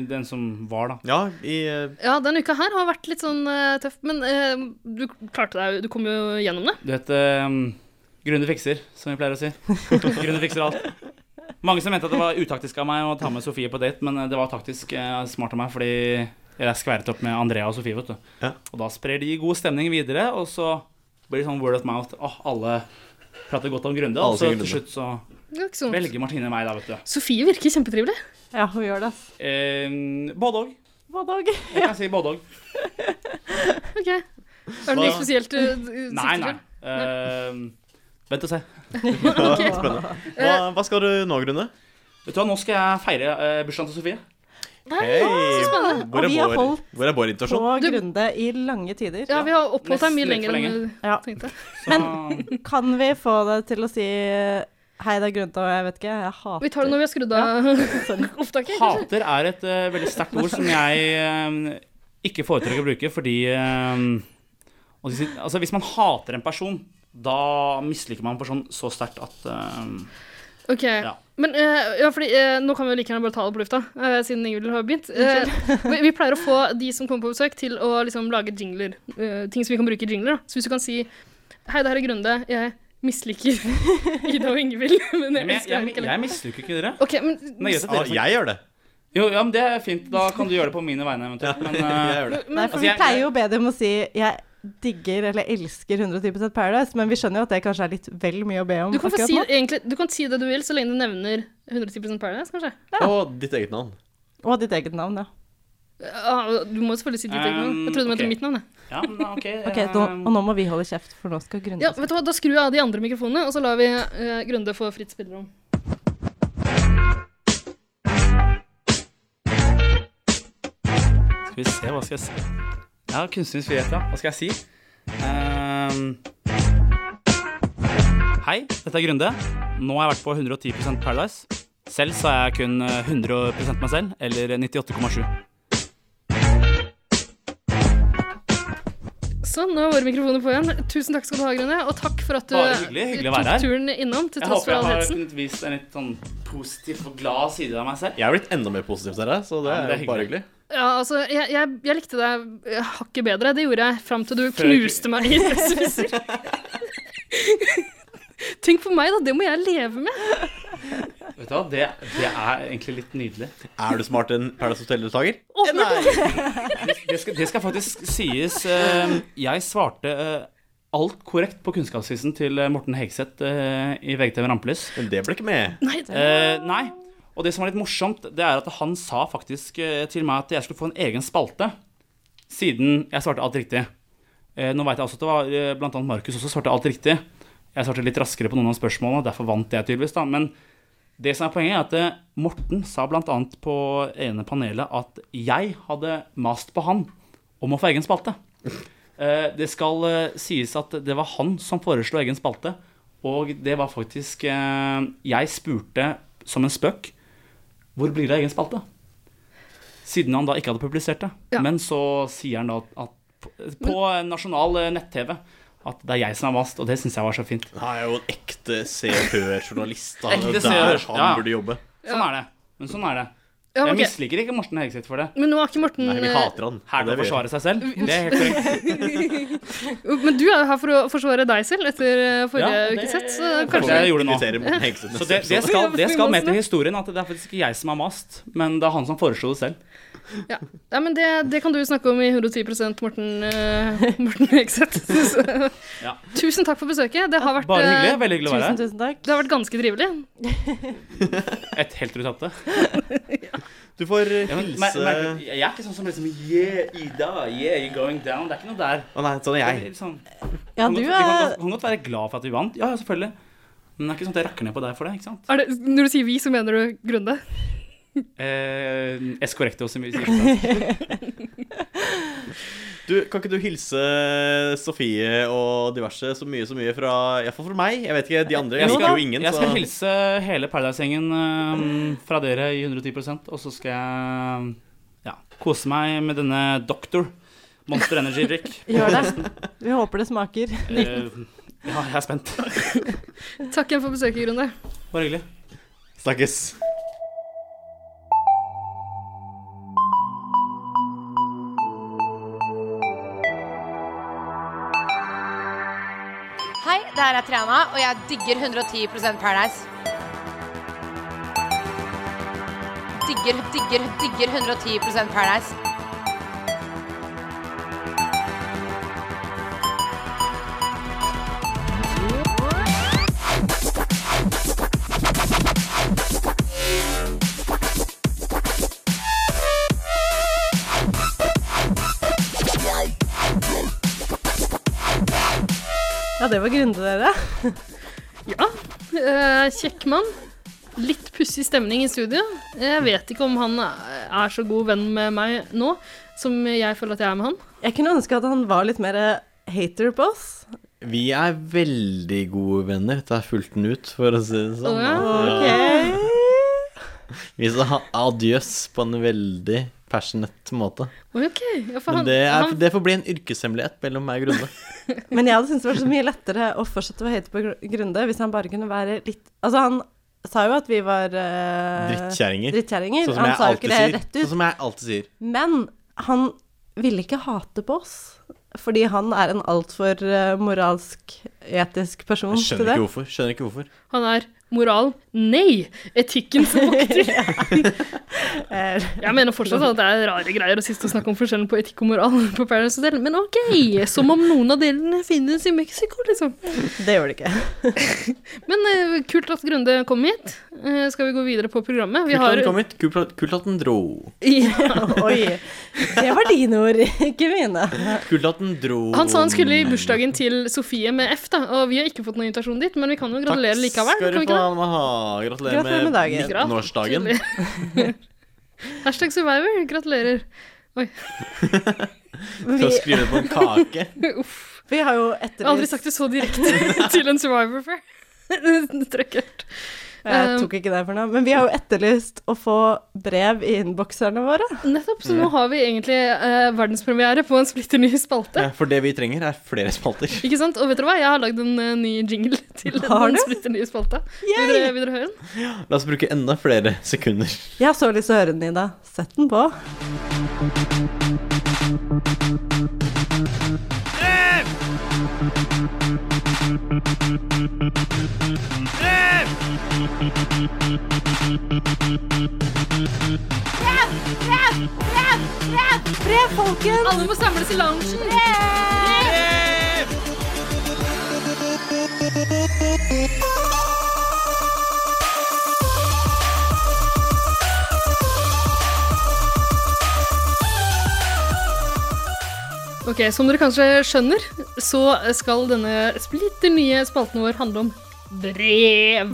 Speaker 5: den som var, da.
Speaker 6: Ja, i eh,
Speaker 4: Ja, denne uka her har vært litt sånn eh, tøff, men eh, du klarte deg Du kom jo gjennom det.
Speaker 5: Du vet um, Grunde fikser, som vi pleier å si. Grunde fikser alt. Mange som mente at det var utaktisk av meg å ta med Sofie på date, men eh, det var taktisk eh, smart av meg, fordi jeg er skværet opp med Andrea og Sofie, vet du.
Speaker 6: Ja.
Speaker 5: Og da sprer de god stemning videre, og så blir det sånn word of mouth. Åh, alle prater godt om Grunde,
Speaker 6: Alle
Speaker 5: og så
Speaker 6: sier
Speaker 5: til
Speaker 6: Grunde.
Speaker 5: slutt så
Speaker 4: det er ikke sånn.
Speaker 5: velger Martine meg, da, vet du.
Speaker 4: Sofie virker kjempetrivelig.
Speaker 7: Ja, hun gjør det. ass.
Speaker 5: Eh, både òg.
Speaker 7: Hva dag?
Speaker 5: Jeg kan si både òg.
Speaker 4: Ok. Er det noe
Speaker 6: Hva-
Speaker 4: spesielt du du sikter
Speaker 5: Nei, nei.
Speaker 4: til?
Speaker 5: Eh, vent og se.
Speaker 6: Spennende. Hva, hva skal du nå, Grunne?
Speaker 5: Vet du hva, nå skal jeg feire eh, bursdagen til Sofie.
Speaker 6: Hei!
Speaker 4: spennende.
Speaker 6: Hvor
Speaker 7: Og
Speaker 6: er
Speaker 7: vi har
Speaker 6: vår,
Speaker 7: holdt
Speaker 6: hvor er vår
Speaker 7: på
Speaker 6: invitasjon?
Speaker 4: Sånn. Du-
Speaker 7: Grunde i lange tider.
Speaker 4: Ja, vi har oppholdt deg mye
Speaker 5: Nesten
Speaker 4: lenger
Speaker 5: litt for
Speaker 4: enn du
Speaker 7: Ja.
Speaker 4: tenkte.
Speaker 5: Men
Speaker 7: Kan vi få deg til å si Hei, det er Grunde, og jeg vet ikke, jeg hater
Speaker 4: Vi tar det når vi har skrudd av opptaket. kanskje?
Speaker 5: Hater er et eh, veldig sterkt ord som jeg eh, ikke foretrekker å bruke, fordi eh, altså, altså, Hvis man hater en person, da misliker man en person så sterkt at eh,
Speaker 4: Ok.
Speaker 5: Ja.
Speaker 4: Men eh, ja, fordi, eh, nå kan vi jo like gjerne bare ta det på lufta, eh, siden Ingvild har begynt. Eh, vi, vi pleier å få de som kommer på besøk, til å liksom, lage jingler. eh, ting som vi kan bruke i jingler. Da. Så hvis du kan si Hei, det her er Grunde. Jeg misliker Ida og Ingvild, men jeg
Speaker 5: men jeg,
Speaker 4: elsker
Speaker 5: jeg,
Speaker 4: Eirik og
Speaker 5: jeg
Speaker 4: Linn».
Speaker 5: misliker ikke dere.
Speaker 4: Ok, men
Speaker 5: Nei, jeg-
Speaker 6: Ah, jeg gjør det.
Speaker 5: Jo, ja, men Det er fint. Da kan du gjøre det på mine vegne eventuelt. Men
Speaker 6: Jeg
Speaker 5: eh,
Speaker 6: gjør det.
Speaker 7: Nei, for
Speaker 5: Altså,
Speaker 7: vi
Speaker 5: jeg-
Speaker 7: pleier jo å be dem å si Jeg digger eller elsker 110 Paradise, men vi skjønner jo at det kanskje er litt vel mye å be om
Speaker 4: du kan, få
Speaker 7: akkurat
Speaker 4: si,
Speaker 7: nå.
Speaker 4: egentlig, du kan si det du vil, så lenge du nevner 110 Paradise, kanskje.
Speaker 6: Og ditt eget navn.
Speaker 7: Og ditt eget navn, ja.
Speaker 4: Ja, Ah, du må jo selvfølgelig si ditt eget navn. Jeg trodde du mente
Speaker 5: Um,
Speaker 4: mitt navn. jeg.
Speaker 5: ja, men da, ok. eh,
Speaker 7: Ok, nå, og nå må vi holde kjeft, for nå skal Grunde
Speaker 4: Eh, Ja, vet du hva, Da skrur jeg av de andre mikrofonene, og så lar vi eh, Grunde få fritt spillerom.
Speaker 5: Skal vi se, hva skal jeg si? Ja, kunstnerisk frihet, ja. Hva skal jeg si? Ehm, hei, dette er Grunde. Nå har jeg vært på 110 Paradise. Selv så er jeg kun 100 meg selv, eller 98,7.
Speaker 4: Sånn, nå er våre mikrofoner på igjen. Tusen takk skal du ha, Grønne. Og takk for at du
Speaker 5: Bare hyggelig, hyggelig å være
Speaker 4: tok
Speaker 5: her.
Speaker 4: turen innom, til
Speaker 5: Jeg
Speaker 4: tross
Speaker 5: håper
Speaker 4: for
Speaker 5: jeg
Speaker 4: all
Speaker 5: har
Speaker 4: hetsen.
Speaker 5: kunnet vist en litt sånn positiv og glad side av meg selv.
Speaker 6: Jeg er blitt enda mer positiv til deg, så det
Speaker 5: Ja, men
Speaker 6: er,
Speaker 5: det er
Speaker 6: jo bare
Speaker 5: hyggelig.
Speaker 6: hyggelig.
Speaker 4: Ja, altså, jeg, jeg, jeg likte deg eh, hakket bedre. Det gjorde jeg fram til du
Speaker 5: Før jeg-
Speaker 4: knuste meg i stresspiser. Tenk på meg, da. Det må jeg leve med.
Speaker 5: Vet du hva, det, det er egentlig litt nydelig.
Speaker 6: Er du smart en Paradise Hotel-deltaker?
Speaker 5: Det skal, det skal faktisk sies. eh, Jeg svarte eh, alt korrekt på kunnskapsquizen til eh, Morten Hegseth eh, i VGTV Rampelys.
Speaker 6: Men det ble ikke med.
Speaker 4: Nei,
Speaker 5: Eh, nei. Og det som var litt morsomt, det er at han sa faktisk eh, til meg at jeg skulle få en egen spalte, siden jeg svarte alt riktig. Eh, nå veit jeg også at det var eh, blant annet Markus også svarte alt riktig. Jeg svarte litt raskere på noen av spørsmålene, derfor vant jeg tydeligvis, da. Men det som er poenget, er at eh, Morten sa blant annet på ene panelet at jeg hadde mast på han om å få egen spalte. Eh, det skal eh, sies at det var han som foreslo egen spalte. Og det var faktisk eh, Jeg spurte som en spøk hvor blir det av egen spalte. Siden han da ikke hadde publisert det.
Speaker 4: Ja.
Speaker 5: Men så sier han da at på, eh, på nasjonal eh, nett-TV at det er jeg som har mast, og det syns jeg var så fint.
Speaker 6: Han er jo en ekte Se og Hør-journalist. da.
Speaker 5: Ekte
Speaker 6: Det
Speaker 5: Se
Speaker 6: er
Speaker 5: og
Speaker 6: Der
Speaker 5: Hør,
Speaker 6: han
Speaker 5: ja.
Speaker 6: burde jobbe.
Speaker 5: Sånn er det. Men sånn er det.
Speaker 4: Ja,
Speaker 5: Jeg
Speaker 4: ok.
Speaker 5: misliker ikke Morten Hegseth for det.
Speaker 4: Men nå er ikke Morten
Speaker 6: Nei, vi
Speaker 4: eh,
Speaker 6: hater han.
Speaker 5: Hæren
Speaker 6: Det
Speaker 5: å
Speaker 6: vet jeg.
Speaker 5: forsvare seg selv. Det er helt korrekt.
Speaker 4: Men du er jo her for å forsvare deg selv etter eh, forrige
Speaker 5: Ja, det-
Speaker 4: ukes hett, så
Speaker 5: Kanskje
Speaker 4: kanskje
Speaker 5: jeg gjorde nå.
Speaker 6: Inviterer Morten Hegseth
Speaker 5: Så det,
Speaker 6: neste
Speaker 5: det,
Speaker 6: episode.
Speaker 5: skal, det skal med
Speaker 4: Hvorfor
Speaker 5: til historien at det er faktisk ikke jeg som har mast, men det er han som foreslo det selv.
Speaker 4: ja. ja, men det, det kan du snakke om i 110 Morten, uh, Morten Hegseth. Så-
Speaker 5: Ja.
Speaker 4: Tusen takk for besøket. Det har vært,
Speaker 5: Bare
Speaker 4: eh,
Speaker 5: hyggelig. Veldig hyggelig å
Speaker 7: Tusen,
Speaker 5: være her.
Speaker 7: tusen takk.
Speaker 4: Det har vært ganske trivelig.
Speaker 5: Et helt til du tapte.
Speaker 6: Du får eh,
Speaker 5: Ja, men,
Speaker 6: hilse
Speaker 5: mer- merker du, jeg er ikke sånn som liksom Yeah, Ida, yeah, you're going down. Det er ikke noe der.
Speaker 6: Å nei, sånn er
Speaker 5: Det
Speaker 6: jeg.
Speaker 5: er liksom,
Speaker 7: Ja,
Speaker 5: kan
Speaker 7: du
Speaker 5: godt- vi kan,
Speaker 7: er
Speaker 5: godt- kan godt være glad for at vi vant. Ja, ja, selvfølgelig. Men det er ikke sånn at jeg rakker ned på deg for det. ikke sant?
Speaker 4: Er det, når du sier vi, så mener du Grunde?
Speaker 5: Eh, es correcto, som vi sier. ikke sant?
Speaker 6: Du, kan ikke du hilse Sofie og diverse så mye så mye fra Iallfall fra meg. Jeg vet ikke, de andre. Jeg
Speaker 5: Jo
Speaker 6: liker
Speaker 5: da,
Speaker 6: jo ingen,
Speaker 5: jeg skal
Speaker 6: så
Speaker 5: hilse hele Paradise-gjengen eh, fra dere i 110 og så skal jeg ja, kose meg med denne Doctor Monster Energy-drikk.
Speaker 7: Gjør det. Vi håper det smaker.
Speaker 5: Eh, ja, jeg er spent.
Speaker 4: Takk igjen for besøket, Grunde.
Speaker 5: Bare hyggelig.
Speaker 6: snakkes.
Speaker 8: Hei, det her er Triana, og jeg digger 110 Paradise. Digger, digger, digger 110 Paradise.
Speaker 7: Ja, det var grunde, dere.
Speaker 4: Ja, eh, kjekk mann. Litt pussig stemning i studio. Jeg vet ikke om han er så god venn med meg nå som jeg føler at jeg er med han.
Speaker 7: Jeg kunne ønske at han var litt mer eh, hater på oss.
Speaker 6: Vi er veldig gode venner. Dette er fulgt den ut, for å si det sånn.
Speaker 4: Å, ja.
Speaker 6: Ja. Vi sa ha- adjøs på en veldig passionate måte.
Speaker 4: Ok, ja, for
Speaker 6: Men
Speaker 4: han,
Speaker 6: det, er,
Speaker 4: han
Speaker 6: det får bli en yrkeshemmelighet mellom meg og Grunde.
Speaker 7: Men jeg hadde syntes det var så mye lettere å fortsette å hate på Gr- Grunde hvis han bare kunne være litt Altså, han sa jo at vi var eh,
Speaker 6: Drittkjerringer.
Speaker 7: Drittkjerringer.
Speaker 6: Sånn som
Speaker 7: han
Speaker 6: jeg
Speaker 7: sa jo ikke
Speaker 6: alltid
Speaker 7: det
Speaker 6: sier.
Speaker 7: rett ut.
Speaker 6: Sånn som jeg alltid sier.
Speaker 7: Men han ville ikke hate på oss. Fordi han er en altfor eh, moralsk, etisk person
Speaker 6: Jeg
Speaker 7: til
Speaker 6: skjønner
Speaker 7: det.
Speaker 6: ikke hvorfor. Skjønner ikke hvorfor.
Speaker 4: han er moral. Nei! Etikkens vokter.
Speaker 7: Eh,
Speaker 4: Jeg mener fortsatt at det er rare greier å siste å snakke om forskjellen på etikk og moral på Paradise Hotel, men ok! Som om noen av delene finnes i Mexico, liksom.
Speaker 7: det gjør det ikke.
Speaker 4: Men eh, kult at Grunde kom hit. Eh, skal vi gå videre på programmet? Vi
Speaker 6: Kult at
Speaker 4: har,
Speaker 6: den kom hit. Kult at- Kult at den dro.
Speaker 7: Oi. Det var dine ord, ikke mine.
Speaker 6: Kult at den dro.
Speaker 4: han sa han skulle i bursdagen til Sofie med F, da, og vi har ikke fått noen invitasjon dit, men vi kan jo gratulere likevel.
Speaker 6: Takk
Speaker 4: Kan vi
Speaker 6: skal du
Speaker 4: ikke
Speaker 6: få,
Speaker 4: det?
Speaker 6: Anna. Gratulerer,
Speaker 7: Gratulerer med dagen.
Speaker 6: med 19-årsdagen.
Speaker 4: Hashtag survivor. Gratulerer. Oi.
Speaker 6: Til å
Speaker 7: Vi,
Speaker 6: skrive på en kake.
Speaker 4: Uff.
Speaker 7: vi har jo
Speaker 4: Jeg har aldri
Speaker 7: etterlyst
Speaker 4: sagt det så direkte til en survivor før. Trøkkert.
Speaker 7: Jeg
Speaker 4: Eh,
Speaker 7: tok ikke det for noe. Men vi har jo etterlyst å få brev i innbokserne våre.
Speaker 4: Eh, Nettopp, så
Speaker 7: Mm.
Speaker 4: nå har vi egentlig eh, verdenspremiere på en splitter ny spalte.
Speaker 6: Ja, for det vi trenger, er flere spalter.
Speaker 4: Ikke sant? Og vet dere hva? Jeg har lagd en eh, ny jingle til
Speaker 7: Har
Speaker 4: den
Speaker 7: du?
Speaker 4: splitter nye spalta. Vil dere, vil dere høre den?
Speaker 6: La oss bruke enda flere sekunder.
Speaker 7: Jeg har så lyst til å høre den, Ida. Sett den på.
Speaker 4: Alle må samles i loungen! Ok, Som dere kanskje skjønner, så skal denne splitter nye spalten vår handle om brev.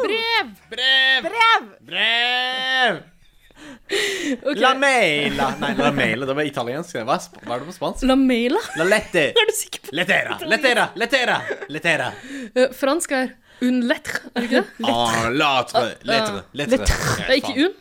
Speaker 4: Brev!
Speaker 6: Brev!
Speaker 4: Ok.
Speaker 6: La maila Nei, la maila. Det var italiensk. Det var sp- Hva er det på spansk?
Speaker 4: La Mela?
Speaker 6: La lette.
Speaker 4: Er du sikker på det?
Speaker 6: Letera, letera, letera, letera.
Speaker 4: Eh, fransk er un lettre, er det ikke det?
Speaker 6: Ah, latre, letre, letre.
Speaker 4: Det er ikke un.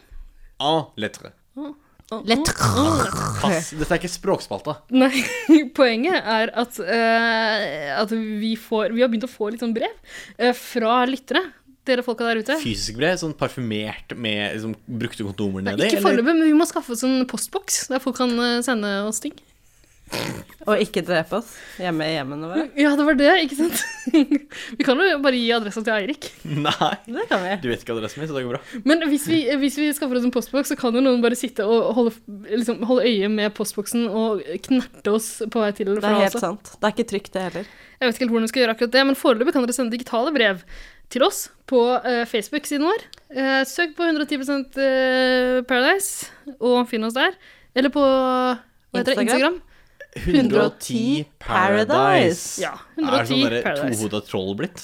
Speaker 6: Ah, letre.
Speaker 4: ah.
Speaker 6: Pass. Dette er ikke språkspalta.
Speaker 4: Nei, poenget er at, eh, at vi, får, vi har begynt å få litt sånn brev eh, fra lyttere. Dere folka der ute.
Speaker 6: Fysisk brev, sånn parfymert med liksom, brukte kondomer nedi?
Speaker 4: Ikke
Speaker 6: eller?
Speaker 4: foreløpig, men vi må skaffe oss en postboks der folk kan eh, sende oss ting.
Speaker 7: Og ikke drepe oss hjemme i hjemmene våre.
Speaker 4: Ja, det var det, ikke sant? Vi kan jo bare gi adressa til Eirik.
Speaker 6: Nei.
Speaker 7: Det kan vi.
Speaker 6: Du vet ikke adressen min, så det går bra.
Speaker 4: Men hvis vi, hvis vi skaffer oss en postboks, så kan jo noen bare sitte og holde, liksom, holde øye med postboksen og knerte oss på vei til eller
Speaker 7: Det
Speaker 4: fra.
Speaker 7: er helt
Speaker 4: altså.
Speaker 7: sant. Det er ikke trygt, det heller.
Speaker 4: Jeg vet ikke helt hvordan vi skal gjøre akkurat det, men foreløpig kan dere sende digitale brev til oss på eh, Facebook-siden vår. Eh, søk på 110 eh, Paradise og finn oss der. Eller på hva heter det, Instagram.
Speaker 7: Instagram? 110 Paradise.
Speaker 4: Ja,
Speaker 6: Er sånn
Speaker 4: 110
Speaker 6: derre
Speaker 4: Paradise.
Speaker 6: tohoda troll blitt?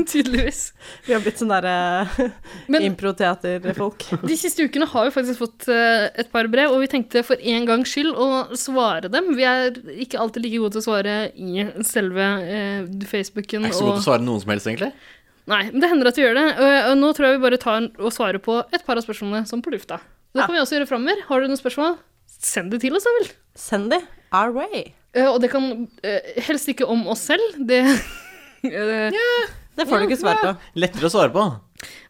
Speaker 4: Tydeligvis.
Speaker 7: Vi har blitt sånn derre
Speaker 4: Men
Speaker 7: improteaterfolk.
Speaker 4: de siste ukene har vi faktisk fått eh, et par brev, og vi tenkte for en gangs skyld å svare dem. Vi er ikke alltid like gode til å svare i selve eh, Facebooken.
Speaker 6: Er ikke så god til å svare noen som helst, egentlig.
Speaker 4: Nei, men det hender at vi gjør det. Og, og nå tror jeg vi bare tar og svarer på et par av spørsmålene som på lufta. Det kan vi også gjøre framover. Har du noen spørsmål, send det til oss, da vel.
Speaker 7: Send de our way.
Speaker 4: Eh, og det kan eh, helst ikke om oss selv. Det eh,
Speaker 7: Det får du ikke svar på.
Speaker 6: Lettere å svare på.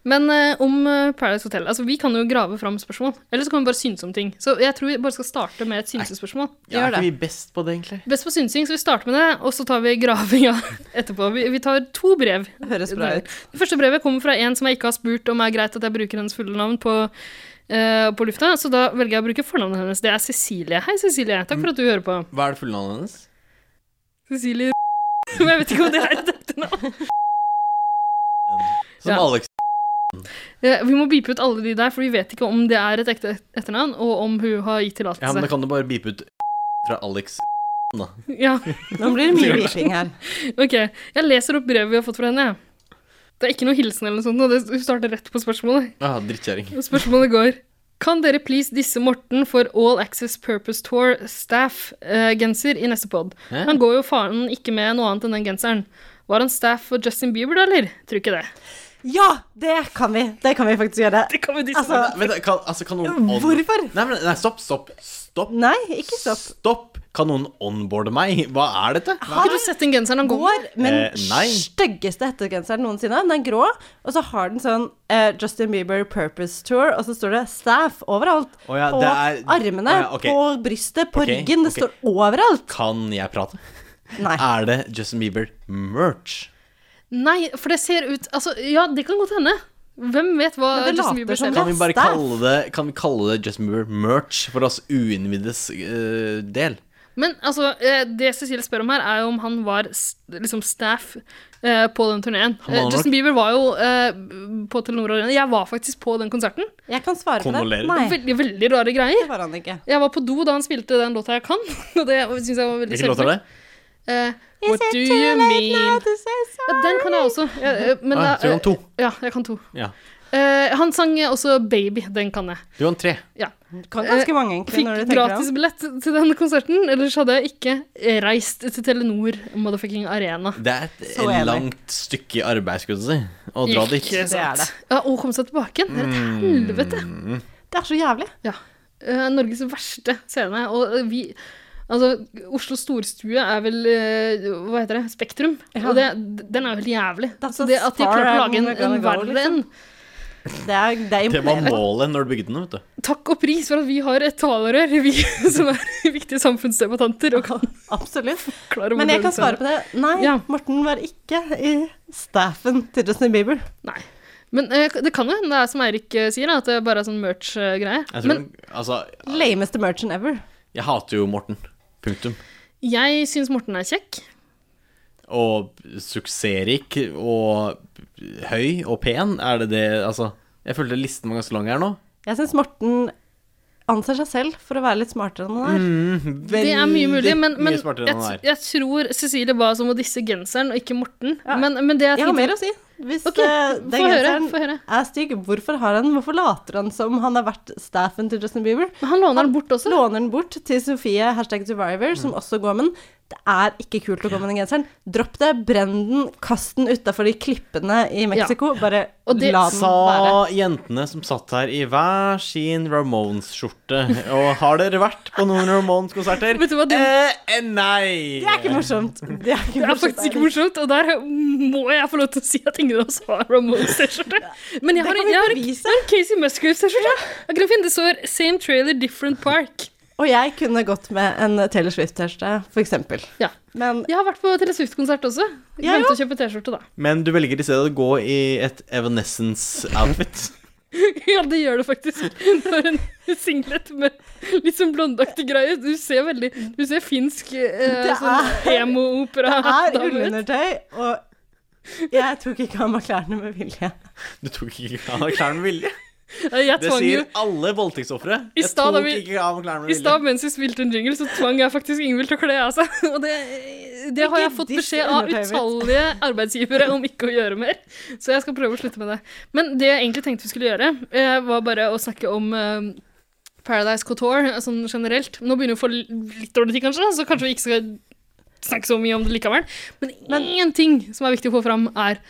Speaker 4: Men eh, om eh, Paradise Hotel Altså, vi kan jo grave fram spørsmål. Eller så kan vi bare synse om ting. Så jeg tror vi bare skal starte med et synsespørsmål.
Speaker 6: Ja, er ikke vi best på det, egentlig?
Speaker 4: Best på synsing, så vi starter med det, og så tar vi gravinga etterpå. Vi, vi tar to brev.
Speaker 7: Høres bra ut.
Speaker 4: Det første brevet kommer fra en som jeg ikke har spurt om er greit at jeg bruker hennes fulle navn på, eh, på lufta, så da velger jeg å bruke fornavnet hennes. Det er Cecilie. Hei, Cecilie. Takk for at du hører på.
Speaker 6: Hva er det fulle navnet hennes?
Speaker 4: Cecilie Men jeg vet ikke om det er et etternavn.
Speaker 6: Som
Speaker 4: Ja.
Speaker 6: Alex.
Speaker 4: Eh, Vi må beepe ut alle de der, for vi vet ikke om det er et ekte etternavn, og om hun har gitt
Speaker 6: Ja, men da
Speaker 4: tillatelse.
Speaker 6: kan du bare bipe ut fra Alex. Da.
Speaker 4: Ja,
Speaker 7: Nå blir det mye beeping her.
Speaker 4: ok. Jeg leser opp brevet vi har fått fra henne. jeg. Det er ikke noe hilsen eller noe sånt, og det hun starter rett på spørsmålet.
Speaker 6: Ah, Drittkjerring.
Speaker 4: Og Spørsmålet går Kan dere please disse Morten for All Access Purpose Tour staff-genser i neste pod?
Speaker 6: Hæ?
Speaker 4: Han går jo faen ikke med noe annet enn den genseren. Var han staff for Justin Bieber, da, eller? Tror ikke det.
Speaker 7: Ja, det kan vi. Det kan vi faktisk gjøre. Altså,
Speaker 6: Vent, da, kan, altså, kan noen on-
Speaker 7: hvorfor?
Speaker 6: Nei, men, nei, stopp, stopp. Stopp.
Speaker 7: Nei, ikke stopp.
Speaker 6: Stopp. Kan noen onboarde meg? Hva er dette?
Speaker 4: Har ikke du sett den genseren han går med?
Speaker 7: Går med
Speaker 6: Eh,
Speaker 7: den
Speaker 6: nei.
Speaker 7: styggeste hettegenseren noensinne. Den er grå, og så har den sånn eh, Justin Bieber Purpose Tour, og så står det staff overalt.
Speaker 6: Å ja,
Speaker 7: på
Speaker 6: det er-
Speaker 7: armene,
Speaker 6: Å ja, ok.
Speaker 7: på brystet, på
Speaker 6: Ok,
Speaker 7: ryggen. Det står
Speaker 6: ok.
Speaker 7: overalt.
Speaker 6: Kan jeg prate?
Speaker 7: Nei.
Speaker 6: Er det Justin Bieber merch?
Speaker 4: Nei, for det ser ut Altså, ja, det kan godt hende. Hvem vet hva
Speaker 7: Men det
Speaker 4: Justin
Speaker 7: later
Speaker 4: Bieber
Speaker 7: som
Speaker 4: ser
Speaker 7: det.
Speaker 4: ut
Speaker 6: Kan vi bare
Speaker 7: Staff.
Speaker 6: kalle det, kan vi kalle det Justin Bieber merch for oss uinnviddes eh, del?
Speaker 4: Men altså, eh, det Cecilie spør om her, er jo om han var s- liksom staff eh, på den turneen.
Speaker 6: Han var nok-
Speaker 4: Justin Bieber var jo eh, på Telenor Arena. Jeg var faktisk på den konserten.
Speaker 7: Jeg kan svare på det.
Speaker 6: Kondolerer.
Speaker 7: Nei,
Speaker 4: Veldig, veldig rare greier.
Speaker 7: det var han ikke.
Speaker 4: Jeg var på do da han spilte den låta jeg kan. Og det synes jeg var veldig
Speaker 6: Hvilken låt er det?
Speaker 4: Eh, What do you mean? Ja, den kan jeg også. Ja, eh, men
Speaker 6: Ah,
Speaker 4: da- eh,
Speaker 6: så du kan to?
Speaker 4: Ja, jeg kan to.
Speaker 6: Ja.
Speaker 4: Eh, han sang også 'Baby'. Den kan jeg.
Speaker 6: Du vant tre.
Speaker 4: Ja.
Speaker 7: Kan ganske mange, egentlig,
Speaker 4: Eh, Fikk
Speaker 7: når du tenker deg om.
Speaker 4: gratisbillett til den konserten, ellers hadde jeg ikke reist til Telenor Motherfucking Arena.
Speaker 6: Det er et
Speaker 7: Så enig.
Speaker 6: langt stykke arbeid, skulle du si, å dra dit. Mm.
Speaker 4: Ikke
Speaker 7: Det er
Speaker 4: sant. Ja, og komme seg tilbake igjen. Det er et helvete.
Speaker 7: Det er så jævlig.
Speaker 4: Ja. Eh, Norges verste scene. Og eh, vi Altså, Oslo storstue er vel eh, Hva heter det? Spektrum. Og det, den er jo helt jævlig.
Speaker 7: That's
Speaker 4: Så det
Speaker 7: as
Speaker 4: at de har
Speaker 7: far
Speaker 4: klart
Speaker 7: as
Speaker 4: å lage en,
Speaker 7: we're
Speaker 4: en
Speaker 7: gonna go,
Speaker 4: verre en
Speaker 7: liksom. Det er, det er
Speaker 6: Det var
Speaker 7: imponerende.
Speaker 6: målet når du bygde den, vet du.
Speaker 4: Takk og pris for at vi har et talerør, vi som er viktige samfunnsdebattanter og kan
Speaker 7: Absolutt.
Speaker 4: klare å
Speaker 7: Men jeg kan svare på det. Nei,
Speaker 4: Ja.
Speaker 7: Morten var ikke i staffen til Justin Bieber.
Speaker 4: Nei. Men eh, det kan jo hende det er som Eirik eh, sier, da, at det bare er sånn merch-greie.
Speaker 6: Jeg, tror
Speaker 4: Men
Speaker 6: den, altså,
Speaker 7: Lameste merchant ever.
Speaker 6: jeg hater jo Morten. Punktum.
Speaker 4: jeg syns Morten er kjekk.
Speaker 6: Og suksessrik og høy og pen, er det det Altså, jeg følte listen var ganske lang her nå.
Speaker 7: Jeg syns Morten anser seg selv for å være litt smartere enn han er.
Speaker 4: Mm. Det er mye mulig, men, men
Speaker 6: mye smartere
Speaker 4: jeg,
Speaker 6: enn han er.
Speaker 4: jeg tror Cecilie ba oss om å disse genseren, og ikke Morten. Men, men det jeg
Speaker 7: Jeg har
Speaker 4: tenkte
Speaker 7: mer å si. Hvis
Speaker 4: Ok,
Speaker 7: eh,
Speaker 4: få
Speaker 7: den
Speaker 4: høre,
Speaker 7: genseren
Speaker 4: få høre.
Speaker 7: er stygg, hvorfor har han Hvorfor later han som han har vært staffen til Justin Bieber?
Speaker 4: Men Han låner den bort også. Mm.
Speaker 7: Låner den bort til Sofie, hashtag survivor, som også går med den. Det er ikke kult å gå med den genseren. Dropp det, brenn den, kast den utafor de klippene i Mexico. Bare
Speaker 4: Og det-
Speaker 7: la den
Speaker 6: Sa
Speaker 7: være.
Speaker 6: jentene som satt her i hver sin Ramones-skjorte. Og har dere vært på noen Ramones-konserter?
Speaker 4: Vet du hva, det-
Speaker 6: Eh, eh, nei!
Speaker 7: Det er ikke morsomt. Det er, ikke
Speaker 4: Det er faktisk ikke morsomt, og der må jeg få lov til å si at ingen av oss har Ramones-T-skjorte. Men jeg
Speaker 7: Det
Speaker 4: har,
Speaker 7: kan
Speaker 4: en-
Speaker 7: vi
Speaker 4: jeg har en-
Speaker 7: bevise.
Speaker 4: jeg har en Casey Musgrave-T-skjorte. Jeg kan finne Det står 'Same Trailer, Different Park'.
Speaker 7: Og jeg kunne gått med en Taylor Swift-T-skjorte, f.eks.
Speaker 4: Ja.
Speaker 7: Men
Speaker 4: Jeg har vært på Tele Swift-konsert også.
Speaker 7: Ja,
Speaker 4: Glemte å kjøpe T-skjorte, da.
Speaker 6: Men du velger i stedet å gå i et Evanescence-outfit.
Speaker 4: Ja, det gjør det faktisk. Du har en singlet med litt sånn blondeaktig greie. Du ser veldig Du ser finsk eh,
Speaker 7: Det
Speaker 4: sånn
Speaker 7: er-
Speaker 4: emo-opera.
Speaker 7: det er
Speaker 4: dame ut.
Speaker 7: ullundertøy, og jeg tok ikke av meg klærne med vilje.
Speaker 6: Du tok ikke av deg klærne med vilje.
Speaker 4: Ja, Jeg
Speaker 6: Det
Speaker 4: tvang jo
Speaker 6: sier alle voldtektsofre.
Speaker 4: I
Speaker 6: Jeg
Speaker 4: stad da
Speaker 6: tok
Speaker 4: vi-
Speaker 6: ikke av meg klærne
Speaker 4: I
Speaker 6: med vilje.
Speaker 4: stad mens vi spilte en jingle, så tvang jeg faktisk Ingvild til å kle av seg. Og det, det har jeg fått
Speaker 7: diss
Speaker 4: beskjed av
Speaker 7: undertøyet mitt.
Speaker 4: utallige arbeidsgivere om ikke å gjøre mer. Så jeg skal prøve å slutte med det. Men det jeg egentlig tenkte vi skulle gjøre, eh, var bare å snakke om eh, Paradise Couture sånn generelt. Nå begynner vi å få litt dårlig tid, kanskje, så kanskje vi ikke skal snakke så mye om det likevel. Men én ting som er viktig å få fram, er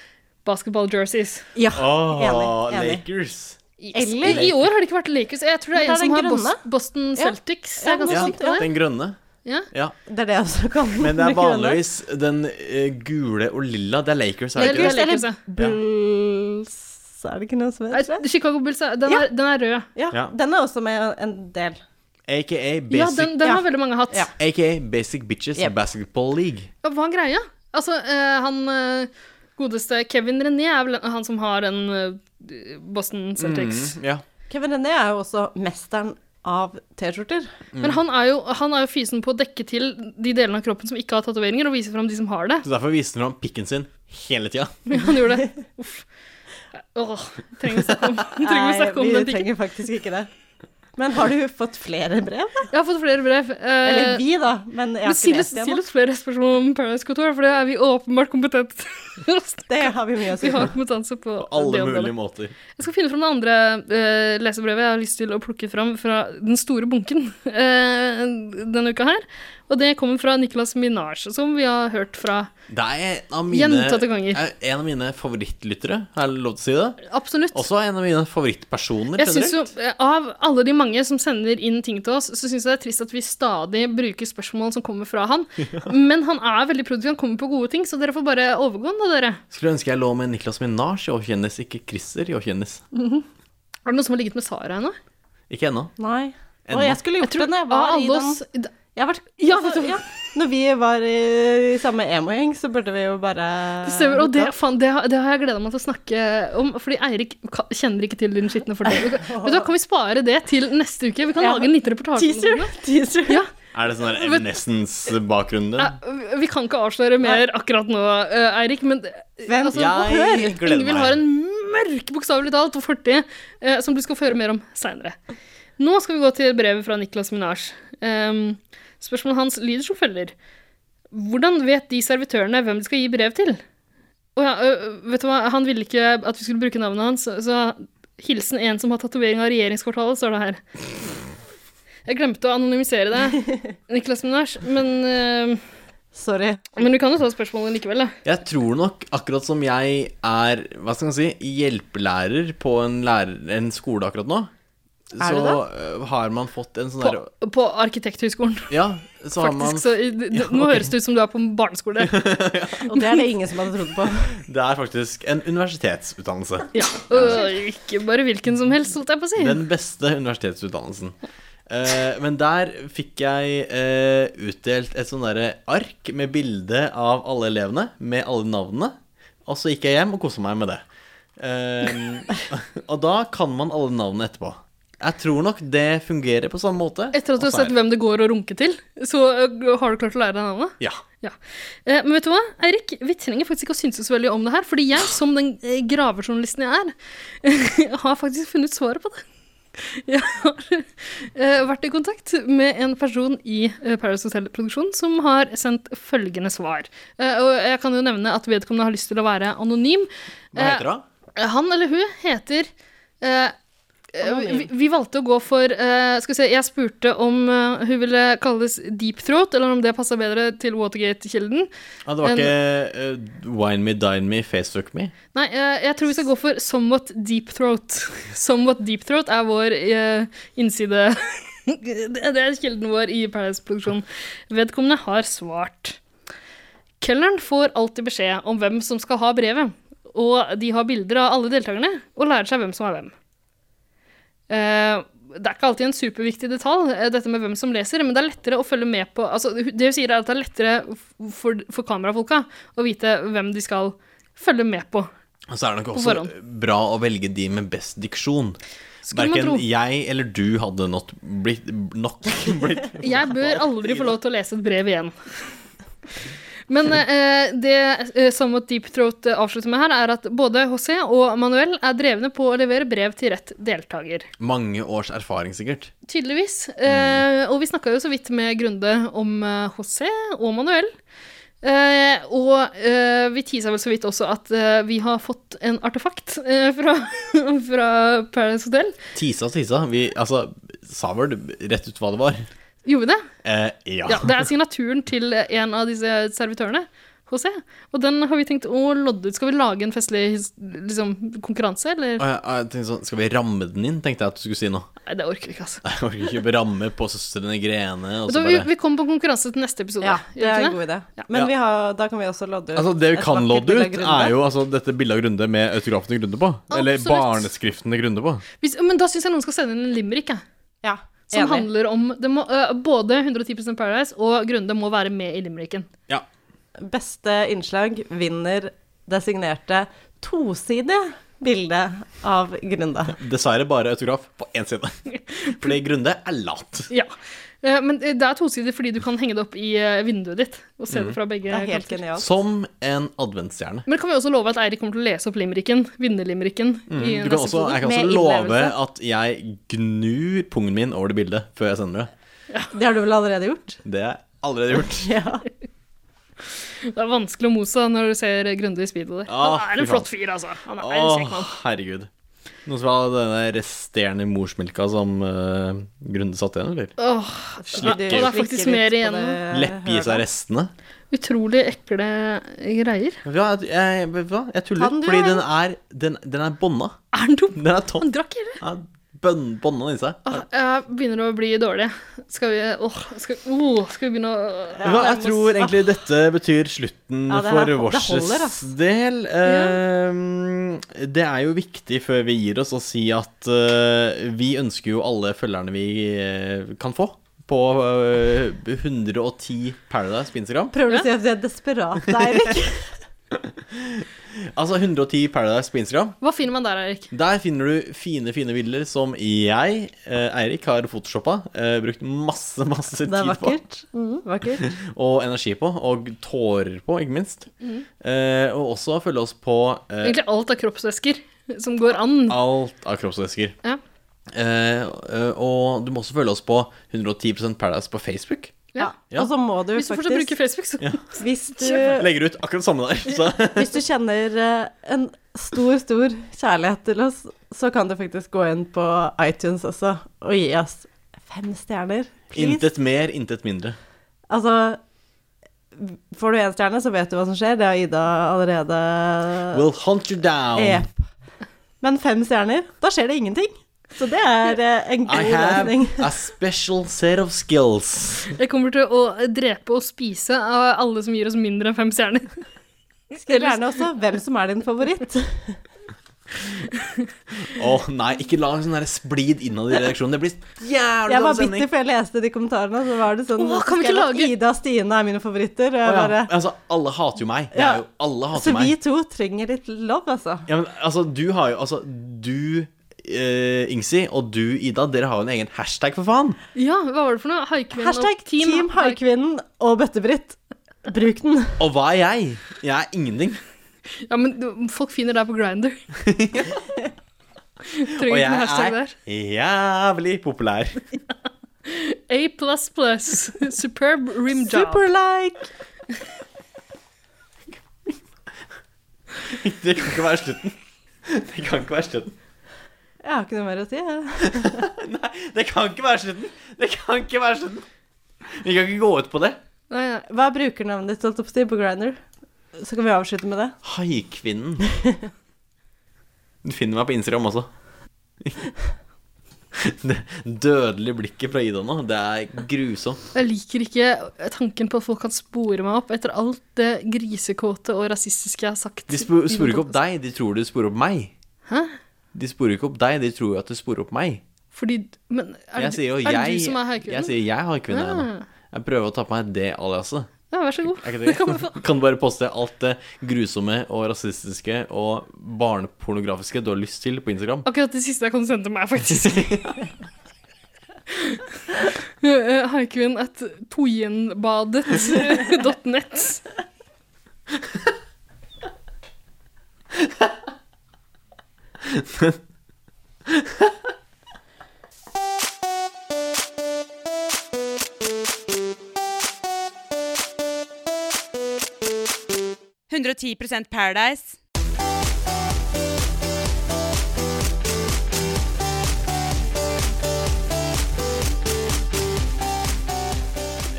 Speaker 4: basketball-jerseys.
Speaker 7: Ja,
Speaker 6: Åh,
Speaker 7: enig. enig.
Speaker 6: Lakers.
Speaker 4: Eller I år har det ikke vært Lakers. Jeg tror det
Speaker 7: Men
Speaker 4: er en
Speaker 7: det er
Speaker 4: som
Speaker 7: den
Speaker 4: har Bos-
Speaker 7: grønne.
Speaker 4: Boston
Speaker 7: Ja.
Speaker 4: Celtics.
Speaker 7: Ja,
Speaker 4: Jeg er ganske
Speaker 6: Ja,
Speaker 4: sikker på det.
Speaker 6: den grønne.
Speaker 4: Ja.
Speaker 6: Ja.
Speaker 7: Det er det jeg også kan.
Speaker 6: Men det er vanligvis den eh, gule og lilla. Det er Lakers, er det
Speaker 4: Det
Speaker 6: ikke
Speaker 4: er
Speaker 6: det?
Speaker 4: Lakers, ja.
Speaker 7: Bulls Er det ikke noe som heter det?
Speaker 4: Nei, Chicago Bulls, er- den,
Speaker 7: Ja.
Speaker 4: er, den er rød.
Speaker 7: Ja,
Speaker 6: Ja.
Speaker 7: den er også med en del.
Speaker 6: AKA
Speaker 4: Ja,
Speaker 6: Basic,
Speaker 4: den, den
Speaker 7: Ja.
Speaker 4: har veldig mange hatt.
Speaker 7: Ja.
Speaker 6: AKA basic Bitches
Speaker 7: Yep.
Speaker 6: Basketball League.
Speaker 4: Ja, Hva er greia? Altså, eh, han eh, godeste Kevin René er vel han som har en eh, Boston Celtics.
Speaker 6: Mm, Ja.
Speaker 7: Kevin René er jo også mesteren av T-skjorter.
Speaker 4: Men han er, jo, han er jo fysen på å dekke til de delene av kroppen som ikke har tatoveringer, og vise fram de som har det.
Speaker 6: Så derfor viste han pikken sin hele tida.
Speaker 4: Han gjorde det. Uff. Åh, trenger vi snakke om, trenger vi snakke om
Speaker 7: vi
Speaker 4: den pikken?
Speaker 7: trenger faktisk ikke det. Men har du fått flere brev?
Speaker 4: Jeg har fått flere brev. eh,
Speaker 7: Eller vi, da. Men jeg
Speaker 4: men
Speaker 7: har
Speaker 4: Still
Speaker 7: ikke
Speaker 4: oss
Speaker 7: lest det
Speaker 4: still
Speaker 7: ennå.
Speaker 4: oss flere spørsmål om Paradise Couture, for det er vi åpenbart kompetente til å snakke
Speaker 7: Det har vi mye å si
Speaker 4: Vi har
Speaker 7: på.
Speaker 4: kompetanse på det
Speaker 6: Alle
Speaker 4: området.
Speaker 6: mulige måter.
Speaker 4: Jeg skal finne fram det andre eh, lesebrevet jeg har lyst til å plukke fram fra den store bunken eh, denne uka her. Og det kommer fra Nicolas Minage, som vi har hørt fra
Speaker 6: Det er en av mine,
Speaker 4: Gjentatte ganger.
Speaker 6: er en av mine favorittlyttere, er det lov til å si det?
Speaker 4: Absolutt.
Speaker 6: Også en av mine favorittpersoner.
Speaker 4: jeg synes jo,
Speaker 6: generelt.
Speaker 4: eh, Av alle de mange som sender inn ting til oss, så syns jeg det er trist at vi stadig bruker spørsmål som kommer fra han. Men han er veldig produktiv, han kommer på gode ting, så dere får bare overgå han, da, dere.
Speaker 6: Skulle ønske jeg lå med Niklas Minaj i Åkjendis, ikke Christer i Åkjendis.
Speaker 4: Er det noen som har ligget med Sara ennå?
Speaker 6: Ikke ennå.
Speaker 7: Nei. Og
Speaker 6: Ennå.
Speaker 7: jeg skulle gjort det når jeg var
Speaker 4: Av
Speaker 7: i
Speaker 4: alle
Speaker 7: den
Speaker 4: oss
Speaker 7: jeg har vært,
Speaker 4: Ja,
Speaker 7: altså,
Speaker 4: vet du-
Speaker 7: ja. Når vi var i, i samme emo-gjeng, så burde vi jo bare
Speaker 4: Det stemmer, og det, faen, det, har, det har jeg gleda meg til å snakke om. Fordi Eirik ka- kjenner ikke til den skitne fordelen. Vet du hva, kan vi spare det til neste uke? Vi kan
Speaker 7: Ja.
Speaker 4: lage en liten reportasje. om
Speaker 7: Teaser.
Speaker 4: det.
Speaker 7: Teaser.
Speaker 4: Ja,
Speaker 6: Er det sånn der Evanescence-bakgrunn der?
Speaker 4: eh, vi kan ikke avsløre mer akkurat nå, eh, Eirik, men eh,
Speaker 7: Vent,
Speaker 4: altså,
Speaker 6: jeg
Speaker 4: hør.
Speaker 6: gleder meg.
Speaker 4: Ingvild har en mørk, bokstavelig talt, fortid eh, som du skal få høre mer om seinere. Nå skal vi gå til brevet fra Niklas Minaj. Um, spørsmålet hans lyder som følger. Hvordan vet de servitørene hvem de skal gi brev til? Å ja, øh, vet du hva, han ville ikke at vi skulle bruke navnet hans, så, så hilsen en som har tatovering av regjeringskvartalet, står det her. Jeg glemte å anonymisere det, Niklas Minasj, men, øh,
Speaker 7: Sorry.
Speaker 4: men du kan jo ta spørsmålet likevel, da.
Speaker 6: Jeg tror nok, akkurat som jeg er hva skal man si, hjelpelærer på en, lærer, en skole akkurat nå,
Speaker 7: Er du
Speaker 6: så øh, har man fått en sånn
Speaker 4: På,
Speaker 6: derre
Speaker 4: på Arkitekthøgskolen,
Speaker 6: Ja, så har man
Speaker 4: faktisk. Så, i- d- nå høres det ut som du er på en barneskole.
Speaker 7: Og det er det ingen som hadde trodd på.
Speaker 6: Det er faktisk en universitetsutdannelse.
Speaker 4: Ja. Øh, ikke bare hvilken som helst, holdt jeg på å si.
Speaker 6: Den beste universitetsutdannelsen. Eh, men der fikk jeg eh, utdelt et sånn derre ark med bilde av alle elevene, med alle navnene. Og så gikk jeg hjem og kosa meg med det. Eh, og da kan man alle navnene etterpå. Jeg tror nok det fungerer på samme måte.
Speaker 4: Etter at du har
Speaker 6: også
Speaker 4: sett
Speaker 6: her.
Speaker 4: hvem det går å runke til, så øh, har du klart å lære deg navnet?
Speaker 6: Ja.
Speaker 4: Ja. Eh, Men vet du hva, Eirik, vi trenger faktisk ikke å synes så veldig om det her, fordi jeg, som den eh, gravejournalisten jeg er, har faktisk funnet svaret på det. Jeg har eh, vært i kontakt med en person i eh, Paradise Hotel-produksjon som har sendt følgende svar. Eh, Og jeg kan jo nevne at vedkommende har lyst til å være anonym.
Speaker 6: Hva heter
Speaker 4: Eh,
Speaker 6: det?
Speaker 4: Han eller hun heter eh, eh, vi, vi valgte å gå for eh, Skal vi se, jeg spurte om eh, hun ville kalles deep throat, eller om det passa bedre til Watergate-kilden.
Speaker 6: Ja, det var ikke eh, Wine me, dine me, facefuck me.
Speaker 4: Nei, eh, jeg tror vi skal gå for somewhat deep throat. Somewhat deep throat er vår eh, innside Det det er kilden vår i Paradise-produksjonen. Vedkommende har svart. Kelneren får alltid beskjed om hvem som skal ha brevet, og de har bilder av alle deltakerne og lærer seg hvem som er hvem. Eh, det er ikke alltid en superviktig detalj, eh, dette med hvem som leser, men det er lettere å følge med på altså, Det hun sier, er at det er lettere f- for, for kamerafolka å vite hvem de skal følge med på.
Speaker 6: Og så er det nok
Speaker 4: På
Speaker 6: også
Speaker 4: forhånd.
Speaker 6: bra å velge de med best diksjon.
Speaker 4: Skulle man
Speaker 6: Verken
Speaker 4: tro.
Speaker 6: jeg eller du hadde nok blitt, nok blitt
Speaker 4: Jeg bør aldri få lov til å lese et brev igjen. Men eh, det eh, Somewhat Deep Throat eh, avslutter med her, er at både HC og Manuel er drevne på å levere brev til rett deltaker.
Speaker 6: mange års erfaring, sikkert.
Speaker 4: Tydeligvis. Eh, og vi snakka jo så vidt med Grunde om eh, HC og Manuel. Eh, og eh, vi tisa vel så vidt også at eh, vi har fått en artefakt eh, fra, fra Paradise Hotel.
Speaker 6: Tisa, tisa. Vi altså, sa vel rett ut hva det var.
Speaker 4: Gjorde vi det?
Speaker 6: Eh, ja.
Speaker 4: Ja, det er signaturen til en av disse servitørene, HC. Og den har vi tenkt å lodde ut. Skal vi lage en festlig his- liksom, konkurranse, eller?
Speaker 6: Og jeg, og jeg tenkte sånn, Skal vi ramme den inn, tenkte jeg at du skulle si nå.
Speaker 4: Nei, det orker vi ikke, altså.
Speaker 6: Jeg orker ikke å ramme på søstrene Grene. Og
Speaker 4: Så
Speaker 6: så
Speaker 4: vi,
Speaker 6: bare.
Speaker 4: vi kommer på konkurranse til neste episode.
Speaker 7: Ja, det er
Speaker 4: gjør vi
Speaker 7: en
Speaker 4: ikke
Speaker 7: god idé.
Speaker 4: Ja.
Speaker 7: Men vi har, da kan vi også lodde ut.
Speaker 9: Altså Det vi
Speaker 7: et
Speaker 9: kan
Speaker 7: vakkert
Speaker 9: lodde
Speaker 7: bilde av
Speaker 9: ut,
Speaker 7: Grunde.
Speaker 9: er jo altså, dette bildet av Grunde med autografen til Grunde på. Eller
Speaker 4: Absolutt.
Speaker 9: barneskriften til Grunde på.
Speaker 4: Hvis, men da syns jeg noen skal sende inn en limerick, jeg.
Speaker 7: Ja,
Speaker 4: Som
Speaker 7: enig.
Speaker 4: handler om det må, øh, Både 110 Paradise og Grunde må være med i limericken.
Speaker 7: Beste innslag vinner designerte tosidige bilde av Grunde.
Speaker 6: Dessverre bare autograf på én side. Fordi Grunde er lat.
Speaker 4: Ja. Eh, Men det er tosidig fordi du kan henge det opp i eh, vinduet ditt og se det fra begge
Speaker 7: Mm. Det er helt
Speaker 4: kanter.
Speaker 7: genialt.
Speaker 6: Som en adventsstjerne.
Speaker 4: Men kan vi også love at Eirik kommer til å lese opp limericken, vinnerlimericken, i neste
Speaker 6: Du kan også,
Speaker 4: episode?
Speaker 6: jeg kan
Speaker 7: Mm. Med
Speaker 6: også love
Speaker 7: innlevelse.
Speaker 6: at jeg gnur pungen min over det bildet før jeg sender det.
Speaker 7: Det har du vel allerede gjort?
Speaker 6: Det har jeg allerede gjort.
Speaker 7: Ja.
Speaker 4: Det er vanskelig å motstå når du ser Grunde i speedo der.
Speaker 6: Ah,
Speaker 4: han er en
Speaker 6: fy Ah.
Speaker 4: flott fyr, altså. Han er en kjekk
Speaker 6: Åh,
Speaker 4: mann.
Speaker 6: herregud. Noen som har denne resterende morsmelka som uh, Grunde satt igjen, eller?
Speaker 4: Åh,
Speaker 6: Slikker.
Speaker 4: det er faktisk mer igjen.
Speaker 6: Leppgi seg restene?
Speaker 4: utrolig ekle greier.
Speaker 6: Vet du hva, jeg, jeg, vet du hva? jeg tuller,
Speaker 7: Kan du,
Speaker 6: fordi
Speaker 7: ja.
Speaker 6: den er, den, den er bånda.
Speaker 4: Er han dum?
Speaker 6: Den er tom.
Speaker 4: Han drakk hele.
Speaker 6: Den er bønn, bånda i seg.
Speaker 4: Åh, Ah, jeg begynner å bli dårlig. Skal vi åh, skal, åh, skal vi begynne å
Speaker 6: Vet du hva, jeg
Speaker 4: nærme oss-
Speaker 6: tror egentlig dette betyr slutten
Speaker 7: Ja, det her-
Speaker 6: for
Speaker 7: det holder,
Speaker 6: vårs
Speaker 7: ass.
Speaker 6: del. Ehm, det er jo viktig før vi gir oss å si at eh, vi ønsker jo alle følgerne vi eh, kan få på eh, 110 Paradise på Instagram.
Speaker 7: Ah, Prøver du å si at vi er desperate, Eirik?
Speaker 6: Altså 110 Paradise på Instagram.
Speaker 4: Hva finner man der, Eirik?
Speaker 6: Der finner du fine, fine bilder som jeg, eh, Eirik, har photoshoppa. Eh, brukt masse, masse
Speaker 7: Det er
Speaker 6: tid på.
Speaker 7: vakkert. Vakkert.
Speaker 6: Og energi på. Og tårer på, ikke minst.
Speaker 7: Mm.
Speaker 6: Eh, og også følge oss på eh, Ah.
Speaker 4: Egentlig alt av kroppsvæsker som går an.
Speaker 6: alt av kroppsvæsker.
Speaker 4: Ja.
Speaker 6: Eh, eh, og du må også følge oss på 110 Paradise på Facebook.
Speaker 4: Ja.
Speaker 6: Ja.
Speaker 7: Og så må du
Speaker 4: Hvis du fortsatt
Speaker 7: faktisk
Speaker 4: bruker Facebook, så
Speaker 7: Hvis du,
Speaker 6: Legger ut akkurat samme der. Så.
Speaker 7: hvis du kjenner eh, en stor, stor kjærlighet til oss, så kan du faktisk gå inn på iTunes også og gi oss fem stjerner. Please.
Speaker 6: Intet mer, intet mindre.
Speaker 7: Altså Får du én stjerne, så vet du hva som skjer. Det har Ida allerede
Speaker 6: We'll hunt you down.
Speaker 7: Jep. Men fem stjerner, da skjer det ingenting. Så det er eh, en
Speaker 6: I
Speaker 7: god
Speaker 6: have
Speaker 7: løsning.
Speaker 6: a special set of skills.
Speaker 4: jeg kommer til å drepe og spise av alle som gir oss mindre enn fem stjerner.
Speaker 7: Skriv gjerne også hvem som er din favoritt.
Speaker 6: Å nei, ikke lag sånn der splid innad i redaksjonen. Det blir jævlig
Speaker 7: Jeg
Speaker 6: dårlig
Speaker 7: var
Speaker 6: stemning.
Speaker 7: bitter før jeg leste de kommentarene. Så var det sånn
Speaker 4: Åh, kan vi
Speaker 7: skrev
Speaker 4: ikke
Speaker 7: at
Speaker 4: lage-
Speaker 7: Ida og Stine er mine favoritter. Og jeg
Speaker 6: Å,
Speaker 7: bare,
Speaker 6: ja. Altså, alle hater jo meg. Det
Speaker 7: Ja.
Speaker 6: er jo alle hater
Speaker 7: så vi
Speaker 6: meg.
Speaker 7: to trenger litt love, altså.
Speaker 6: Ja, men altså, du har jo Altså, du eh, Ingsi og du, Ida, dere har jo en egen hashtag, for faen.
Speaker 4: Ja, hva var det for noe? Haikvinnen
Speaker 7: Hashtag Team, Haikvinnen og Bøtte-Britt. Bruk den.
Speaker 6: Og hva er jeg? Jeg er ingenting.
Speaker 4: Ja, men du- folk finner deg på Grinder. Trenger ikke
Speaker 6: Og
Speaker 4: noe
Speaker 6: jeg
Speaker 4: hashtag
Speaker 6: er
Speaker 4: der.
Speaker 6: jævlig populær.
Speaker 4: A plus plus. Superb rim job.
Speaker 7: Superlike.
Speaker 6: Det kan ikke være slutten. Det kan ikke være slutten.
Speaker 7: Jeg har ikke noe mer å si. jeg.
Speaker 6: Det kan ikke være slutten. Det kan ikke være slutten. Vi kan ikke gå ut på det.
Speaker 4: Nei, nei.
Speaker 7: Hva er brukernavnet ditt holdt jeg på å si, på Grindr? Så kan vi avslutte med det.
Speaker 6: Haikvinnen. Du finner meg på Instagram også. Det dødelige blikket fra Ida nå, det er grusomt.
Speaker 4: Jeg liker ikke tanken på at folk kan spore meg opp etter alt det grisekåte og rasistiske jeg har sagt.
Speaker 6: De spo- sporer ikke opp deg, de tror du sporer opp meg.
Speaker 4: Hæ?
Speaker 6: De sporer ikke opp deg, de tror jo at du sporer opp meg.
Speaker 4: Fordi Men er,
Speaker 6: Jeg
Speaker 4: det-
Speaker 6: sier jo
Speaker 4: er det
Speaker 6: jeg
Speaker 4: du som er
Speaker 6: Jeg
Speaker 4: haikvinnen?
Speaker 6: sier jeg har kvinne. her nå.
Speaker 4: Ah.
Speaker 6: Jeg prøver å ta på meg det aliaset.
Speaker 4: Ja, vær så god.
Speaker 6: Er ikke det greit? Kan du bare poste alt det grusomme og rasistiske og barnepornografiske du har lyst til på Instagram?
Speaker 4: Akkurat det siste jeg kan sende meg, faktisk. Eh, Haikvinn at tojenbadet.net.
Speaker 8: Paradise.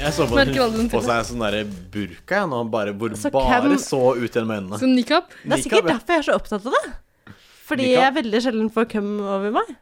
Speaker 6: Jeg så på
Speaker 4: Merker aldri den
Speaker 6: på seg en sånn derre burka jeg nå, bare, hvor
Speaker 7: Så
Speaker 6: bare
Speaker 7: Altså, hvem-
Speaker 6: så ut gjennom øynene.
Speaker 4: Som nikab.
Speaker 7: Det er sikkert
Speaker 6: Nikab, ja.
Speaker 7: derfor jeg er så opptatt av det. Fordi
Speaker 6: Nikab.
Speaker 7: jeg veldig sjelden får cum over meg.